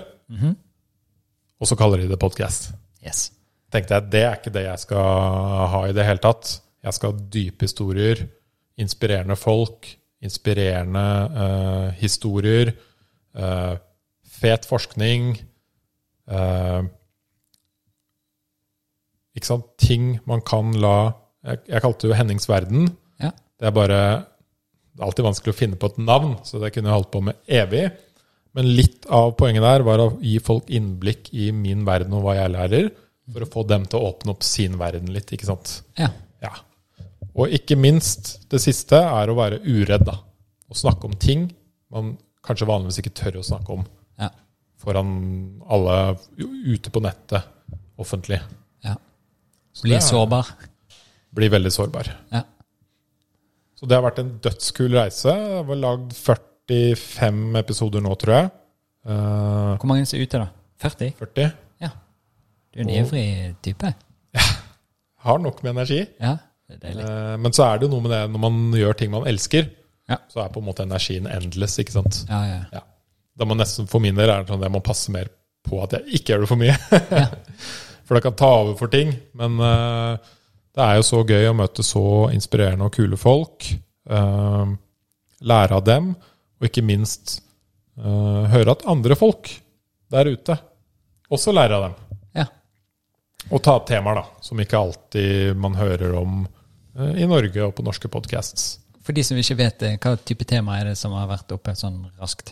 [SPEAKER 1] og så kaller de det podkast.
[SPEAKER 2] Yes.
[SPEAKER 1] Tenkte jeg, Det er ikke det jeg skal ha i det hele tatt. Jeg skal ha dype historier, inspirerende folk, inspirerende eh, historier, eh, fet forskning eh, Ikke sant? Ting man kan la Jeg, jeg kalte det jo Hennings verden.
[SPEAKER 2] Ja.
[SPEAKER 1] Det er bare det er alltid vanskelig å finne på et navn, så det kunne jeg holdt på med evig. Men litt av poenget der var å gi folk innblikk i min verden og hva jeg lærer, for å få dem til å åpne opp sin verden litt, ikke sant.
[SPEAKER 2] ja.
[SPEAKER 1] Ja. Og ikke minst, det siste er å være uredd, da. Å snakke om ting man kanskje vanligvis ikke tør å snakke om
[SPEAKER 2] Ja.
[SPEAKER 1] foran alle ute på nettet, offentlig.
[SPEAKER 2] ja.
[SPEAKER 1] Så
[SPEAKER 2] Bli
[SPEAKER 1] det er-
[SPEAKER 2] sårbar.
[SPEAKER 1] Bli veldig sårbar.
[SPEAKER 2] Ja.
[SPEAKER 1] Så det har vært en dødskul reise. Det var lagd 45 episoder nå, tror jeg. Eh,
[SPEAKER 2] Hvor mange er ute, da? 40?
[SPEAKER 1] 40.
[SPEAKER 2] Ja. Du er en ivrig type.
[SPEAKER 1] Har nok med energi.
[SPEAKER 2] Ja. Det er deilig.
[SPEAKER 1] Eh, men så er det jo noe med det når man gjør ting man elsker,
[SPEAKER 2] Ja.
[SPEAKER 1] så er på en måte energien endless, ikke sant.
[SPEAKER 2] Ja, ja.
[SPEAKER 1] Ja. Da må nesten, for min del er det sånn at jeg må passe mer på at jeg ikke gjør det for mye. *laughs* for det kan ta over for ting. Men eh, det er jo så gøy å møte så inspirerende og kule folk. eh, lære av dem, og ikke minst eh, høre at andre folk der ute også lærer av dem.
[SPEAKER 2] ja.
[SPEAKER 1] Og ta opp temaer da, som ikke alltid man hører om eh, i Norge og på norske podcasts.
[SPEAKER 2] For de som ikke vet det, hva type tema er det som har vært oppe sånn raskt?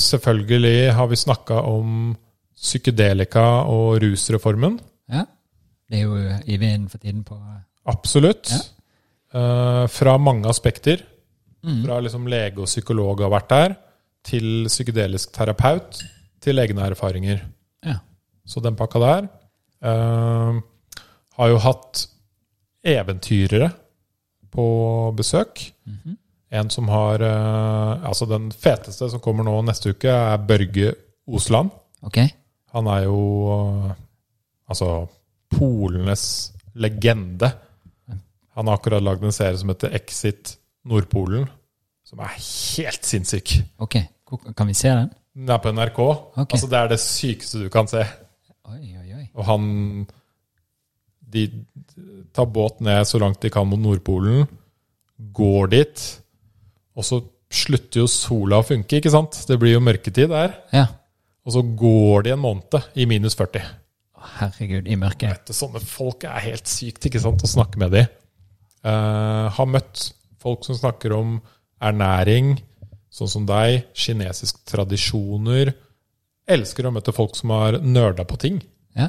[SPEAKER 1] Selvfølgelig har vi snakka om psykedelika og rusreformen.
[SPEAKER 2] Ja. Det er jo i vinden for tiden på
[SPEAKER 1] Absolutt.
[SPEAKER 2] Ja.
[SPEAKER 1] Eh, fra mange aspekter. Fra liksom lege og psykolog har vært der, til psykedelisk terapeut, til egne erfaringer.
[SPEAKER 2] Ja.
[SPEAKER 1] Så den pakka der. eh, har jo hatt eventyrere på besøk.
[SPEAKER 2] Mhm.
[SPEAKER 1] En som har eh, Altså, den feteste som kommer nå neste uke, er Børge Osland.
[SPEAKER 2] Ok?
[SPEAKER 1] Han er jo øh, altså polenes legende. Han har akkurat lagd en serie som heter Exit Nordpolen, som er helt sinnssyk.
[SPEAKER 2] Ok. Hvor- Kan vi se den?
[SPEAKER 1] Den er på NRK.
[SPEAKER 2] Ok.
[SPEAKER 1] Altså, det er det sykeste du kan se.
[SPEAKER 2] Oi, oi, oi.
[SPEAKER 1] Og han De tar båt ned så langt de kan mot Nordpolen, går dit, og så slutter jo sola å funke, ikke sant? Det blir jo mørketid der.
[SPEAKER 2] Ja.
[SPEAKER 1] Og så går de en måned i minus 40.
[SPEAKER 2] Å, Herregud, i mørket.
[SPEAKER 1] Vet du, sånne folk er helt sykt, ikke sant, å snakke med de. Eh, har møtt folk som snakker om ernæring, sånn som deg, kinesisk tradisjoner. Elsker å møte folk som har nerda på ting.
[SPEAKER 2] Ja.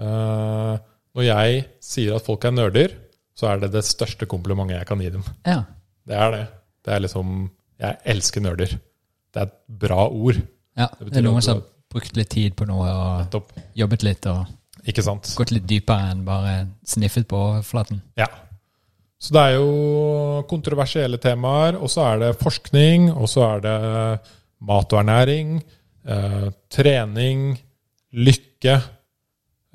[SPEAKER 1] Eh, når jeg sier at folk er nerder, så er det det største komplimentet jeg kan gi dem.
[SPEAKER 2] Ja.
[SPEAKER 1] Det er det. Det er liksom Jeg elsker nerder. Det er et bra ord.
[SPEAKER 2] ja.
[SPEAKER 1] Det betyr
[SPEAKER 2] Det er
[SPEAKER 1] at du
[SPEAKER 2] noen som
[SPEAKER 1] har-
[SPEAKER 2] har brukt litt tid på noe og
[SPEAKER 1] Nettopp.
[SPEAKER 2] jobbet litt og
[SPEAKER 1] Ikke sant?
[SPEAKER 2] gått litt dypere enn bare sniffet på overflaten.
[SPEAKER 1] Ja. Så det er jo kontroversielle temaer, og så er det forskning, og så er det mat og ernæring, eh, trening, lykke,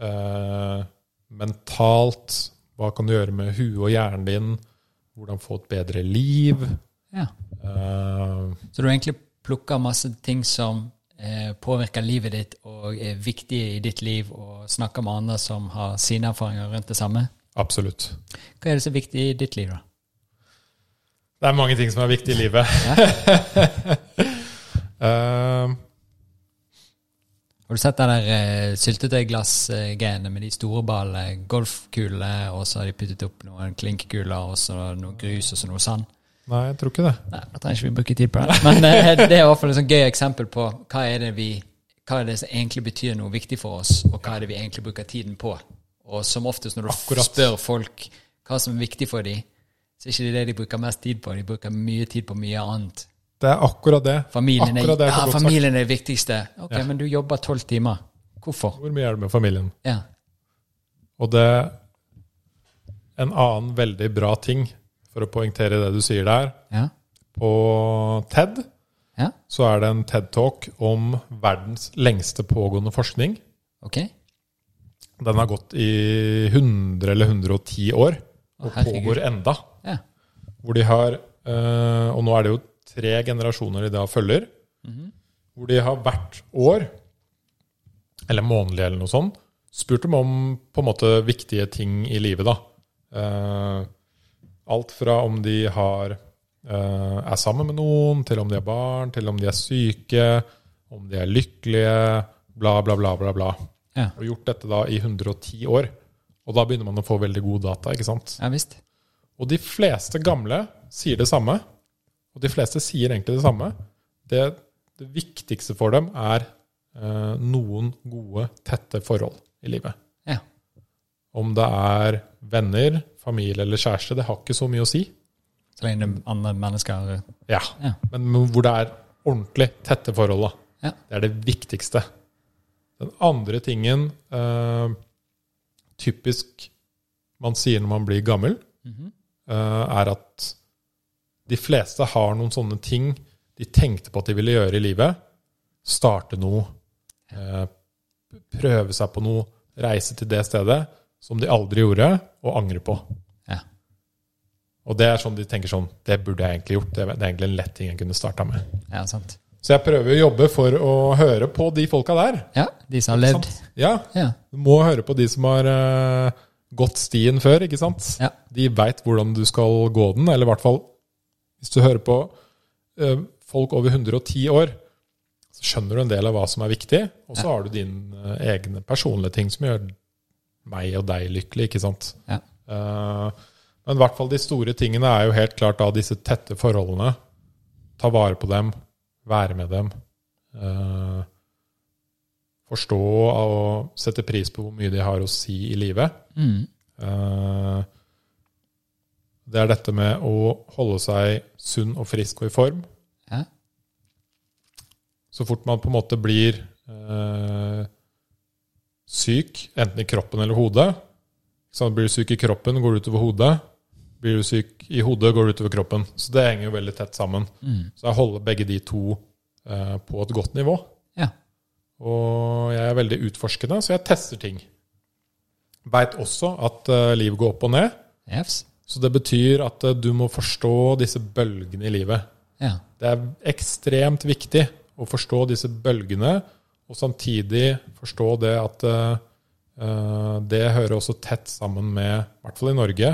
[SPEAKER 1] eh, mentalt, hva kan du gjøre med huet og hjernen din, hvordan få et bedre liv.
[SPEAKER 2] Ja.
[SPEAKER 1] Eh,
[SPEAKER 2] Så du egentlig plukker masse ting som eh, påvirker livet ditt og er viktige i ditt liv, og snakker med andre som har sine erfaringer rundt det samme.
[SPEAKER 1] absolutt.
[SPEAKER 2] Hva er det som er viktig i ditt liv, da?
[SPEAKER 1] Det er mange ting som er viktig i livet. *laughs* eh,
[SPEAKER 2] Har du sett den der eh, syltetøyglassgreiene med de store ballene, golfkulene, og så har de puttet opp noen klinkekuler, og så noe grus og så noe sand?
[SPEAKER 1] nei, jeg tror ikke det.
[SPEAKER 2] Nei, da trenger ikke vi bruke tid på det. Men eh, det er i hvert fall et sånt gøy eksempel på hva er det vi hva er det som egentlig betyr noe viktig for oss, og hva er det vi egentlig bruker tiden på. Og som oftest når du
[SPEAKER 1] Akkurat.
[SPEAKER 2] spør folk hva som er viktig for dem, så er ikke det det de bruker mest tid på. De bruker mye tid på mye annet.
[SPEAKER 1] Det er akkurat det.
[SPEAKER 2] Familien er,
[SPEAKER 1] Akkurat det er så
[SPEAKER 2] ja,
[SPEAKER 1] godt sagt.
[SPEAKER 2] familien er det viktigste. Ok, men du jobber tolv timer. Hvorfor?
[SPEAKER 1] Hvor mye er det med familien?
[SPEAKER 2] Ja.
[SPEAKER 1] Og det En annen veldig bra ting, for å poengtere det du sier der
[SPEAKER 2] Ja.
[SPEAKER 1] På TED
[SPEAKER 2] ja.
[SPEAKER 1] så er det en TED-talk om verdens lengste pågående forskning.
[SPEAKER 2] Ok.
[SPEAKER 1] Den har gått i 100 eller 110 år, og
[SPEAKER 2] Herregud.
[SPEAKER 1] pågår enda.
[SPEAKER 2] Ja.
[SPEAKER 1] Hvor de har, eh, og nå er det jo tre generasjoner de da følger, hvor de har hvert år, eller månedlig eller noe sånt, spurt dem om på en måte viktige ting i livet da. Eh, alt fra om de har, eh, er sammen med noen, til om de har barn, til om de er syke, om de er lykkelige, bla bla bla bla bla.
[SPEAKER 2] Ja.
[SPEAKER 1] Og gjort dette da i 110 år. Og da begynner man å få veldig god data, ikke sant?
[SPEAKER 2] ja visst.
[SPEAKER 1] Og de fleste gamle sier det samme. Og de fleste sier egentlig det samme. Det, det viktigste for dem er eh, noen gode, tette forhold i livet.
[SPEAKER 2] Ja.
[SPEAKER 1] Om det er venner, familie eller kjæreste, det har ikke så mye å si.
[SPEAKER 2] Så lenge det er andre mennesker
[SPEAKER 1] Ja,
[SPEAKER 2] Ja.
[SPEAKER 1] Men hvor det er ordentlig tette forhold, da.
[SPEAKER 2] Ja.
[SPEAKER 1] Det er det viktigste. Den andre tingen eh, typisk man sier når man blir gammel,
[SPEAKER 2] Mhm.
[SPEAKER 1] eh, er at de fleste har noen sånne ting de tenkte på at de ville gjøre i livet. Starte noe, eh, prøve seg på noe, reise til det stedet som de aldri gjorde, og angre på.
[SPEAKER 2] Ja.
[SPEAKER 1] Og det er sånn de tenker sånn Det burde jeg egentlig gjort. Det er det er egentlig en lett ting jeg kunne starta med.
[SPEAKER 2] Ja, sant.
[SPEAKER 1] Så jeg prøver å jobbe for å høre på de folka der.
[SPEAKER 2] Ja, de som har levd.
[SPEAKER 1] Sant? Ja,
[SPEAKER 2] Ja.
[SPEAKER 1] Du må høre på de som har eh, gått stien før, ikke sant?
[SPEAKER 2] Ja.
[SPEAKER 1] De veit hvordan du skal gå den, eller i hvert fall hvis du hører på eh, folk over 110 år, så skjønner du en del av hva som er viktig, og så har du dine eh, egne personlige ting som gjør meg og deg lykkelig, ikke sant?
[SPEAKER 2] Ja.
[SPEAKER 1] Eh, men i hvert fall de store tingene er jo helt klart da disse tette forholdene. Ta vare på dem, være med dem. eh, forstå og sette pris på hvor mye de har å si i livet.
[SPEAKER 2] Mm.
[SPEAKER 1] Eh, det er dette med å holde seg sunn og frisk og i form.
[SPEAKER 2] Ja.
[SPEAKER 1] Så fort man på en måte blir eh, syk, enten i kroppen eller hodet så Blir du syk i kroppen, går det utover hodet. Blir du syk i hodet, går det utover kroppen. Så det henger jo veldig tett sammen.
[SPEAKER 2] Mm.
[SPEAKER 1] Så jeg holder begge de to eh, på et godt nivå.
[SPEAKER 2] Ja.
[SPEAKER 1] Og jeg er veldig utforskende, så jeg tester ting. Veit også at eh, liv går opp og ned.
[SPEAKER 2] Jefs.
[SPEAKER 1] Så det betyr at eh, du må forstå disse bølgene i livet.
[SPEAKER 2] Ja.
[SPEAKER 1] Det er ekstremt viktig å forstå disse bølgene, og samtidig forstå det at eh, det hører også tett sammen med, i hvert fall i Norge,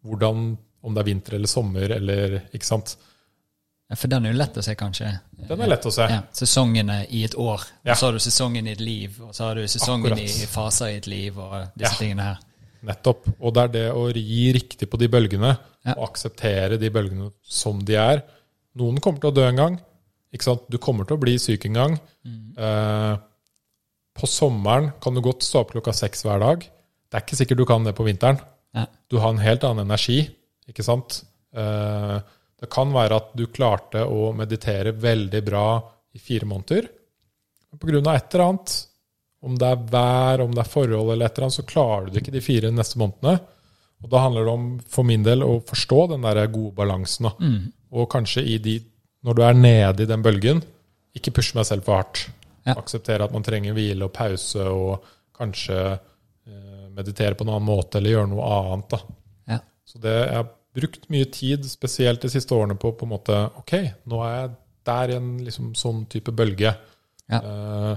[SPEAKER 1] hvordan, om det er vinter eller sommer eller Ikke sant?
[SPEAKER 2] Ja, For den er jo lett å se, kanskje.
[SPEAKER 1] Den er lett å se.
[SPEAKER 2] Ja, sesongene i et år.
[SPEAKER 1] Ja.
[SPEAKER 2] Og så har du sesongen i et liv, og så har du sesongen
[SPEAKER 1] Akkurat.
[SPEAKER 2] i faser i et liv, og disse
[SPEAKER 1] Ja.
[SPEAKER 2] tingene her.
[SPEAKER 1] Nettopp. Og det er det å gi riktig på de bølgene,
[SPEAKER 2] Ja.
[SPEAKER 1] og akseptere de bølgene som de er. Noen kommer til å dø en gang. Ikke sant? Du kommer til å bli syk en gang.
[SPEAKER 2] Mm.
[SPEAKER 1] Eh, på sommeren kan du godt stå opp klokka seks hver dag. Det er ikke sikkert du kan det på vinteren.
[SPEAKER 2] Ja.
[SPEAKER 1] Du har en helt annen energi, ikke sant? Eh, det kan være at du klarte å meditere veldig bra i fire måneder. Men på grunn av et eller annet, om det er vær, om det er forhold eller et eller annet, så klarer du det ikke de fire neste månedene. Og da handler det om, for min del, å forstå den der gode balansen. Da. Og kanskje i de, når du er nede i den bølgen, ikke pushe meg selv for hardt.
[SPEAKER 2] Ja.
[SPEAKER 1] Akseptere at man trenger hvile og pause, og kanskje eh, meditere på en annen måte, eller gjøre noe annet. da.
[SPEAKER 2] Ja.
[SPEAKER 1] Så det, jeg har brukt mye tid, spesielt de siste årene, på på en måte Ok, nå er jeg der i en liksom, sånn type bølge.
[SPEAKER 2] Ja.
[SPEAKER 1] Eh,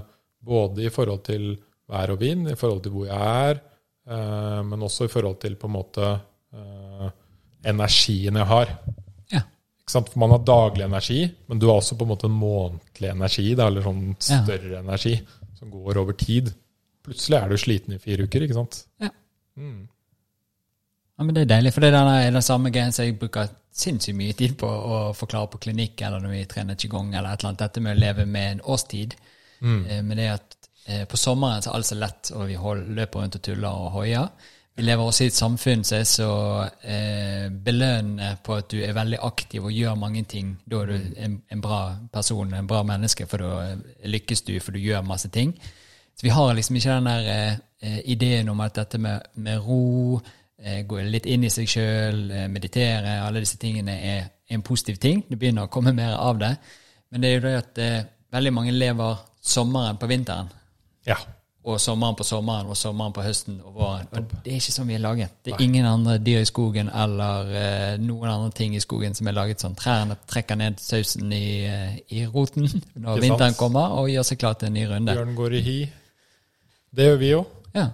[SPEAKER 1] både i forhold til vær og vind, i forhold til hvor jeg er, eh, men også i forhold til på en måte eh, energien jeg har.
[SPEAKER 2] Ja.
[SPEAKER 1] Ikke sant? For man har daglig energi, men du har også på en måte en månedlig energi, da, eller sånn
[SPEAKER 2] Ja.
[SPEAKER 1] større energi, som går over tid. Plutselig er du sliten i fire uker, ikke sant?
[SPEAKER 2] Ja.
[SPEAKER 1] Mm.
[SPEAKER 2] Ja, men Det er deilig, for det er den, er den samme greien som jeg bruker sinnssykt mye tid på å forklare på klinikk eller når vi trener qigong eller et eller annet. Dette med å leve med en årstid. Eh, Men det er at eh, på sommeren så er alt så lett, og vi hold, løper rundt og tuller og hoier. Vi lever også i et samfunn som er så eh, belønnende på at du er veldig aktiv og gjør mange ting. Da er du en, en bra person, en bra menneske, for da eh, lykkes du, for du gjør masse ting. Så vi har liksom ikke den der eh, eh, ideen om at dette med, med ro, eh, gå litt inn i seg sjøl, eh, meditere, alle disse tingene er en positiv ting. Det begynner å komme mer av det. Men det er jo det at eh, veldig mange lever sommeren på vinteren
[SPEAKER 1] Ja.
[SPEAKER 2] og sommeren på sommeren og sommeren på høsten og våren. Og det er ikke sånn vi er laget. Det er ingen andre dyr i skogen eller eh, noen andre ting i skogen som er laget sånn. Trærne trekker ned sausen i, eh, i roten *laughs* når
[SPEAKER 1] Ikke sant?
[SPEAKER 2] vinteren kommer og gjør seg klar til en ny runde.
[SPEAKER 1] Bjørn går i hi. Det gjør vi jo.
[SPEAKER 2] Ja.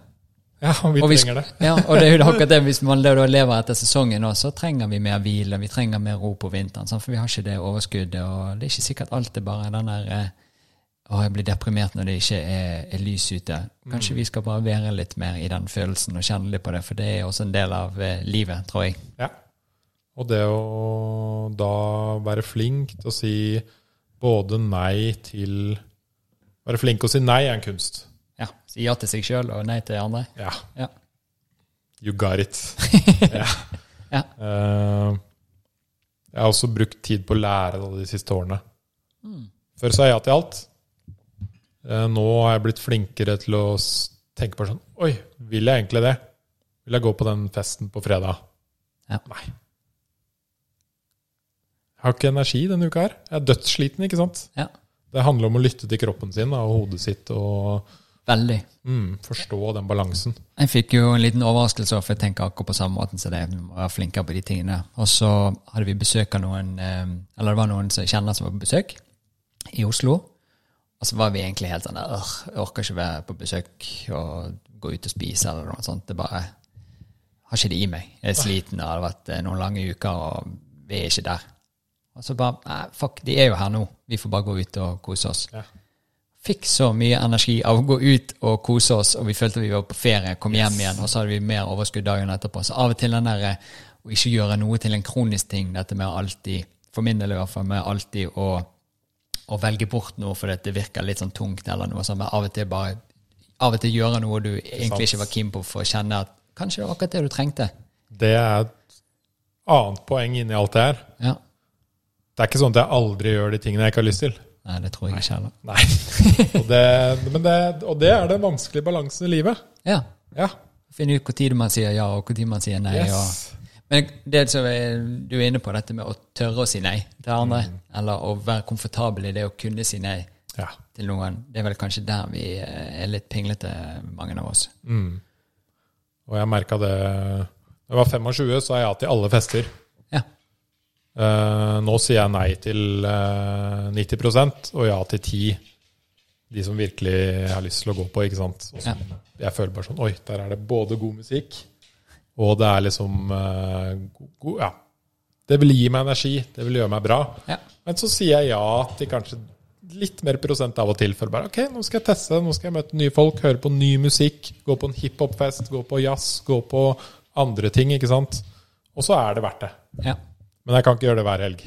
[SPEAKER 1] Ja, og vi
[SPEAKER 2] Og hvis-
[SPEAKER 1] trenger det.
[SPEAKER 2] *laughs* ja, og det er jo akkurat det, hvis man da lever etter sesongen også, så trenger vi mer hvile, vi trenger mer ro på vinteren, sant? for vi har ikke det overskuddet, og det er ikke sikkert alt er bare den der eh, å, jeg blir deprimert når det ikke er, er lys ute.
[SPEAKER 1] Mm.
[SPEAKER 2] Kanskje vi skal bare være litt mer i den følelsen og kjenne litt på det, for det er også en del av eh, livet, tror jeg.
[SPEAKER 1] Ja. Og det å da være flink til å si både nei til Være flink til å si nei er en kunst.
[SPEAKER 2] Ja, Si ja til seg sjøl og nei til andre.
[SPEAKER 1] Ja.
[SPEAKER 2] Ja.
[SPEAKER 1] You got
[SPEAKER 2] *laughs*
[SPEAKER 1] it. ja.
[SPEAKER 2] Ja.
[SPEAKER 1] Eh, jeg har også brukt tid på å lære da, de siste årene.
[SPEAKER 2] Mm.
[SPEAKER 1] Før sa jeg ja til alt. Eh, nå har jeg blitt flinkere til å s- tenke på sånn Oi, vil jeg egentlig det? Vil jeg gå på den festen på fredag?
[SPEAKER 2] Ja.
[SPEAKER 1] Nei. Jeg har ikke energi denne uka her. Jeg er dødssliten, ikke sant?
[SPEAKER 2] ja.
[SPEAKER 1] Det handler om å lytte til kroppen sin da, og hodet sitt og
[SPEAKER 2] Veldig.
[SPEAKER 1] mm, forstå den balansen.
[SPEAKER 2] Jeg fikk jo en liten overraskelse, for jeg tenker akkurat på samme måten som deg. Vi må være flinkere på de tingene. Og så hadde vi besøk av noen, eh, eller det var noen som jeg kjenner som var på besøk i Oslo. Og så var vi egentlig helt sånn «Åh, Jeg orker ikke være på besøk og gå ut og spise eller noe sånt. Det bare har ikke det i meg. Jeg er sliten, og det har vært eh, noen lange uker, og vi er ikke der. Og så bare Nei, fuck, de er jo her nå. Vi får bare gå ut og kose oss
[SPEAKER 1] Ja.
[SPEAKER 2] fikk så mye energi av å gå ut og kose oss, og vi følte vi var på ferie, kom hjem igjen, og så hadde vi mer overskudd dagen etterpå. Så av og til den der eh, å ikke gjøre noe til en kronisk ting, dette med alltid, for min del i hvert fall, med alltid å, å velge bort noe fordi at det virker litt sånn tungt eller noe sånt, men av og til bare av og til gjøre noe du egentlig ikke var keen på for å kjenne at kanskje det var akkurat det du trengte.
[SPEAKER 1] Det er et annet poeng inni alt det her.
[SPEAKER 2] Ja.
[SPEAKER 1] Det er ikke sånn at jeg aldri gjør de tingene jeg ikke har lyst til.
[SPEAKER 2] Nei, *laughs* det tror jeg ikke heller.
[SPEAKER 1] Nei. og, det, men det, og det er den vanskelige balansen i livet.
[SPEAKER 2] Ja.
[SPEAKER 1] Ja.
[SPEAKER 2] Finne ut når man sier ja, og når man sier nei. og...
[SPEAKER 1] Yes.
[SPEAKER 2] Men det som er, du er inne på, dette med å tørre å si nei til andre, eller å være komfortabel i det å kunne si nei
[SPEAKER 1] Ja.
[SPEAKER 2] til noen, det er vel kanskje der vi eh, er litt pinglete, mange av oss.
[SPEAKER 1] Og jeg merka det Da jeg var 25, sa jeg ja til alle fester.
[SPEAKER 2] Ja.
[SPEAKER 1] Eh, nå sier jeg nei til eh, 90 og ja til 10 De som virkelig har lyst til å gå på, ikke sant. Og så- Jeg føler bare sånn Oi, der er det både god musikk, og det er liksom eh, god, god, Ja. Det vil gi meg energi, det vil gjøre meg bra.
[SPEAKER 2] Ja.
[SPEAKER 1] Men så sier jeg ja til kanskje litt mer prosent av og til. For bare ok, nå skal jeg teste, nå skal jeg møte nye folk, høre på ny musikk, gå på en hiphopfest, gå på jazz, gå på andre ting, ikke sant. Og så er det verdt det.
[SPEAKER 2] ja.
[SPEAKER 1] Men jeg kan ikke gjøre det hver helg.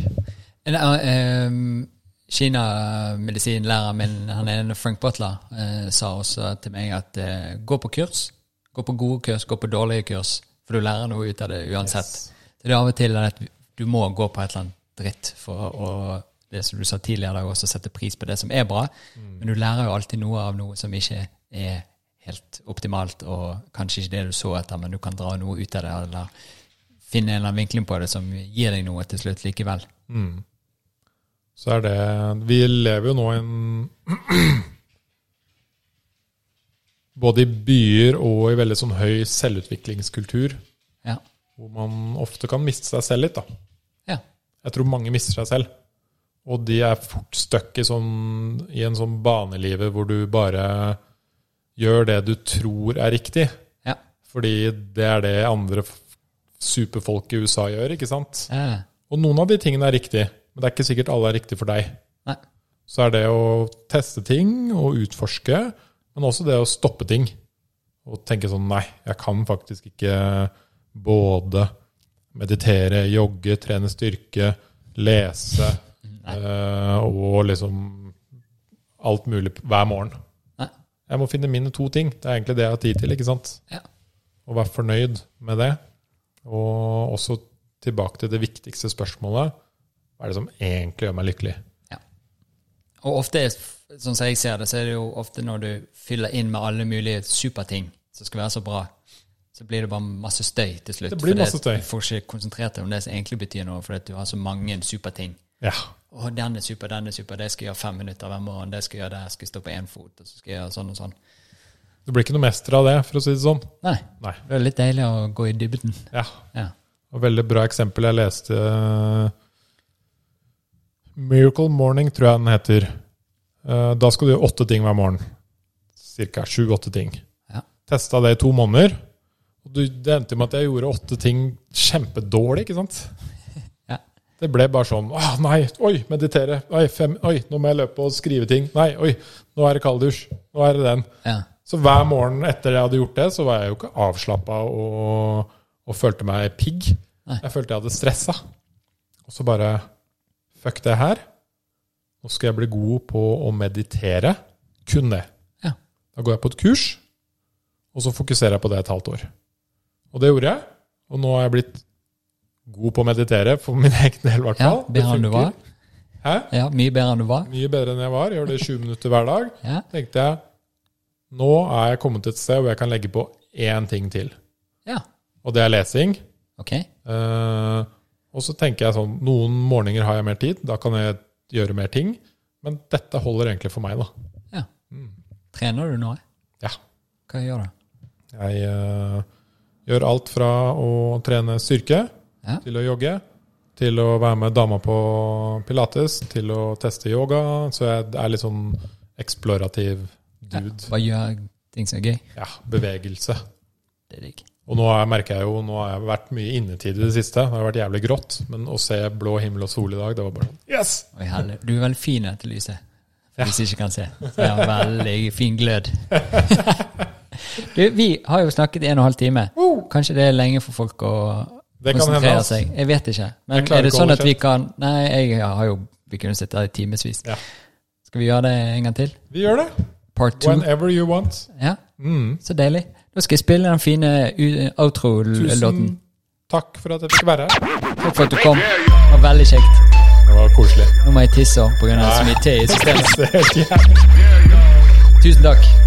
[SPEAKER 2] En, eh, em, Kina-medisinlæreren min, han ene Frank Butler, eh, sa også til meg at eh, gå på kurs. Gå på gode kurs, gå på dårlige kurs, for du lærer noe ut av det uansett. Så det er av og til at du må gå på et eller annet dritt for å det som du sa tidligere, i dag, også sette pris på det som er bra. Men du lærer jo alltid noe av noe som ikke er helt optimalt, og kanskje ikke det du så etter, men du kan dra noe ut av det, eller finne en eller annen vinkling på det som gir deg noe til slutt likevel.
[SPEAKER 1] Så er det Vi lever jo nå i en *clears throat* Både i byer og i veldig sånn høy selvutviklingskultur,
[SPEAKER 2] Ja.
[SPEAKER 1] hvor man ofte kan miste seg selv litt, da.
[SPEAKER 2] Ja.
[SPEAKER 1] Jeg tror mange mister seg selv. Og de er fort stuck i, sånn, i en sånn banelivet hvor du bare gjør det du tror er riktig.
[SPEAKER 2] Ja.
[SPEAKER 1] Fordi det er det andre f- superfolk i USA gjør, ikke sant?
[SPEAKER 2] Eh,
[SPEAKER 1] Og noen av de tingene er riktig, men det er ikke sikkert alle er riktig for deg.
[SPEAKER 2] nei.
[SPEAKER 1] Så er det å teste ting og utforske, men også det å stoppe ting. Og tenke sånn nei, jeg kan faktisk ikke både meditere, jogge, trene styrke, lese eh, og liksom alt mulig p- hver morgen.
[SPEAKER 2] Nei.
[SPEAKER 1] Jeg må finne mine to ting. Det er egentlig det jeg har tid til. ikke sant?
[SPEAKER 2] Ja.
[SPEAKER 1] Og være fornøyd med det. Og også tilbake til det viktigste spørsmålet. Hva er det som egentlig gjør meg lykkelig?
[SPEAKER 2] Ja. Og ofte, er- sånn som jeg ser det, så er det jo ofte når du fyller inn med alle mulige superting som skal være så bra, så blir det bare masse støy til slutt.
[SPEAKER 1] Det blir
[SPEAKER 2] fordi
[SPEAKER 1] masse støy.
[SPEAKER 2] at Du får ikke konsentrert deg om det som egentlig betyr noe, fordi at du har så mange superting.
[SPEAKER 1] Ja.
[SPEAKER 2] Å, den er super, den er super, det skal jeg gjøre fem minutter hver morgen, det skal jeg gjøre der, jeg skal stå på én fot, og så skal jeg gjøre sånn og sånn.
[SPEAKER 1] Du blir ikke noe mester av det, for å si det sånn.
[SPEAKER 2] Nei.
[SPEAKER 1] Nei.
[SPEAKER 2] Det er litt deilig å gå i dybden.
[SPEAKER 1] Ja.
[SPEAKER 2] Ja.
[SPEAKER 1] Og veldig bra eksempel jeg leste eh, Miracle Morning, tror jeg den heter. Eh, Da skal du gjøre åtte ting hver morgen. Cirka sju-åtte ting.
[SPEAKER 2] Ja.
[SPEAKER 1] Testa det i to måneder. Og du, det endte med at jeg gjorde åtte ting kjempedårlig, ikke sant?
[SPEAKER 2] *laughs* Ja.
[SPEAKER 1] Det ble bare sånn Åh, nei, oi, meditere. Oi, fem, oi, nå må jeg løpe og skrive ting. Nei, oi, nå er det kalddusj. Nå er det den.
[SPEAKER 2] Ja.
[SPEAKER 1] Så hver morgen etter jeg hadde gjort det, så var jeg jo ikke avslappa og, og følte meg pigg.
[SPEAKER 2] Nei.
[SPEAKER 1] Jeg følte jeg hadde stressa. Og så bare Fuck det her. Nå skal jeg bli god på å meditere. Kun det.
[SPEAKER 2] Ja.
[SPEAKER 1] Da går jeg på et kurs, og så fokuserer jeg på det et halvt år. Og det gjorde jeg. Og nå har jeg blitt god på å meditere, for min *laughs* egen del i hvert
[SPEAKER 2] ja
[SPEAKER 1] fall. Det
[SPEAKER 2] bedre enn du
[SPEAKER 1] funker.
[SPEAKER 2] var.
[SPEAKER 1] Hæ?
[SPEAKER 2] Ja, mye bedre enn du var.
[SPEAKER 1] Mye bedre enn jeg var. Gjør det 20 minutter hver dag
[SPEAKER 2] Ja.
[SPEAKER 1] tenkte jeg nå er jeg kommet til et sted hvor jeg kan legge på én ting til.
[SPEAKER 2] ja.
[SPEAKER 1] Og det er lesing.
[SPEAKER 2] Ok.
[SPEAKER 1] Eh, og så tenker jeg sånn Noen morgener har jeg mer tid, da kan jeg gjøre mer ting. Men dette holder egentlig for meg, da.
[SPEAKER 2] Ja. Trener du nå?
[SPEAKER 1] Ja.
[SPEAKER 2] Hva gjør du?
[SPEAKER 1] Jeg eh, gjør alt fra å trene styrke
[SPEAKER 2] Ja.
[SPEAKER 1] til å jogge, til å være med dama på pilates, til å teste yoga. Så jeg er litt sånn eksplorativ dude.
[SPEAKER 2] Bare gjør ting som er gøy.
[SPEAKER 1] Ja, bevegelse.
[SPEAKER 2] Det er digg.
[SPEAKER 1] Og nå er, merker jeg jo, nå har jeg vært mye innetid i det siste. Det har vært jævlig grått. Men å se blå himmel og sol i dag, det var bare sånn Yes!
[SPEAKER 2] Oi, herlig. Du er veldig fin etter lyset,
[SPEAKER 1] Ja.
[SPEAKER 2] hvis jeg ikke kan se. Så jeg har veldig fin
[SPEAKER 1] *laughs*
[SPEAKER 2] glød. du, vi har jo snakket i en og en halv time. Kanskje det er lenge for folk å
[SPEAKER 1] Det kan hende, altså.
[SPEAKER 2] konsentrere
[SPEAKER 1] ass.
[SPEAKER 2] seg. Jeg vet ikke. Men
[SPEAKER 1] Jeg klarer
[SPEAKER 2] er det
[SPEAKER 1] ikke å
[SPEAKER 2] sånn
[SPEAKER 1] holde
[SPEAKER 2] at vi kan Nei, jeg har jo Vi kunne sitte her i timevis.
[SPEAKER 1] Ja.
[SPEAKER 2] Skal vi gjøre det en gang til?
[SPEAKER 1] Vi gjør det.
[SPEAKER 2] Part two.
[SPEAKER 1] Whenever you want.
[SPEAKER 2] Ja,
[SPEAKER 1] Mm.
[SPEAKER 2] så deilig. Da skal jeg spille den fine u- outro-låten.
[SPEAKER 1] Tusen takk for at jeg fikk være her.
[SPEAKER 2] Takk for at du kom. Det var veldig kjekt.
[SPEAKER 1] Det var koselig.
[SPEAKER 2] Nå må jeg tisse òg, pga. så mye te i systemet.
[SPEAKER 1] Det er helt jævlig.
[SPEAKER 2] Tusen takk.